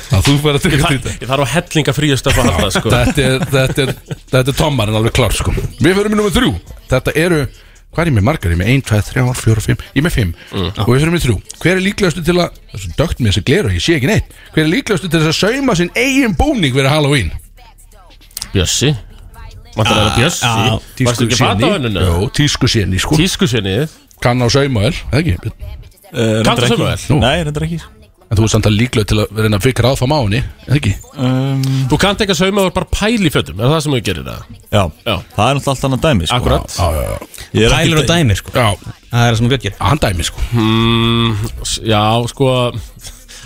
Speaker 1: Já, þú fyrir að
Speaker 7: Ég
Speaker 1: tryggja
Speaker 7: þarf-
Speaker 1: þetta
Speaker 7: ég þarf á hellinga fríastöf að halda sko.
Speaker 1: þetta er, þetta er, þetta er tommarinn alveg klár sko. Við fyrir með nummer þrjú Þetta eru, hvað er ég með margar? Ég er með 1, 2, 3, 4, 5 Ég er með 5
Speaker 7: Mm.
Speaker 1: og við fyrir með þrjú Hver er líklegastu til að, það er svo dögt með þessi glera Ég sé ekki neitt, hver er líklegastu til þess að sauma sinn eigin búning fyrir Halloween?
Speaker 7: Bjössi Vantar að vera
Speaker 2: já,
Speaker 7: Bjössi Varstu ekki fata á
Speaker 1: Tískusjenni
Speaker 7: henninu?
Speaker 1: Jó, tískusjenni sko
Speaker 7: Tískusinnið
Speaker 1: Kann á sauma vel, eða ekki En
Speaker 3: Uh,
Speaker 7: Kanntu Samuel?
Speaker 3: ekki Nei, reyndar ekki
Speaker 1: þú er samt að líklega til að reyna að fikra aðfam á henni Eða ekki?
Speaker 3: um,
Speaker 7: Þú kannt ekki að sauma og bara pæli í fötum Er það sem þú gerir það?
Speaker 3: já.
Speaker 7: Já.
Speaker 3: það er náttúrulega allt annað dæmi sko.
Speaker 7: Akkurat
Speaker 1: Já, já, já
Speaker 3: Ég er ekki
Speaker 2: Pælir og
Speaker 3: dæ-
Speaker 2: dæmir sko
Speaker 1: Já,
Speaker 2: Það er það sem að björgir
Speaker 1: hann dæmi sko
Speaker 7: mm, s- Já, sko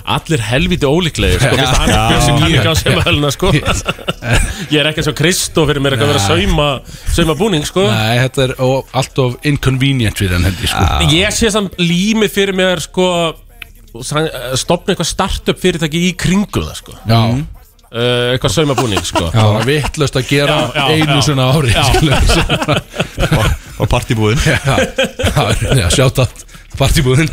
Speaker 7: Allir helviti ólíklegir
Speaker 1: Já.
Speaker 7: sko, Fyrst að hann er Bjössi kann ekki á sauma höluna sko.
Speaker 1: Ég-
Speaker 7: Ég er ekki eins og Kristó fyrir mér eitthvað að vera að sauma, sauma búning sko.
Speaker 1: Nei, þetta er ó- allt of inconvenient fyrir hann hendi sko
Speaker 7: Ég sé samt lími fyrir mér sko, Stopna eitthvað startup fyrirtæki í kringum það sko.
Speaker 1: Já,
Speaker 7: uh, Eitthvað sauma búning sko.
Speaker 1: Já. Það var vittlust að gera
Speaker 7: Já, já,
Speaker 1: einu
Speaker 7: já.
Speaker 1: svona ári
Speaker 7: Já.
Speaker 1: [laughs]
Speaker 3: [laughs] og partibúðin
Speaker 1: Sjátt að partibúðin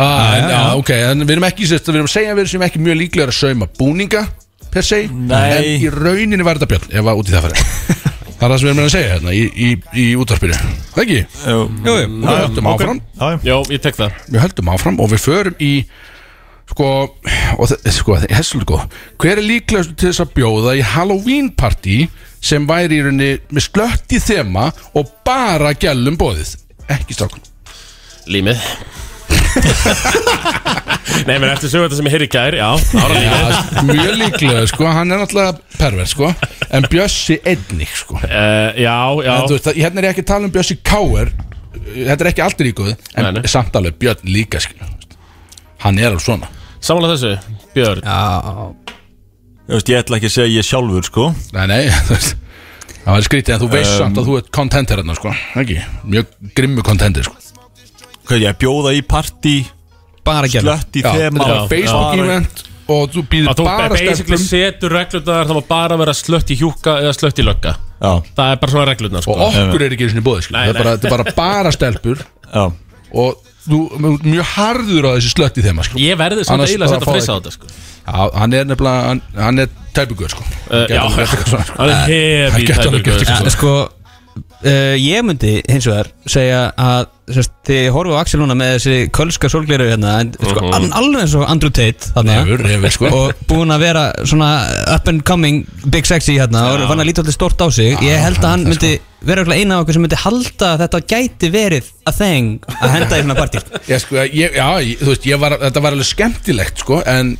Speaker 1: ah, en, já, ok, en við erum ekki sérst, við erum að segja að við erum ekki mjög líklega að sauma búninga per se,
Speaker 3: Nei.
Speaker 1: en í rauninni var þetta björn ef að út í það færi Það er það sem við erum að segja hérna í, í, í útvarpinu Það ekki?
Speaker 3: Jú, jú
Speaker 1: Og Við höldum áfram
Speaker 3: Já, já.
Speaker 7: Já, ég tek það
Speaker 1: Við höldum áfram og við förum í sko, og þe- sko, það er svolítið góð Hver er líklegast til þess að bjóða í Halloween party sem væri í rauninni með slött í þema og bara gælum bóðið ekki strákun
Speaker 7: Límið [laughs] Nei, menn eftir sögur þetta sem ég heyri í gær Já, ára límið
Speaker 1: Já, mjög líklega, sko, hann er náttúrulega perver, sko, en Bjössi einnig, sko
Speaker 7: uh, Já, já
Speaker 1: en, þú veist, það- hérna er ég ekki að tala um Bjössi Káer þetta er ekki aldrei ígóð en
Speaker 7: Nei, nei.
Speaker 1: samt alveg Björn líka, sko hann er alveg svona
Speaker 7: Samanlega þessu, Björn
Speaker 3: Ég, veist, ég ætla ekki að segja ég sjálfur sko
Speaker 1: Nei, [laughs] nei, þú veist Það var skrítið en þú veist samt að þú ert kontenter hérna, sko Ekki, mjög grimmu kontenter, sko
Speaker 3: Hvað ég bjóða í partí
Speaker 2: Bara gælum
Speaker 3: Slött í
Speaker 1: Já,
Speaker 3: þema
Speaker 1: þetta var
Speaker 7: Já,
Speaker 1: Facebook
Speaker 3: já.
Speaker 1: event Og þú býður
Speaker 7: Að þú
Speaker 1: bara
Speaker 7: basically
Speaker 1: stelpum
Speaker 7: setur reglurnar Það var bara að vera slött í hjúka eða slött í lögga
Speaker 3: Já,
Speaker 7: Það er bara svona reglurnar, sko
Speaker 1: Og okkur er ekki einu sinni bóðið, sko
Speaker 7: Nei,
Speaker 1: Það er bara, þetta er bara bara stelpur
Speaker 3: já
Speaker 1: Og þú þú ert mjög harður á þessi slött í þeim, sko
Speaker 7: Ég verði samt
Speaker 1: Annars
Speaker 7: eiginlega að
Speaker 1: bara fá
Speaker 7: setja freysa á
Speaker 1: ekki.
Speaker 7: þetta, sko
Speaker 1: Já, hann er nefnilega, hann, hann er tæpugur, sko
Speaker 7: uh, Já, hann er
Speaker 1: Hann
Speaker 7: hefi
Speaker 1: gæti alveg gert
Speaker 7: tæpur
Speaker 1: eitthvað
Speaker 2: Ja, sko, uh, ég myndi hins vegar segja að sérst, þegar ég horfi á Axel núna með þessi kölska sólgleru hérna, en, sko, uh alveg eins og Andrew Tate þarna,
Speaker 1: Refur, refur, Mhm. sko.
Speaker 2: og búin að vera svona up and coming big sexy hérna, og fann að líta alltaf stort á sig ég held að hann
Speaker 1: sko.
Speaker 2: myndi vera örugglega eina af okkur sem myndi halda að þetta gæti verið a thing að henda í svona
Speaker 1: [laughs]
Speaker 2: partí
Speaker 1: Ég, sko, ég, já, ég, þú veist, ég var, þetta var alveg skemmtilegt, sko En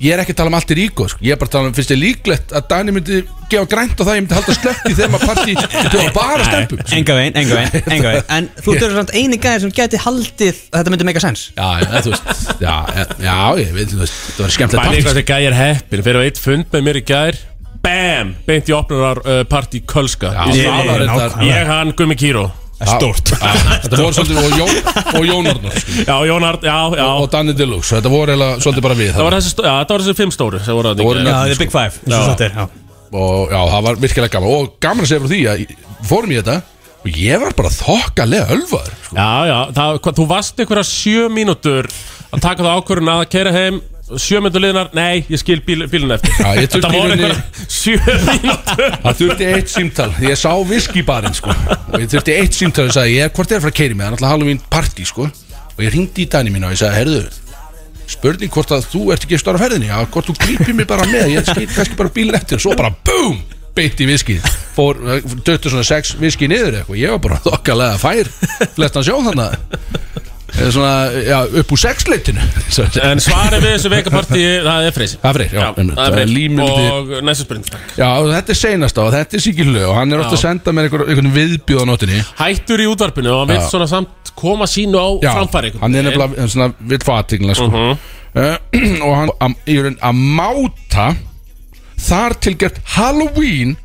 Speaker 1: ég er ekki að tala um allt er ígóð, sko Ég er bara að tala um, finnst þið líklegt að Dani myndi gefa grænt á það Ég myndi halda slökk í þeim að
Speaker 7: [laughs]
Speaker 1: partí Þetta var bara stelpum sko.
Speaker 2: enga veginn, enga veginn, enga veginn en þú
Speaker 1: [laughs]
Speaker 2: ert samt eini gæði sem gæti haldið að þetta myndi make a sense
Speaker 1: Já, já, þú veist, já, já, ég veit, þú veist, þetta var skemmtilegt
Speaker 7: Bæði
Speaker 1: partí,
Speaker 7: eitthvað sem gæjar heppin Fyrir að eitt fund með mér í gær Bam! Beint í opnurar uh, partí Kölska
Speaker 1: Já,
Speaker 7: Í
Speaker 1: ég-
Speaker 7: Svalar
Speaker 1: ég-
Speaker 7: reyndar. Ég, hann, Gummi Kíró
Speaker 1: sko. Stort Þetta voru svolítið og Jón og Jónarnar sko,
Speaker 7: Já, Jónard, já, já
Speaker 1: og Danny Deluxe Þetta voru eiginlega svolítið bara við
Speaker 7: Það var þessi, stó- já, það var þessi fimm stóru sem voru að
Speaker 1: voru
Speaker 7: dingja
Speaker 1: nöfn.
Speaker 2: the big five, eins og sagt er já.
Speaker 1: og já, það var virkilega gaman og gaman að segja frá því að ég- fórum í þetta og ég var bara þokkalega ölfaður sko.
Speaker 7: Já, já, það, hva, þú varst einhverja sjö mínútur að taka það ákvörðun að kæra heim Sjö mínútur liðnar, nei, ég skil bíl, bílun eftir
Speaker 1: Já, ég
Speaker 7: Þetta
Speaker 1: þurfti í
Speaker 7: voru
Speaker 1: rauninni-
Speaker 7: einhverja sjö mínútur
Speaker 1: það þurfti eitt símtal, ég sá viskibarinn sko. og ég þurfti eitt símtal og sagði ég, hvort er að fara að keiri mig, það er alltaf Halloween party sko. og ég ringdi í Dani mín og ég sagði, herðu spurning hvort að þú ert ekki stóra ferðinni, já, hvort þú grýpir mig bara með ég skil kannski bara bílinn eftir, svo bara BOOM beitt í viskið, fór döttu svona sex viskið niður eitthvað, ég var bara þokkalega fær, flestan sjó þannig Eða svona, já, upp úr sexleitinu
Speaker 7: En svarið við þessu veikapartí, það er freysi
Speaker 1: Það er Freyr, já, einmitt.
Speaker 7: það
Speaker 1: Það er
Speaker 7: er freysi
Speaker 1: límið
Speaker 7: Og næsta spurning takk.
Speaker 1: Já, og þetta er seinast á, þetta er síkilög og hann er ofta að
Speaker 7: Já.
Speaker 1: senda mér einhver- einhvern viðbjóð á nótinni
Speaker 7: Hættur í útvarpinu og hann vil
Speaker 1: Já.
Speaker 7: svona samt koma sínu á
Speaker 1: Já,
Speaker 7: framfæri einhvern
Speaker 1: hann er
Speaker 7: veginn. Mhm.
Speaker 1: nefnilega svona vill fá aðtíkla sko. uh [clears throat] og hann am- í raun að máta þar til gert Halloween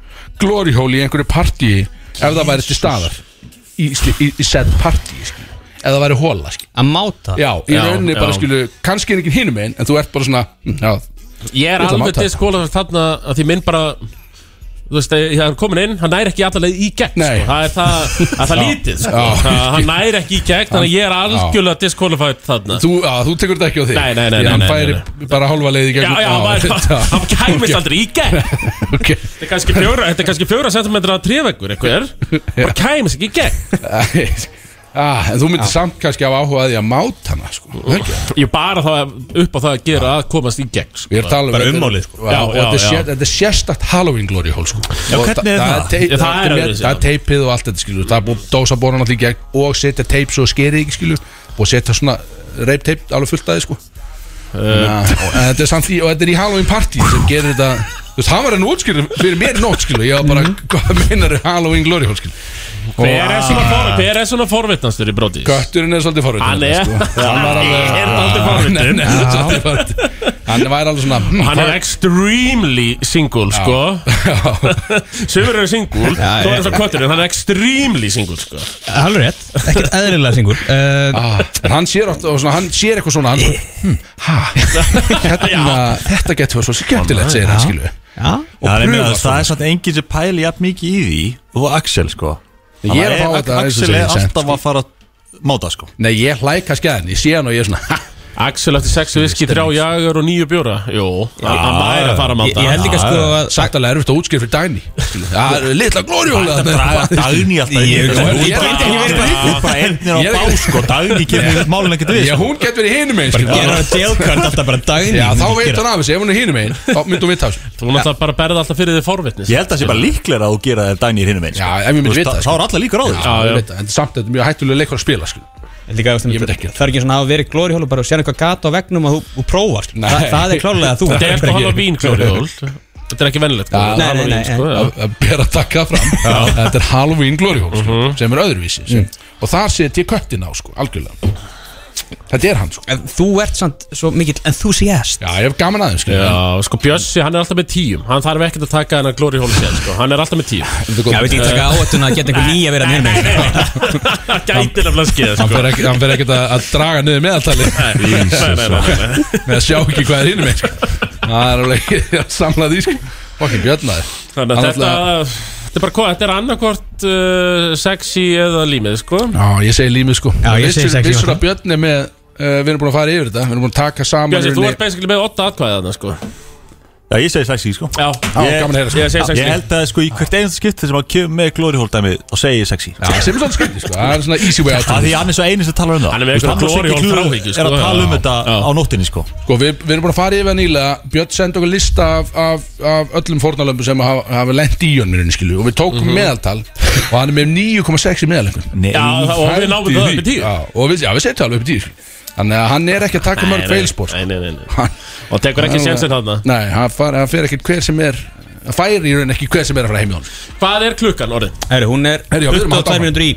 Speaker 1: glory hole í einhverju partíi ef það væri til staðar í, í, í, í set partíi sko. ef það væri hóla sko.
Speaker 2: að máta
Speaker 1: já, í
Speaker 7: Já,
Speaker 1: rauninni bara
Speaker 7: já.
Speaker 1: skilu kannski er ekki hinum einn en þú ert bara svona mm, já,
Speaker 7: Ég er
Speaker 1: Ég ætla að
Speaker 7: alveg
Speaker 1: máta
Speaker 7: til skóla þarna að því minn bara Þú veist, ég- hann er komin inn, hann næri ekki allaleg í gegn
Speaker 1: Nei.
Speaker 7: sko. Það er það, það, er það lítið sko.
Speaker 1: Já.
Speaker 7: það, Hann næri ekki í gegn, þannig að ég er algjörlega disqualified þarna
Speaker 1: Þú, á, þú tekur þetta ekki á þig
Speaker 7: Nei, nei, nei,
Speaker 1: Því
Speaker 7: nei,
Speaker 1: Hann
Speaker 7: nei,
Speaker 1: færi
Speaker 7: nei,
Speaker 1: bara hálfa leið í
Speaker 7: Já,
Speaker 1: gegnum
Speaker 7: já,
Speaker 1: [laughs]
Speaker 7: maður- hann kæmist aldrei í gegn Þetta
Speaker 1: aldrei okay.
Speaker 7: er kannski fjóra, þetta er kannski fjóra sentimentra trefeggur einhver
Speaker 1: Já.
Speaker 7: Hann kæmist ekki í gegn
Speaker 1: [laughs] ah, En þú myndir samt kannski hafa áhuga á því að máta hana sko. Það ekki?
Speaker 7: Ég bara þá upp á það að gera að komast í gegn sko.
Speaker 1: Við erum talað um
Speaker 2: Bara
Speaker 1: þetta-
Speaker 2: ummálið, sko.
Speaker 1: Já,
Speaker 7: Já,
Speaker 1: og
Speaker 7: já,
Speaker 1: þetta er
Speaker 7: já.
Speaker 1: sér- Þetta er sérstakt Halloween glory hól sko. Já,
Speaker 3: hvernig er það?
Speaker 1: Það er,
Speaker 7: Já,
Speaker 1: tei-
Speaker 7: það er
Speaker 1: það er,
Speaker 7: öðruvísi,
Speaker 1: það
Speaker 7: já.
Speaker 1: er teipið og allt þetta skilur Það er búið að dósa boran allir í gegn og setja teip svo skerið ekki skilur og setja svona reip teip alveg fullt aðeins sko Na,
Speaker 7: Eh.
Speaker 1: og, en þetta er samt í, og þetta er í Halloween party sem gerir þetta Þú veist, það var enn útskilur fyrir mér nót skilur Ég var bara, [laughs] hvað meinar Halloween glory hól skilur
Speaker 7: Hver er svona forvitnastur- hver er svona forvitnastur í brótis?
Speaker 1: Götturinn er svolítið sko. forvitin
Speaker 7: Hann Ah, er-
Speaker 2: sko.
Speaker 1: Hann var alveg
Speaker 7: Hann er dálítið forvitinn.
Speaker 1: Nei, nei, hann er svolítið forvitinn. Hann væri alveg svona hm,
Speaker 7: Hann er extremely single, sko
Speaker 1: Já.
Speaker 7: Sumur eru single, þú er eins og kötturinn, hann er extremely single, sko
Speaker 2: Hallur rétt, ekkert eðlilega syngur uh,
Speaker 1: Ah, en hann sér, oft, og svona, hann sér eitthvað svona hann, hm, ha, hérna, þetta getur verið svo skemmtilegt segir hann skilu
Speaker 2: Já,
Speaker 3: Já, það er
Speaker 1: prufar
Speaker 3: meina, það
Speaker 1: svona.
Speaker 3: er samt enginn sem pæli jafn mikið í því og Axel sko
Speaker 1: Ég er að fá
Speaker 3: Þannig
Speaker 1: þetta eins og
Speaker 3: Axel
Speaker 1: segir sko.
Speaker 3: er
Speaker 1: sent,
Speaker 3: alltaf að fara að máta sko
Speaker 1: Nei, ég hlæka skæðan, ég sé hann og ég er svona ha,
Speaker 7: Axel eftir sexu viski, þrjá jagar og nýju bjóra Jú, hann hann væri að fara að
Speaker 2: ég,
Speaker 7: máta
Speaker 2: ég held líka sko að
Speaker 1: Sagt alveg erfitt að útskýra fyrir Dæni skilu. Já, litla glóriúla
Speaker 3: Þetta draga Dagný
Speaker 1: Ég-
Speaker 3: alltaf inn í þetta.
Speaker 1: ég- ég-
Speaker 3: Þú
Speaker 1: ég-
Speaker 3: bara- Þú bara ennir á
Speaker 1: Ég-
Speaker 3: bá sko Dagný kemur í málun ekkert við
Speaker 1: Já,
Speaker 3: sko.
Speaker 1: hún getur verið hinum einn skilu.
Speaker 2: gera það delkvæmt alltaf bara daginn
Speaker 1: Já, þá veit hann af þessu, ef hún er hinum einn þá myndum við þessu
Speaker 7: Þú náttúrulega bara berði alltaf fyrir þig sko. forvitnis
Speaker 3: Ég held að það sé bara líklega að þú gera þér Dagný hinnum einn
Speaker 1: Já, ef ég myndi vita það,
Speaker 3: Þá
Speaker 1: sko.
Speaker 3: er alla líkur á því
Speaker 1: Já,
Speaker 7: Já, já.
Speaker 1: ég veit það, en samt þetta er mjög hættulega leikur að spila sko. skilu.
Speaker 2: Líka, veist,
Speaker 1: Ég veit ekki.
Speaker 2: Það er ekki svona að vera í glóri hólu bara og sér eitthvað gata á veggnum og þú, þú prófar
Speaker 1: Nei.
Speaker 2: Þa, Það er klárlega að þú heldur
Speaker 7: Þetta er eitthvað
Speaker 2: ekki-
Speaker 7: Halloween, Glóri Jól Þetta er ekki vennilegt, sko
Speaker 1: Já.
Speaker 2: Nei, nei, nei,
Speaker 7: Halloween, sko, já.
Speaker 1: að að bera takka fram þetta er Halloween Glory Hole sko,
Speaker 7: Mhm.
Speaker 1: sem er öðruvísi
Speaker 7: Mm.
Speaker 1: sem, og þar set ég köttin á sko, algjörlega þetta er hann sko.
Speaker 2: En Þú ert samt svo mikill enthusiast
Speaker 1: já, ég hef gaman aðeins sko.
Speaker 7: Já, sko Bjössi, hann er alltaf með tíum Hann þarf ekkert að taka hennar Glóri Hól sér, sko Hann er alltaf með tíum
Speaker 2: Já, veit ég taka áhættuna að geta
Speaker 7: [laughs]
Speaker 2: einhver nýja að vera mér með
Speaker 7: Gæti nefnilega skeið,
Speaker 1: hann
Speaker 7: sko
Speaker 1: fer ekki, hann fer ekkert að, að draga niður meðaltali
Speaker 7: Nei, nei, nei, nei, nei.
Speaker 1: með að sjá ekki hvað er hinum einn, sko. það er alveg [laughs] ekki að samla því sko. okkur björnaði
Speaker 7: Þannig að
Speaker 1: Hann
Speaker 7: þetta Þetta er bara hvað, þetta er annarkvort uh, sexy eða límið, sko
Speaker 1: já, ég segi límið sko
Speaker 2: Já, ég segi
Speaker 1: vissur,
Speaker 2: sexy,
Speaker 1: vissur
Speaker 2: sko.
Speaker 1: að björni með uh, við erum búin að fara yfir þetta við erum búin að taka saman
Speaker 7: Bjössi,
Speaker 1: í
Speaker 7: þú
Speaker 1: rauninni-
Speaker 7: ert basically með 8 atkvæðana, sko
Speaker 3: Já, ég segi sexy sko
Speaker 7: Já,
Speaker 1: Já, gaman að heyra, sko.
Speaker 7: Ég segi sexy
Speaker 3: Ég held að sko í hvert einasta skipti sem að kemur með Glory Hole dæmið og segi ég sexy
Speaker 1: Já, sem er svolítið skemmt sko. það er svona easy way out
Speaker 3: Það því hann er svo eini sem talar um það
Speaker 7: Hann er með
Speaker 3: Þú veist,
Speaker 7: einhverja
Speaker 3: og
Speaker 7: glory
Speaker 3: Siggi
Speaker 7: hole
Speaker 3: Klöru
Speaker 7: þráhyggju, sko.
Speaker 3: Er að tala um
Speaker 7: Já.
Speaker 3: þetta
Speaker 7: Já.
Speaker 3: á nóttinni sko
Speaker 1: Sko, við, við erum búin að fara yfir það nýlega Björn sendi okkur lista af, af, af öllum fórnalömbum sem hafa, hafa lent í jönmirinni skilu og við tókum
Speaker 7: Mhm.
Speaker 1: meðaltal og hann er með 9,6 í meðalengun
Speaker 3: Nei,
Speaker 7: Já, það- og við náðum það upp í 10
Speaker 1: Já, og við, já, við setjum alveg upp í 10 sko. Þannig að hann er ekki að taka mörg feilspor sko.
Speaker 7: Nei, nei, nei, nei
Speaker 1: Hann-
Speaker 7: Og tekur ekki
Speaker 1: hann-
Speaker 7: sénsinn þarna
Speaker 1: Nei, hann, far, hann fer ekki hver sem er hann færi í rauninni ekki hver sem er að fara heim í honum
Speaker 7: Hvað er klukkan, orðin?
Speaker 2: Herru, hún er
Speaker 1: Herru, já, við erum að halda
Speaker 2: 22
Speaker 1: áfram.
Speaker 2: mínútur í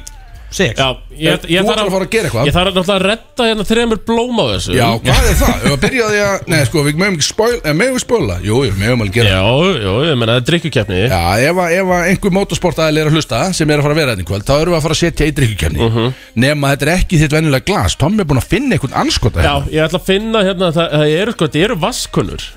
Speaker 2: 6
Speaker 7: Já, ég, ég,
Speaker 1: Þú ætlar
Speaker 7: þarf
Speaker 1: að fara að gera eitthvað.
Speaker 7: Ég þarf náttúrulega að redda hérna þremur blóm á þessu
Speaker 1: Já, hvað er það? Ef að byrja á því að, nei, sko, við meðum ekki spoil, eh, megum við spoila? Jú, jú, megum alveg gera það.
Speaker 7: Já, já, ég meina, það er drikkjukefni
Speaker 1: Já, ef, að- ef að einhver motorsportaðil er að hlusta sem er að fara að vera þetta kvöld, þá erum við að fara að setja í drikkukefni nema þetta er ekki þitt venjulega glas Tommi er búinn að finna einhvern anskota
Speaker 7: Já,
Speaker 1: hérna.
Speaker 7: ég ætla að finna hérna Það, það eru, sko, það eru vaskunnur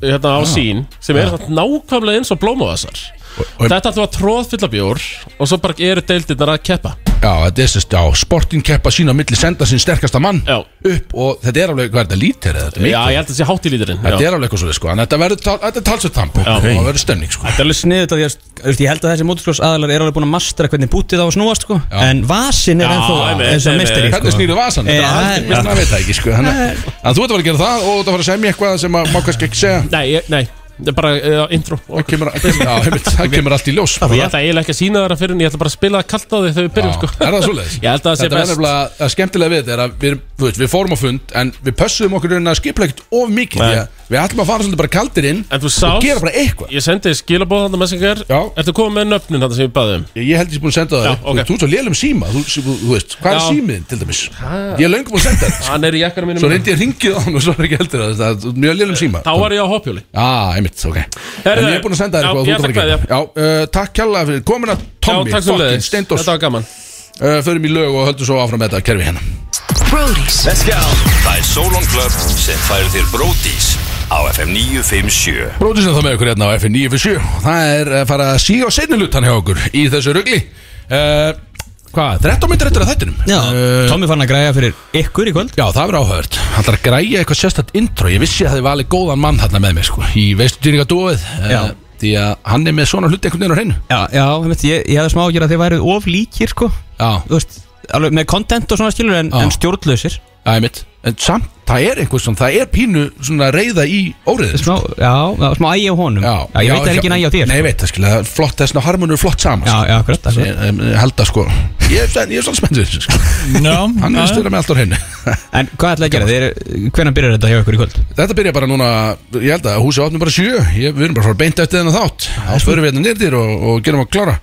Speaker 7: Hérna á sín Sem eru það nákvæmlega eins og blóm á þessar
Speaker 1: Ah. og-
Speaker 7: Þetta ætla að tróðfylla bjór Og svo bara eru deildirnar að keppa
Speaker 1: já, þetta er sérst, já, sportin keppa sína á milli senda sinn sterkasta mann
Speaker 7: Já.
Speaker 1: upp og þetta er alveg, hvað er þetta, lítir eða þetta er
Speaker 7: Já,
Speaker 1: mikið?
Speaker 7: ég held að það sé hátt í líturinn
Speaker 1: Þetta er alveg eitthvað svolítið, sko, en þetta verður tal- þetta er talsveit tamp og það verður stemning, sko
Speaker 2: Þetta er alveg sniðut að ég, ég held að þessi motorskross aðalar er alveg búin að mastera hvernig bútið á að snúast sko. en vasin er ennþá
Speaker 7: einmitt,
Speaker 2: eins og
Speaker 7: einmitt.
Speaker 2: mesteri
Speaker 1: Hvernig snýru vasan? Þetta
Speaker 2: Eh,
Speaker 1: er
Speaker 2: það er-
Speaker 1: alveg, mér finnst það veit það ekki, sko Þannig að- en þú ert að fara að gera það og þú ert að fara að semja eitthvað sem að má kannski ekki segja
Speaker 7: Nei, ég, nei, það er bara uh, intro
Speaker 1: Það kemur, kemur, já, einmitt, það kemur allt í ljós sko.
Speaker 7: Og Ég ætla eiginlega ekki að sína þeirra fyrir en ég ætla bara að spila það kallt á því þegar við byrjum
Speaker 1: Já,
Speaker 7: sko
Speaker 1: Er það svoleiðis?
Speaker 7: Ég held að það sé
Speaker 1: Þetta var
Speaker 7: best.
Speaker 1: nefnilega að skemmtilega við þetta er að við, erum- þú veist, við fórum á fund en við pössum okkur í rauninni að skipla ekkert of mikið því að við ætlum að fara svolítið bara kaldir inn
Speaker 7: En þú
Speaker 1: og
Speaker 7: sást-
Speaker 1: gera bara eitthvað
Speaker 7: Ég sendi skilabóð þarna messingar
Speaker 1: Já.
Speaker 7: Ertu komið með nöfnin þarna sem ég baði um?
Speaker 1: Ég, ég held ég sé búin að senda það
Speaker 7: Já,
Speaker 1: Þú
Speaker 7: ok.
Speaker 1: veist, Þú ert svo lélum síma, þú, þú, þú veist, hvað er
Speaker 7: Já.
Speaker 1: símiðin til dæmis? Ég er löngu búin að senda það
Speaker 7: Hann er í jakkanum mínum
Speaker 1: Svo reyndi ég ringið á hann og svo er ekki heldur það það er- Þú ert mjög lélum síma
Speaker 7: Þá var ég á hoppjóli
Speaker 1: Ah, einmitt, ok En ég er búin að senda
Speaker 7: já,
Speaker 1: þér eitthvað
Speaker 7: ég
Speaker 1: þú ert að fara
Speaker 7: ætla
Speaker 1: að gera. Já, uh, Takk kjalla fyrir komin að
Speaker 7: Já,
Speaker 1: Tommy
Speaker 7: takk svo
Speaker 1: fucking
Speaker 7: leiðis
Speaker 1: Steindors
Speaker 7: Þetta var gaman
Speaker 1: uh, Förum í lög og höldum svo áfram með þetta kerfi hérna
Speaker 4: Brody's.
Speaker 5: Það er Solon Club sem færir þér bródís á FM 957
Speaker 1: Bróðisinn þá með okkur hérna á FN 957 Það er að fara að síga á seinni lutan hjá okkur Í þessu rugli uh, Hvað, 13 myndir eftir að þættinum
Speaker 2: Já,
Speaker 1: Eh,
Speaker 2: Tommi fann að græja fyrir ykkur í kvöld
Speaker 1: Já, það verður áhört Hann þarf að græja eitthvað sérstætt intro Ég vissi að þið valið góðan mann þarna með mér sko Í veistutýringa dóið
Speaker 2: Já.
Speaker 1: Eh, Því að hann er með svona hluti einhvern veginn á hreinu
Speaker 2: Já, já einmitt, ég, ég hefði smá að gera að þið værið of líkir sko
Speaker 1: Já,
Speaker 2: Þú veist, alveg með content og svona skilur en,
Speaker 1: Já.
Speaker 2: en stjórnlausir
Speaker 1: það er mitt En samt, það er einhver svona, það er pínu svona reyða í óriðið
Speaker 2: smá, Já, já, smá ægi á honum ég veit það er ekki ægi á þér sko.
Speaker 1: Nei, ég veit það skilja, það er flott, þessna harmonur er flott saman
Speaker 2: Já, já, akkurat,
Speaker 1: sko.
Speaker 2: akkurat.
Speaker 1: Ég- em, ég held að sko Ég er ég er svona spennt við þessu, sko Hann er stöðlega með allt á hreinu
Speaker 2: En hvað ætlaði að gera? Þeir, hvernig byrjar þetta hjá ykkur í kvöld?
Speaker 1: Þetta byrja bara núna, ég held að húsi opnum bara sjö ég, Við erum bara að fara beint eftir þennan þátt Þá förum við hérna nýrðir og, og gerum að klára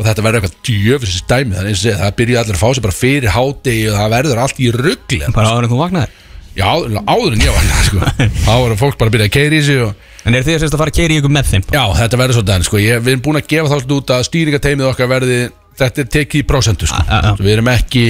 Speaker 1: Og þetta verður eitthvað djöfisins dæmi Þannig eins og segja, það byrja allir að fá sér bara fyrir hádegi Og það verður allt í ruggli
Speaker 2: Bara áður en þú vaknaðir
Speaker 1: Já, áður en ég var hérna, sko Þá verður fólk bara að byrja að keiri í sig og,
Speaker 2: En eru þið sem sagt að fara að keira í ykkur með þeim?
Speaker 1: Já, þetta verður svolítið þannig, sko ég, Við erum búin að gefa þá svolítið út að stýringateimið okkar verði Þetta er tekið í prósentu, sko
Speaker 2: Ah, ah, ah.
Speaker 1: Við erum ekki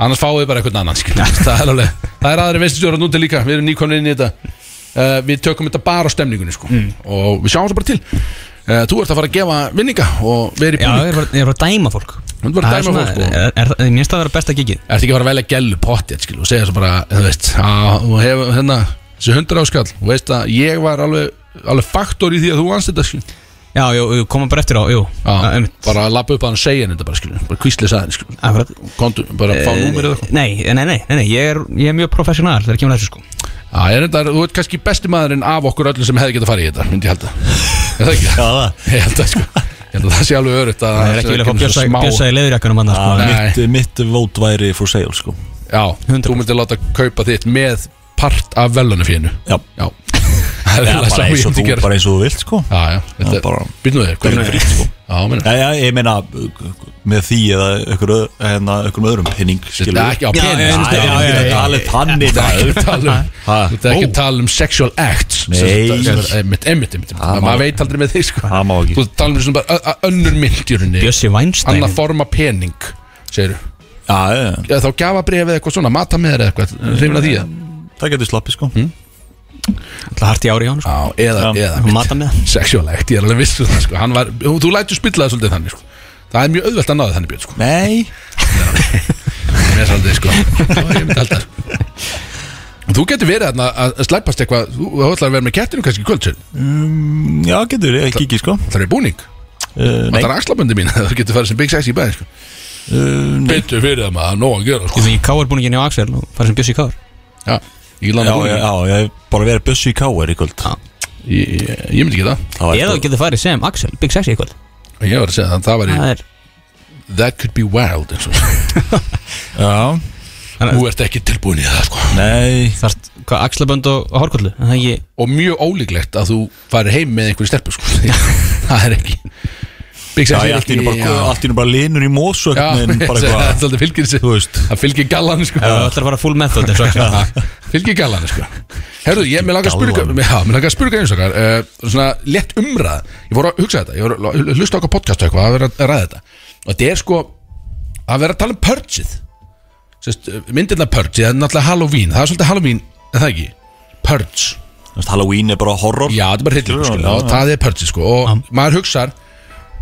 Speaker 1: Annars fáum við bara eitthvað annan, sko [laughs] Það er alveg Það er aðri veistustjóra núti líka Við erum nýkonir inn í þetta uh, Við tökum þetta bara á stemningunni, sko
Speaker 2: Mm.
Speaker 1: Og við sjáum það bara til uh, Þú ert að fara að gefa vinninga Og verið í
Speaker 2: Já,
Speaker 1: búin
Speaker 2: ég er bara, ég er bara að dæma fólk
Speaker 1: Þú ert bara að
Speaker 2: Það er
Speaker 1: dæma
Speaker 2: svona-
Speaker 1: fólk, sko.
Speaker 2: Er, er, er, mér finnst það að vera besta gigið
Speaker 1: Ertu ekki að fara að velja gælu pottið, skil Og segja svo bara, þú veist á, Og hefur hérna Þessi hundra áskall Og veist að ég var alveg Alveg faktor í því að þú vannst þetta, skil
Speaker 2: Já, jú, jú, koma bara eftir á, jú
Speaker 1: Já,
Speaker 2: einmitt.
Speaker 1: bara að lappa upp að hann segja henni þetta bara skilur bara kvíslis að henni skilur
Speaker 2: Akkurat.
Speaker 1: Kontu, bara fá
Speaker 2: Eh,
Speaker 1: númerið eða eitthvað
Speaker 2: Nei, nei, nei, nei, nei ég, er, ég er mjög professional þegar kemur að þessu sko
Speaker 1: Já, ég er þetta, þú ert kannski besti maðurinn af okkur öllum sem hefði getað farið í þetta, myndi ég halda Er það ekki?
Speaker 3: Já, það.
Speaker 1: Ég held að sko Ég held að það sé alveg örugt að
Speaker 2: Það er ekki
Speaker 1: sé
Speaker 2: vilja að fá
Speaker 1: kemur svo
Speaker 2: bjössa,
Speaker 1: smá-
Speaker 2: bjössa í leðurjakkanum annars sko
Speaker 1: nei.
Speaker 3: mitt, mitt vót væri for sale sko
Speaker 1: Já, þú myndir láta kaupa þitt með part af velunafínu
Speaker 3: Já.
Speaker 2: [laughs]
Speaker 1: Já [laughs] Það er
Speaker 3: Já,
Speaker 1: alveg
Speaker 3: bara
Speaker 1: saman
Speaker 3: eins
Speaker 1: ég
Speaker 3: og
Speaker 1: myndi
Speaker 3: þú,
Speaker 1: gera
Speaker 3: bara eins og þú vilt sko
Speaker 1: Já, já,
Speaker 3: Já,
Speaker 1: þetta
Speaker 3: bara-
Speaker 1: Býtum við þér, hvað
Speaker 3: Hvernig
Speaker 1: er
Speaker 3: frítt sko
Speaker 1: Já, meina
Speaker 3: Já, já, ég meina með því eða ykkur, öð- hérna, ykkur öðrum hinning skilur
Speaker 1: Þetta er ekki á
Speaker 2: Já,
Speaker 1: penis
Speaker 2: já,
Speaker 1: þetta
Speaker 2: já,
Speaker 1: er-
Speaker 2: já, já,
Speaker 1: þetta er
Speaker 2: já.
Speaker 3: Alveg
Speaker 1: ekki
Speaker 3: tannig
Speaker 1: að tala um
Speaker 3: Ha?
Speaker 1: Þetta er ekki að tala um sexual acts sem
Speaker 3: Nei.
Speaker 1: sagt, sem sagt, Einmitt, einmitt, einmitt
Speaker 3: Það má-
Speaker 1: Maður veit aldrei með þig sko
Speaker 3: Það má ekki.
Speaker 1: Þú tala um svona bara ö- ö- önnur mynd í rauninni
Speaker 2: Bjössi Weinstein
Speaker 1: Annað forma pening, segir
Speaker 3: Já, já, já,
Speaker 1: Eða þá gjafabrif eða eitthvað svona, mata með þér eða eitthvað Hrifin að því eða?
Speaker 3: það getur slappið sko
Speaker 1: Hmm?
Speaker 2: Það hart í ári í hann sko
Speaker 1: Já, eða,
Speaker 3: Já.
Speaker 1: eða
Speaker 2: Hún mata með það
Speaker 1: Sexual act, ég er alveg viss um það sko Hann var, þú, þú lætur spilla það svolítið þannig sko Það er mjög auðvelt að náða þannig björn sko
Speaker 3: Nei
Speaker 1: Mér svolítið sko Já, Ég myndi held það sko Þú getur verið þarna að að slæpast eitthvað Þú þú ætlar að vera með kettinu kannski í kvöld sér
Speaker 3: Mm, Já, getur, ég kikið sko
Speaker 1: Það er búning
Speaker 3: Uh, Nei,
Speaker 1: Það er axlaböndi mín, [laughs] það getur farið sem Big Sexy í bæðin sko.
Speaker 3: uh, nei.
Speaker 1: Betur fyrir það maður, nóg að gera sko.
Speaker 2: Ég finn ég káar búningin hjá Axel og fara sem Bjössi káar
Speaker 1: Já, ég
Speaker 3: Já,
Speaker 1: landa
Speaker 3: já,
Speaker 1: hún
Speaker 3: já, ég hef bara verið bussu í káir í kvöld
Speaker 2: Já.
Speaker 1: Ég ég- ég myndi ekki það
Speaker 3: Það var
Speaker 2: Eða þú
Speaker 3: sko-
Speaker 2: getur farið sem Axel, Big Sexy eitthvað
Speaker 1: Ég var að segja það, það var í
Speaker 2: Það er
Speaker 1: That could be wild eins og
Speaker 3: Já,
Speaker 1: Þú ert ekki tilbúin í það sko
Speaker 3: nei
Speaker 2: þarst, hvað, Axlabönd og, og Hárkollu Það er ekki,
Speaker 1: Og mjög ólíklegt að þú farir heim með einhverju stelpu sko [laughs] Því að Það er ekki Big
Speaker 3: Já,
Speaker 1: Sexy
Speaker 3: ég
Speaker 1: er
Speaker 3: allt í
Speaker 1: ekki
Speaker 3: einu bara,
Speaker 1: já.
Speaker 3: allt í einu bara linur í mosu
Speaker 1: Já,
Speaker 3: einhvern veginn, [laughs]
Speaker 1: [laughs]
Speaker 3: bara
Speaker 1: það er
Speaker 3: eitthvað,
Speaker 1: alltaf fylgir
Speaker 3: Þú
Speaker 1: sér
Speaker 3: veist
Speaker 1: Það fylgir gallan sko
Speaker 2: það ætlar að fara full method eins og Axel
Speaker 1: Fylgir gallan sko Herðu, ég með langar að spurga
Speaker 3: Gallan.
Speaker 1: Já, með langar að spurga eins og okkar uh, Svona lett umræð Ég voru að hugsa þetta Ég voru að hlusta okkar podcast og eitthvað að vera að ræða þetta Og þetta er sko Að vera að tala um purgeið Sest, Myndirna purge Það er náttúrulega Halloween Það er svolítið Halloween Er það ekki? Purge
Speaker 3: Þú veist, Halloween er bara horror
Speaker 1: Já, þetta er bara
Speaker 3: Já,
Speaker 1: hryllur sko,
Speaker 3: já,
Speaker 1: og það er purgeið sko Og maður hugsar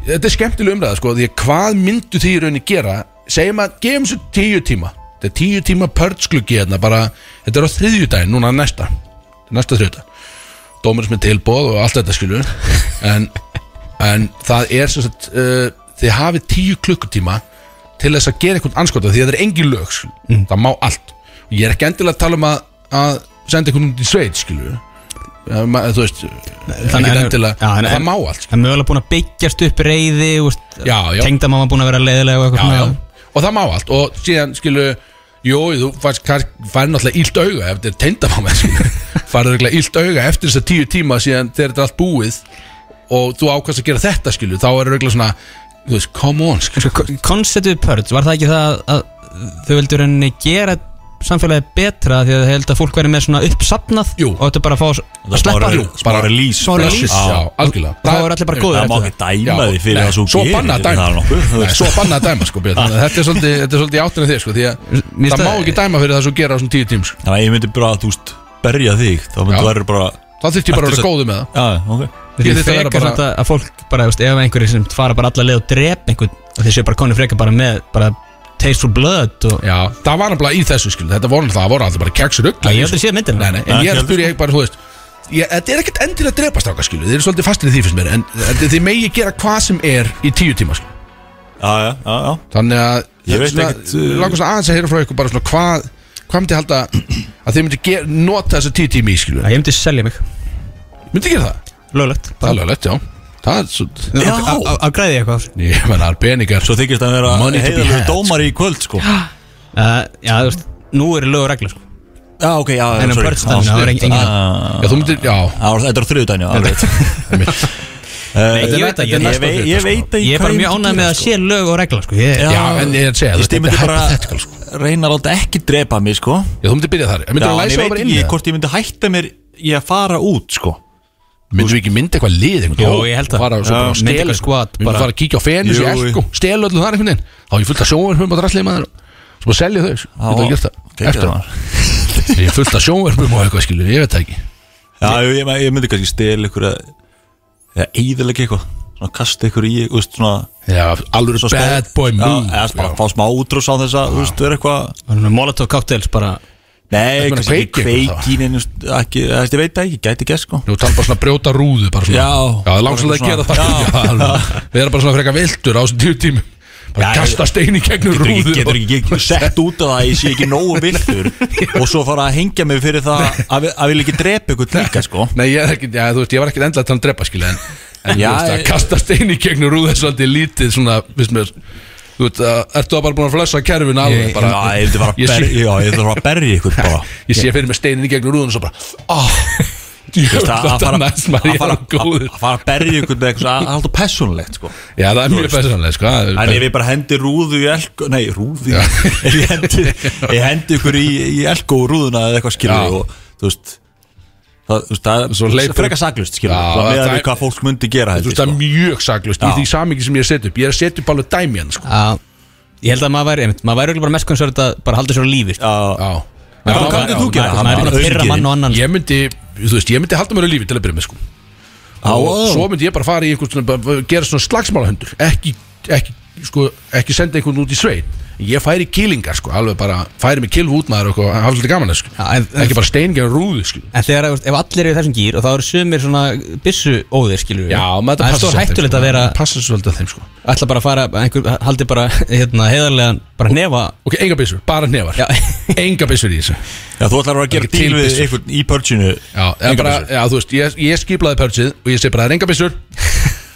Speaker 1: Þetta er skemmtileg umræða sko Því að hvað myndu því í rauninni gera Segjum að gefum svo tíu tíma Þetta er tíu tíma purge gluggi hérna bara Þetta er á þriðjudaginn núna næsta Næsta þriðjudag dómarins með tilbóð og allt þetta skilur en, en það er sem sagt uh, þið hafið tíu klukkutíma til þess að gera eitthvað anskota því að það er engin lög skilur,
Speaker 2: Mm.
Speaker 1: það má allt og ég er ekki endilega að tala um að, að senda eitthvað út í sveit skilur Eh, ma- þú veist,
Speaker 2: þannig
Speaker 1: ekki
Speaker 2: en-
Speaker 1: endilega
Speaker 2: já, en-
Speaker 1: það
Speaker 2: en-
Speaker 1: má allt skilur.
Speaker 2: Það er mögulega búin að byggjast upp reyði
Speaker 1: Já, já.
Speaker 2: Tengdamamma búin að vera leiðilega og
Speaker 1: já,
Speaker 2: eitthvað
Speaker 1: já.
Speaker 2: svona.
Speaker 1: og það má allt og síðan skilu Jó, þú færð fær náttúrulega ílt auga ef þetta er teindamáma
Speaker 2: [laughs]
Speaker 1: færð náttúrulega ílt auga eftir þess að tíu tíma síðan þegar þetta er allt búið og þú ákvæmst að gera þetta skilu þá er auðvitað svona, þú veist, come on skilu.
Speaker 2: En sko, konceptið Purge, var það ekki það að þau vildur henni gera samfélagið betra því að þau held að fólk verið með svona uppsapnað
Speaker 1: Jú.
Speaker 2: og þetta bara að fá að
Speaker 3: Það
Speaker 2: að sleppa
Speaker 3: er
Speaker 2: því
Speaker 3: bara- bara release
Speaker 2: Smá
Speaker 3: bara.
Speaker 2: release.
Speaker 1: já, algjörlega
Speaker 2: Þá eru allir bara góðir
Speaker 3: Það má
Speaker 2: eftir
Speaker 3: ekki dæma því fyrir það
Speaker 1: svo
Speaker 3: svo
Speaker 1: Svo banna að dæma
Speaker 3: Það er nokkuð þú
Speaker 1: Nei,
Speaker 3: veist.
Speaker 1: Svo banna að dæma sko Björn. Þannig að Þetta er svolítið, þetta er svolítið áttina þig sko Því að
Speaker 2: Mér
Speaker 1: það
Speaker 2: finnst
Speaker 1: má
Speaker 2: það-
Speaker 1: ekki dæma fyrir það svo gera á svona tíu tím sko.
Speaker 3: Þannig að ég myndi bara, þú veist, berja þig Þá myndi
Speaker 1: Já.
Speaker 3: þú verður bara
Speaker 1: Það þurfti ég bara að vera
Speaker 3: Ertu
Speaker 1: góðu með það
Speaker 3: Já, ok
Speaker 1: Ég
Speaker 2: Því þið
Speaker 1: þyrfti að vera
Speaker 2: frekar
Speaker 1: bara-
Speaker 2: samt að, að fólk bara, þú veist, ef einhverjir sem fara bara alla leið og drep einhvern og þeir séu bara konir frekar bara með bara taste for blood og
Speaker 1: Já, það var nefnilega í þessu skil Þetta voru náttúrulega, það voru alltaf bara keksur ugla
Speaker 2: Já, ég hef aldrei séð myndina.
Speaker 1: Nei, nei, en
Speaker 3: Nei,
Speaker 1: ég er
Speaker 3: ekki
Speaker 1: að spyrja ég bara, þú veist ég, Þetta er ekkert endilega að drepa stráka skilu Þið eru svolítið fastir í því fyrst mér En en þið megi gera hvað sem er í tíu tíma skilu
Speaker 3: Já, já, já, já
Speaker 1: Þannig að
Speaker 3: Ég veit
Speaker 1: svona-
Speaker 3: ekkert, uh,
Speaker 1: Langar svona aðeins að heyra frá ykkur bara svona hvað Hvað myndi halda [clears throat] að þið myndi ger, nota þessa tíu tími í skilu
Speaker 2: að ég myndi selja mig,
Speaker 1: Myndi gera það?
Speaker 2: löglegt
Speaker 1: Það er alveg lett, já Það er svo
Speaker 3: Já.
Speaker 2: að græði ég eitthvað á þessu?
Speaker 1: [laughs] Ég menna, peningar
Speaker 3: Svo þykist hann vera
Speaker 1: Money to be
Speaker 3: heiðarlegur
Speaker 1: had,
Speaker 3: dómar í kvöld, sko
Speaker 2: Uh, Já, þú veist, nú eru lög og regla sko.
Speaker 3: Já, ok, já, já,
Speaker 2: En um
Speaker 3: sorry.
Speaker 2: börnstæðinu,
Speaker 3: Já,
Speaker 2: það var engin-
Speaker 3: stutt.
Speaker 2: engin-
Speaker 3: Ah,
Speaker 1: Já, þú myndir, já
Speaker 3: já, Þetta er á þriðudaginn, já, alveg
Speaker 1: einmitt.
Speaker 3: Eh,
Speaker 2: Nei, ég veit að
Speaker 3: Ég
Speaker 2: ég-
Speaker 3: vei- ég veit að
Speaker 2: Ég er bara mjög
Speaker 3: hvað myndi
Speaker 2: ánægð með
Speaker 3: gera,
Speaker 2: að
Speaker 3: sko.
Speaker 2: sé lög og regla sko. ég,
Speaker 1: Já, en ég er að segja,
Speaker 3: Ég
Speaker 1: þetta
Speaker 3: stíð
Speaker 1: er
Speaker 3: myndi bara
Speaker 1: hypothetical, sko.
Speaker 3: reyna að láta ekki drepa mig sko
Speaker 1: Já, þú myndir byrja þar Myndir þú
Speaker 3: Já,
Speaker 1: læsa
Speaker 3: en ég
Speaker 1: það
Speaker 3: veit
Speaker 1: bara inn
Speaker 3: ekki
Speaker 1: eða?
Speaker 3: hvort ég myndi hætta mér í að fara út sko
Speaker 1: Myndum við ekki mynda eitthvað lið einhvern
Speaker 2: Jó,
Speaker 1: veginn?
Speaker 2: ég held það.
Speaker 1: Og fara svo bara
Speaker 2: Já,
Speaker 1: að
Speaker 2: mynda
Speaker 1: stela
Speaker 2: eitthvað squad
Speaker 1: Við
Speaker 2: bara.
Speaker 1: fara að kíkja á fenus í
Speaker 3: Jú, jú.
Speaker 1: elku Stela öllu þar einhvern veginn Þá er ég fullt af sjónverfum og drastlið maður Svo bara selja þau sko. Þú veit að gera það Eftir það Ég er fullt af sjónverfum og eitthvað skilur Ég veit það ekki
Speaker 3: Já, ég, ég, ég myndi kannski stel ykkur að eða eðilega eitthvað svona kasta ykkur í, þú veist, svona
Speaker 1: Já, alveg
Speaker 3: svona smá-
Speaker 1: bad boy
Speaker 3: Já,
Speaker 1: move
Speaker 3: eða bara fá smá útrús á þess að, þú veist, vera eitthvað
Speaker 2: Bara með Molotov cocktails bara
Speaker 3: Nei,
Speaker 1: meina,
Speaker 3: kannski
Speaker 1: kveiki
Speaker 3: ekki
Speaker 1: ykkur
Speaker 3: kveiki neinu, st- ekki, þú veist, ég veit það ekki, gæti gæst sko
Speaker 1: Nú tala bara svona að brjóta rúðu bara svona.
Speaker 3: Já.
Speaker 1: Já, það er langsóð að
Speaker 3: Svona-
Speaker 1: gera það
Speaker 3: Já.
Speaker 1: [laughs] Já, alveg. Við erum bara svona frekar vildur á þessum tíu tímum Bara
Speaker 3: Já,
Speaker 1: kasta stein í gegnum
Speaker 3: Getur ekki,
Speaker 1: rúðu
Speaker 3: getur ekki, getur [laughs] sett út af það að ég sé ekki
Speaker 1: [laughs]
Speaker 3: nógu viltur og svo fara að hengja mig fyrir það að, vi- að vil ekki drepa ykkur líka sko
Speaker 1: Nei, ég, er ekki, já, þú veist, ég var ekkert endilega að tala um drepa skilja En, en
Speaker 3: Já,
Speaker 1: já, veist, að
Speaker 3: ég-
Speaker 1: kasta stein í gegnum rúða er svolítið lítið svona, viðst mér Þú veit, að, ertu það bara búin að flössa kerfin alveg
Speaker 3: Ég-
Speaker 1: bara,
Speaker 3: Já, ég vil bara
Speaker 1: ég,
Speaker 3: berja-
Speaker 1: sé,
Speaker 3: já, ég vil bara berja ykkur bara
Speaker 1: [laughs] ég sé fyrir mig steinin í gegnum rúðun og svo bara ah,
Speaker 3: Þú
Speaker 1: djöfull,
Speaker 3: veist, að- að
Speaker 1: Þetta
Speaker 3: fara-
Speaker 1: er næst maður,
Speaker 3: að
Speaker 1: ég er
Speaker 3: fara
Speaker 1: hann góður
Speaker 3: að- að fara að berja ykkur með eitthvað svona- það er alltaf persónulegt sko
Speaker 1: Já, það er mjög fæsanlega, sko það
Speaker 3: En ef
Speaker 1: er-
Speaker 3: ég bara hendi rúðu í elko Nei, rúðu í- Ef [laughs] ég hendi, ég hendi ykkur í, í elko og rúðuna eða eitthvað
Speaker 1: Já.
Speaker 3: skilur og þú veist Það, þú veist,
Speaker 1: Svo
Speaker 3: það er
Speaker 1: hleypur-
Speaker 3: frekar saklust skilur
Speaker 1: Já,
Speaker 3: Það meðan
Speaker 1: það
Speaker 3: við
Speaker 1: er-
Speaker 3: hvað fólk myndi gera
Speaker 1: Þú veist,
Speaker 3: held
Speaker 1: það
Speaker 3: ég sko.
Speaker 1: er
Speaker 2: Sko.
Speaker 1: mjög saklust í
Speaker 3: Já.
Speaker 1: því samingi sem ég er að setja upp Ég er að setja upp alveg dæmi hann, sko
Speaker 2: að, Ég held að maður væri, einmitt, maður væri örugglega bara mest koncert að bara halda sér á lífi sko.
Speaker 3: Já,
Speaker 1: Já
Speaker 3: En
Speaker 1: Já,
Speaker 3: hvað
Speaker 1: já,
Speaker 3: myndir
Speaker 1: já,
Speaker 3: þú
Speaker 1: já,
Speaker 3: gera?
Speaker 2: Maður er
Speaker 3: bara
Speaker 2: bara að pyrra
Speaker 3: öfgin.
Speaker 2: mann og annan sko.
Speaker 1: Ég myndi, þú veist, ég myndi halda mér á lífi til að byrja með sko
Speaker 3: Á,
Speaker 1: og
Speaker 3: á.
Speaker 1: svo myndi ég bara fara í einhvern svona, bara gera svona slagsmálahundur ekki, ekki, sko, ekki senda einhvern út í sveit ég færi í kýlingar sko, alveg bara færi mig kylf út maður og eitthvað, hafa svolítið gaman að sko.
Speaker 2: Já, en-
Speaker 1: ekki bara steingjara rúðu sko.
Speaker 2: En þegar, þú veist, ef allir eru í þessum gýr og það eru sumir svona byssu óðir skilur við. Það er stór hættulegt að vera
Speaker 1: sko. passa svo svolítið að þeim sko.
Speaker 2: ætla bara að fara, einhver, haldi bara hérna, heiðarlegan, bara nefa
Speaker 1: ok, enga byssur, bara nefar
Speaker 2: Já.
Speaker 1: enga byssur í þessu
Speaker 3: Já, þú ætlar að vera að gera
Speaker 1: Ekki
Speaker 3: díl við
Speaker 1: tilbyssur.
Speaker 3: einhvern í pörtsinu
Speaker 1: já, eða bara, já, þú veist, ég, ég skiplaði pörtsið og ég segi bara, það er enga
Speaker 3: [laughs]
Speaker 1: byssur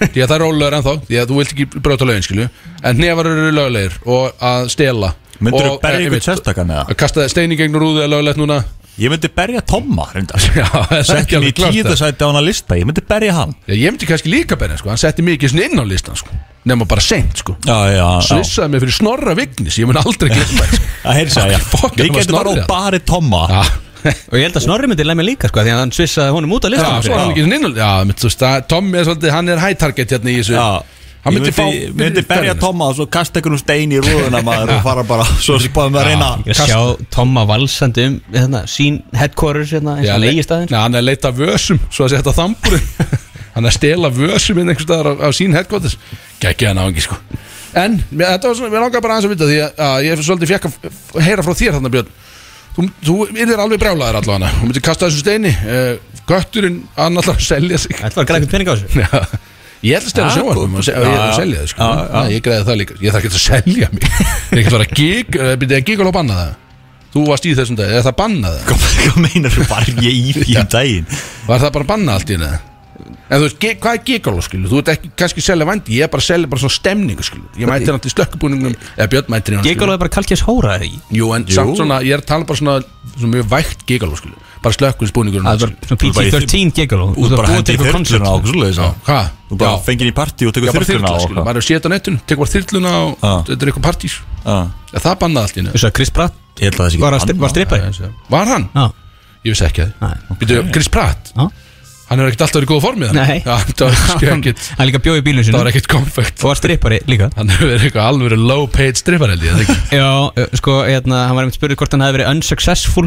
Speaker 1: því að það er rólegur ennþá, því að þú vilt ekki brjóta lögin skilju, en nefar eru löglegir og að stela
Speaker 3: Myndur þú
Speaker 1: Og,
Speaker 3: berja
Speaker 1: eh,
Speaker 3: ykkur
Speaker 1: einmitt,
Speaker 3: sérstakann eða?
Speaker 1: [laughs] að kasta steini gegn rúðu er löglegt núna
Speaker 3: Ég myndi berja Tomma reyndar
Speaker 1: Já, [laughs] það er ekki
Speaker 3: Setti
Speaker 1: alveg
Speaker 3: mig í
Speaker 1: klárt, það.
Speaker 3: tíðasæti á hann að lista Ég myndi berja hann
Speaker 1: Já, ég myndi kannski líka berja sko, hann setti mig ekki svona inn á listan sko Nefna bara seint sko
Speaker 3: Já, já, já
Speaker 1: Svissaði mig fyrir snorra vignis, ég mun aldrei glemma
Speaker 3: [laughs]
Speaker 1: það, sko.
Speaker 3: Það heyrsa, já
Speaker 1: Fuck,
Speaker 3: Við
Speaker 1: hann var
Speaker 3: getum bara
Speaker 1: snorrið.
Speaker 3: og bari Tomma
Speaker 1: Já,
Speaker 2: og ég held að Snorri myndi lemja líka sko, því að hann svissaði honum út af
Speaker 1: já,
Speaker 2: listanum
Speaker 1: svo er hann
Speaker 2: fyrir.
Speaker 1: ekki svona inn á Já, mitt, þú veist, það- Tommy er svolítið, hann er high target hérna í þessu
Speaker 3: Já
Speaker 1: Hann
Speaker 3: Ég
Speaker 1: myndi fá
Speaker 3: myndi, myndi berja Tomma og svo kasta einhvern stein í rúðuna maður og fara
Speaker 1: [laughs]
Speaker 3: bara svo sem báðum að reyna
Speaker 2: Ég er að sjá Tomma valsandi um hérna, sín headquarters hérna, eins og hann eigi staðin
Speaker 1: Nei, hann er að leita að vösum, svo að setja þamburinn [laughs] Hann er að stela vösum inn einhvers staðar á, á sín headquarters Gækja hann á engi sko En, mér, þetta var svona, mér langar bara aðeins að vita Því að, að ég svolítið fekk að f- heyra frá þér þarna Björn Þú, þú yrðir alveg brjálaðir allavega Þú myndir kasta þessu steini uh, Götturinn, hann ætlar að selja sig [laughs]
Speaker 2: Þetta var græðið pening á þessu
Speaker 1: Já. Ég ætla að stela sjóanum og se- og ég ætla að selja það sko. Já, Ég greiði það líka, ég þarf ekki að selja mig [laughs] Ég ætla að vera gig, byrja að gig alveg að banna það Þú varst í þessum dag, er það bannað það?
Speaker 3: Hvað hvað meinar þú bara ég í því um daginn?
Speaker 1: Var það bara að banna allt í henni? En þú veist, ge- hvað er gigaló skilu? Þú ert ekki kannski að selja vandi, ég er bara að selja bara svona stemningu skilu Ég mæti hann til slökkubúningnum, eða Björn mætir hann
Speaker 2: Gekkalóði bara kalkjast hóra þegar í
Speaker 1: Jú, en samt svona, ég er að tala bara svona, svona mjög vægt gigaló skilu Bara slökkubúningur
Speaker 2: Það var svona PG-13 gekkalóð
Speaker 3: Þú bara hendi þyrluna á
Speaker 2: koncert
Speaker 3: okkur svoleiðis á
Speaker 1: Hvað?
Speaker 3: Þú bara fengir í partí og
Speaker 1: Já,
Speaker 3: tekur
Speaker 1: bara
Speaker 3: þyrluna
Speaker 1: þyrla
Speaker 3: á
Speaker 1: skilu,
Speaker 3: okkur
Speaker 1: maður er að setja á netinu, tekur bara þyrluna og
Speaker 3: Já.
Speaker 1: þetta er eitthvað partís
Speaker 3: Ég
Speaker 1: Ja, Það bannaði allt í henni
Speaker 2: Þú veist að Chris Pratt
Speaker 3: held að það sé
Speaker 2: var, að,
Speaker 3: ekki
Speaker 2: var strippari
Speaker 1: Var hann?
Speaker 2: Já,
Speaker 1: Ég vissi ekki það
Speaker 2: Nei.
Speaker 1: Býtu, Chris Pratt,
Speaker 2: já
Speaker 1: hann er ekkert alltaf verið í góða formið
Speaker 2: Nei.
Speaker 1: Nei
Speaker 2: [laughs] Hann líka bjóði í bílun
Speaker 1: Það
Speaker 2: sinu
Speaker 1: var ekkert konfekt
Speaker 2: og var strippari líka
Speaker 1: Hann hefur verið eitthvað alveg low
Speaker 2: [laughs]
Speaker 1: paid strippar held ég, eða ekki?
Speaker 2: Já, eh, sko, hérna, hann var einmitt spurður hvort hann hefði verið unsuccessful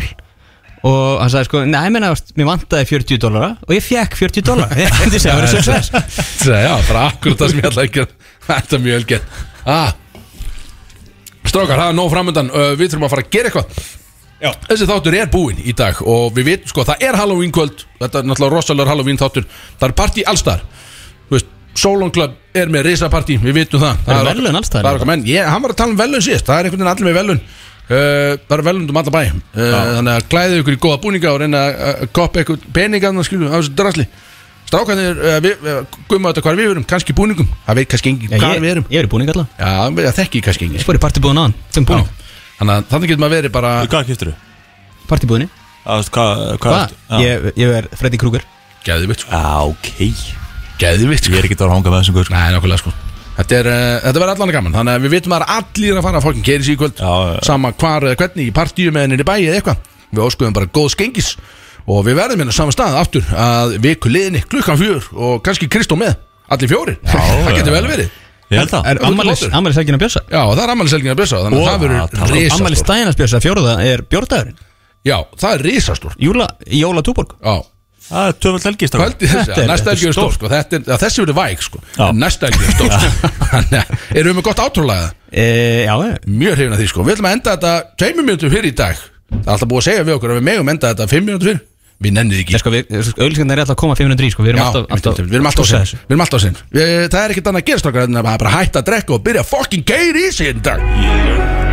Speaker 2: og hann sagði sko, nei, menna, mér vantaði 40 dólara og ég fekk 40 dólara [laughs] ég myndi segja að vera success
Speaker 1: Það já, bara akkurat það sem ég ætla að [laughs] gera Þetta er mjög elgert ah. Strákar, það er nóg framöndan uh, Við þurfum að fara að gera eitthvað já. Þessi þáttur er búinn í dag Og við vitum sko, það er Halloween kvöld Þetta er náttúrulega rosalega Halloween þáttur Það er partí allstar Solon Club er með risapartí, við vitum það
Speaker 2: Það eru
Speaker 1: okkar-
Speaker 2: verðlaun alls staðar.
Speaker 1: Það er okkar menn, ég, hann var að tala um velun síðast Það er einhvern veginn allir með velun Uh, það eru velund um alla bæ uh, þannig að klæðu ykkur í góða búninga og reyna að- að koppa ykkur peningarna skilu á þessu drasli strákanir, uh, við, uh, gumma þetta hvar við verum kannski í búningum, það veit kannski engin hvar við erum
Speaker 2: ég er í búning allavega
Speaker 1: já, við- það þekki kannski engin
Speaker 2: ég fór í partybúðin á hann sem
Speaker 1: Já.
Speaker 2: búning
Speaker 1: þannig að þannig getur maður verið bara
Speaker 3: Hvað kýftur þú?
Speaker 2: partybúðinni
Speaker 3: Hvað? Hvað?
Speaker 2: hvað? Ég, ég er Freddy Krueger
Speaker 1: geðvitt, sko,
Speaker 3: Já, ok Ég
Speaker 1: geðvitt sko.
Speaker 3: er ekki að vera að hanga með þessum guður
Speaker 1: Nei, nákvæmlega sko Þetta, er, uh, þetta verður allan gaman Þannig að við vitum að það er allir að fara að fólkin keiri sig í kvöld
Speaker 3: Já, já, já.
Speaker 1: Sama hvar eða hvernig í partíu með henni í bæi eða eitthvað Við óskuðum bara góð skengis Og við verðum hérna á sama stað aftur Að viku liðinni klukkan fjör Og kannski Kristó með, allir fjórir [laughs] já, Það getur vel verið
Speaker 3: Ég held það
Speaker 2: er ammalis, ammalis helgin að bjösa
Speaker 1: Já, og það er ammælisselgin að bjösa Þannig
Speaker 3: Og-
Speaker 1: að það
Speaker 3: Já, tala
Speaker 1: verður
Speaker 3: um
Speaker 1: risastór
Speaker 2: ammalis daginn að bjösa fjóruða er bjórdagurinn
Speaker 1: Já, það er risastór
Speaker 2: Júla, Jóla Túborg
Speaker 1: Já,
Speaker 3: Það er töfald helgist
Speaker 1: kvöldi þessi,
Speaker 2: Þetta er-
Speaker 1: næsta helgi er stór
Speaker 2: stórt.
Speaker 1: sko. Þetta er- já, Þessi verður væg, sko
Speaker 3: Já.
Speaker 1: En Næsta helgi er stór sko. Þannig að- Erum við með gott átrúlega
Speaker 2: e, já, já.
Speaker 1: mjög hrifin að því sko Við ætlum að enda þetta tveimur mínútur fyrir í dag Það er alltaf búið að segja við okkur að við megum enda þetta fimm mínútur fyrir Við nennið
Speaker 2: Nei,
Speaker 1: ekki
Speaker 2: sko, við, auðlýsingandar er alltaf að koma 500 í, sko, við erum
Speaker 1: Já,
Speaker 2: alltaf,
Speaker 1: einmitt, einmitt, Við erum alltaf á
Speaker 2: Pússa
Speaker 1: sinn
Speaker 2: þessu.
Speaker 1: Við erum alltaf á sinn Við- Það er ekkert annað að gerast okkar en að bara hætta að drekka og byrja að fucking geir í sig í dag
Speaker 3: Ég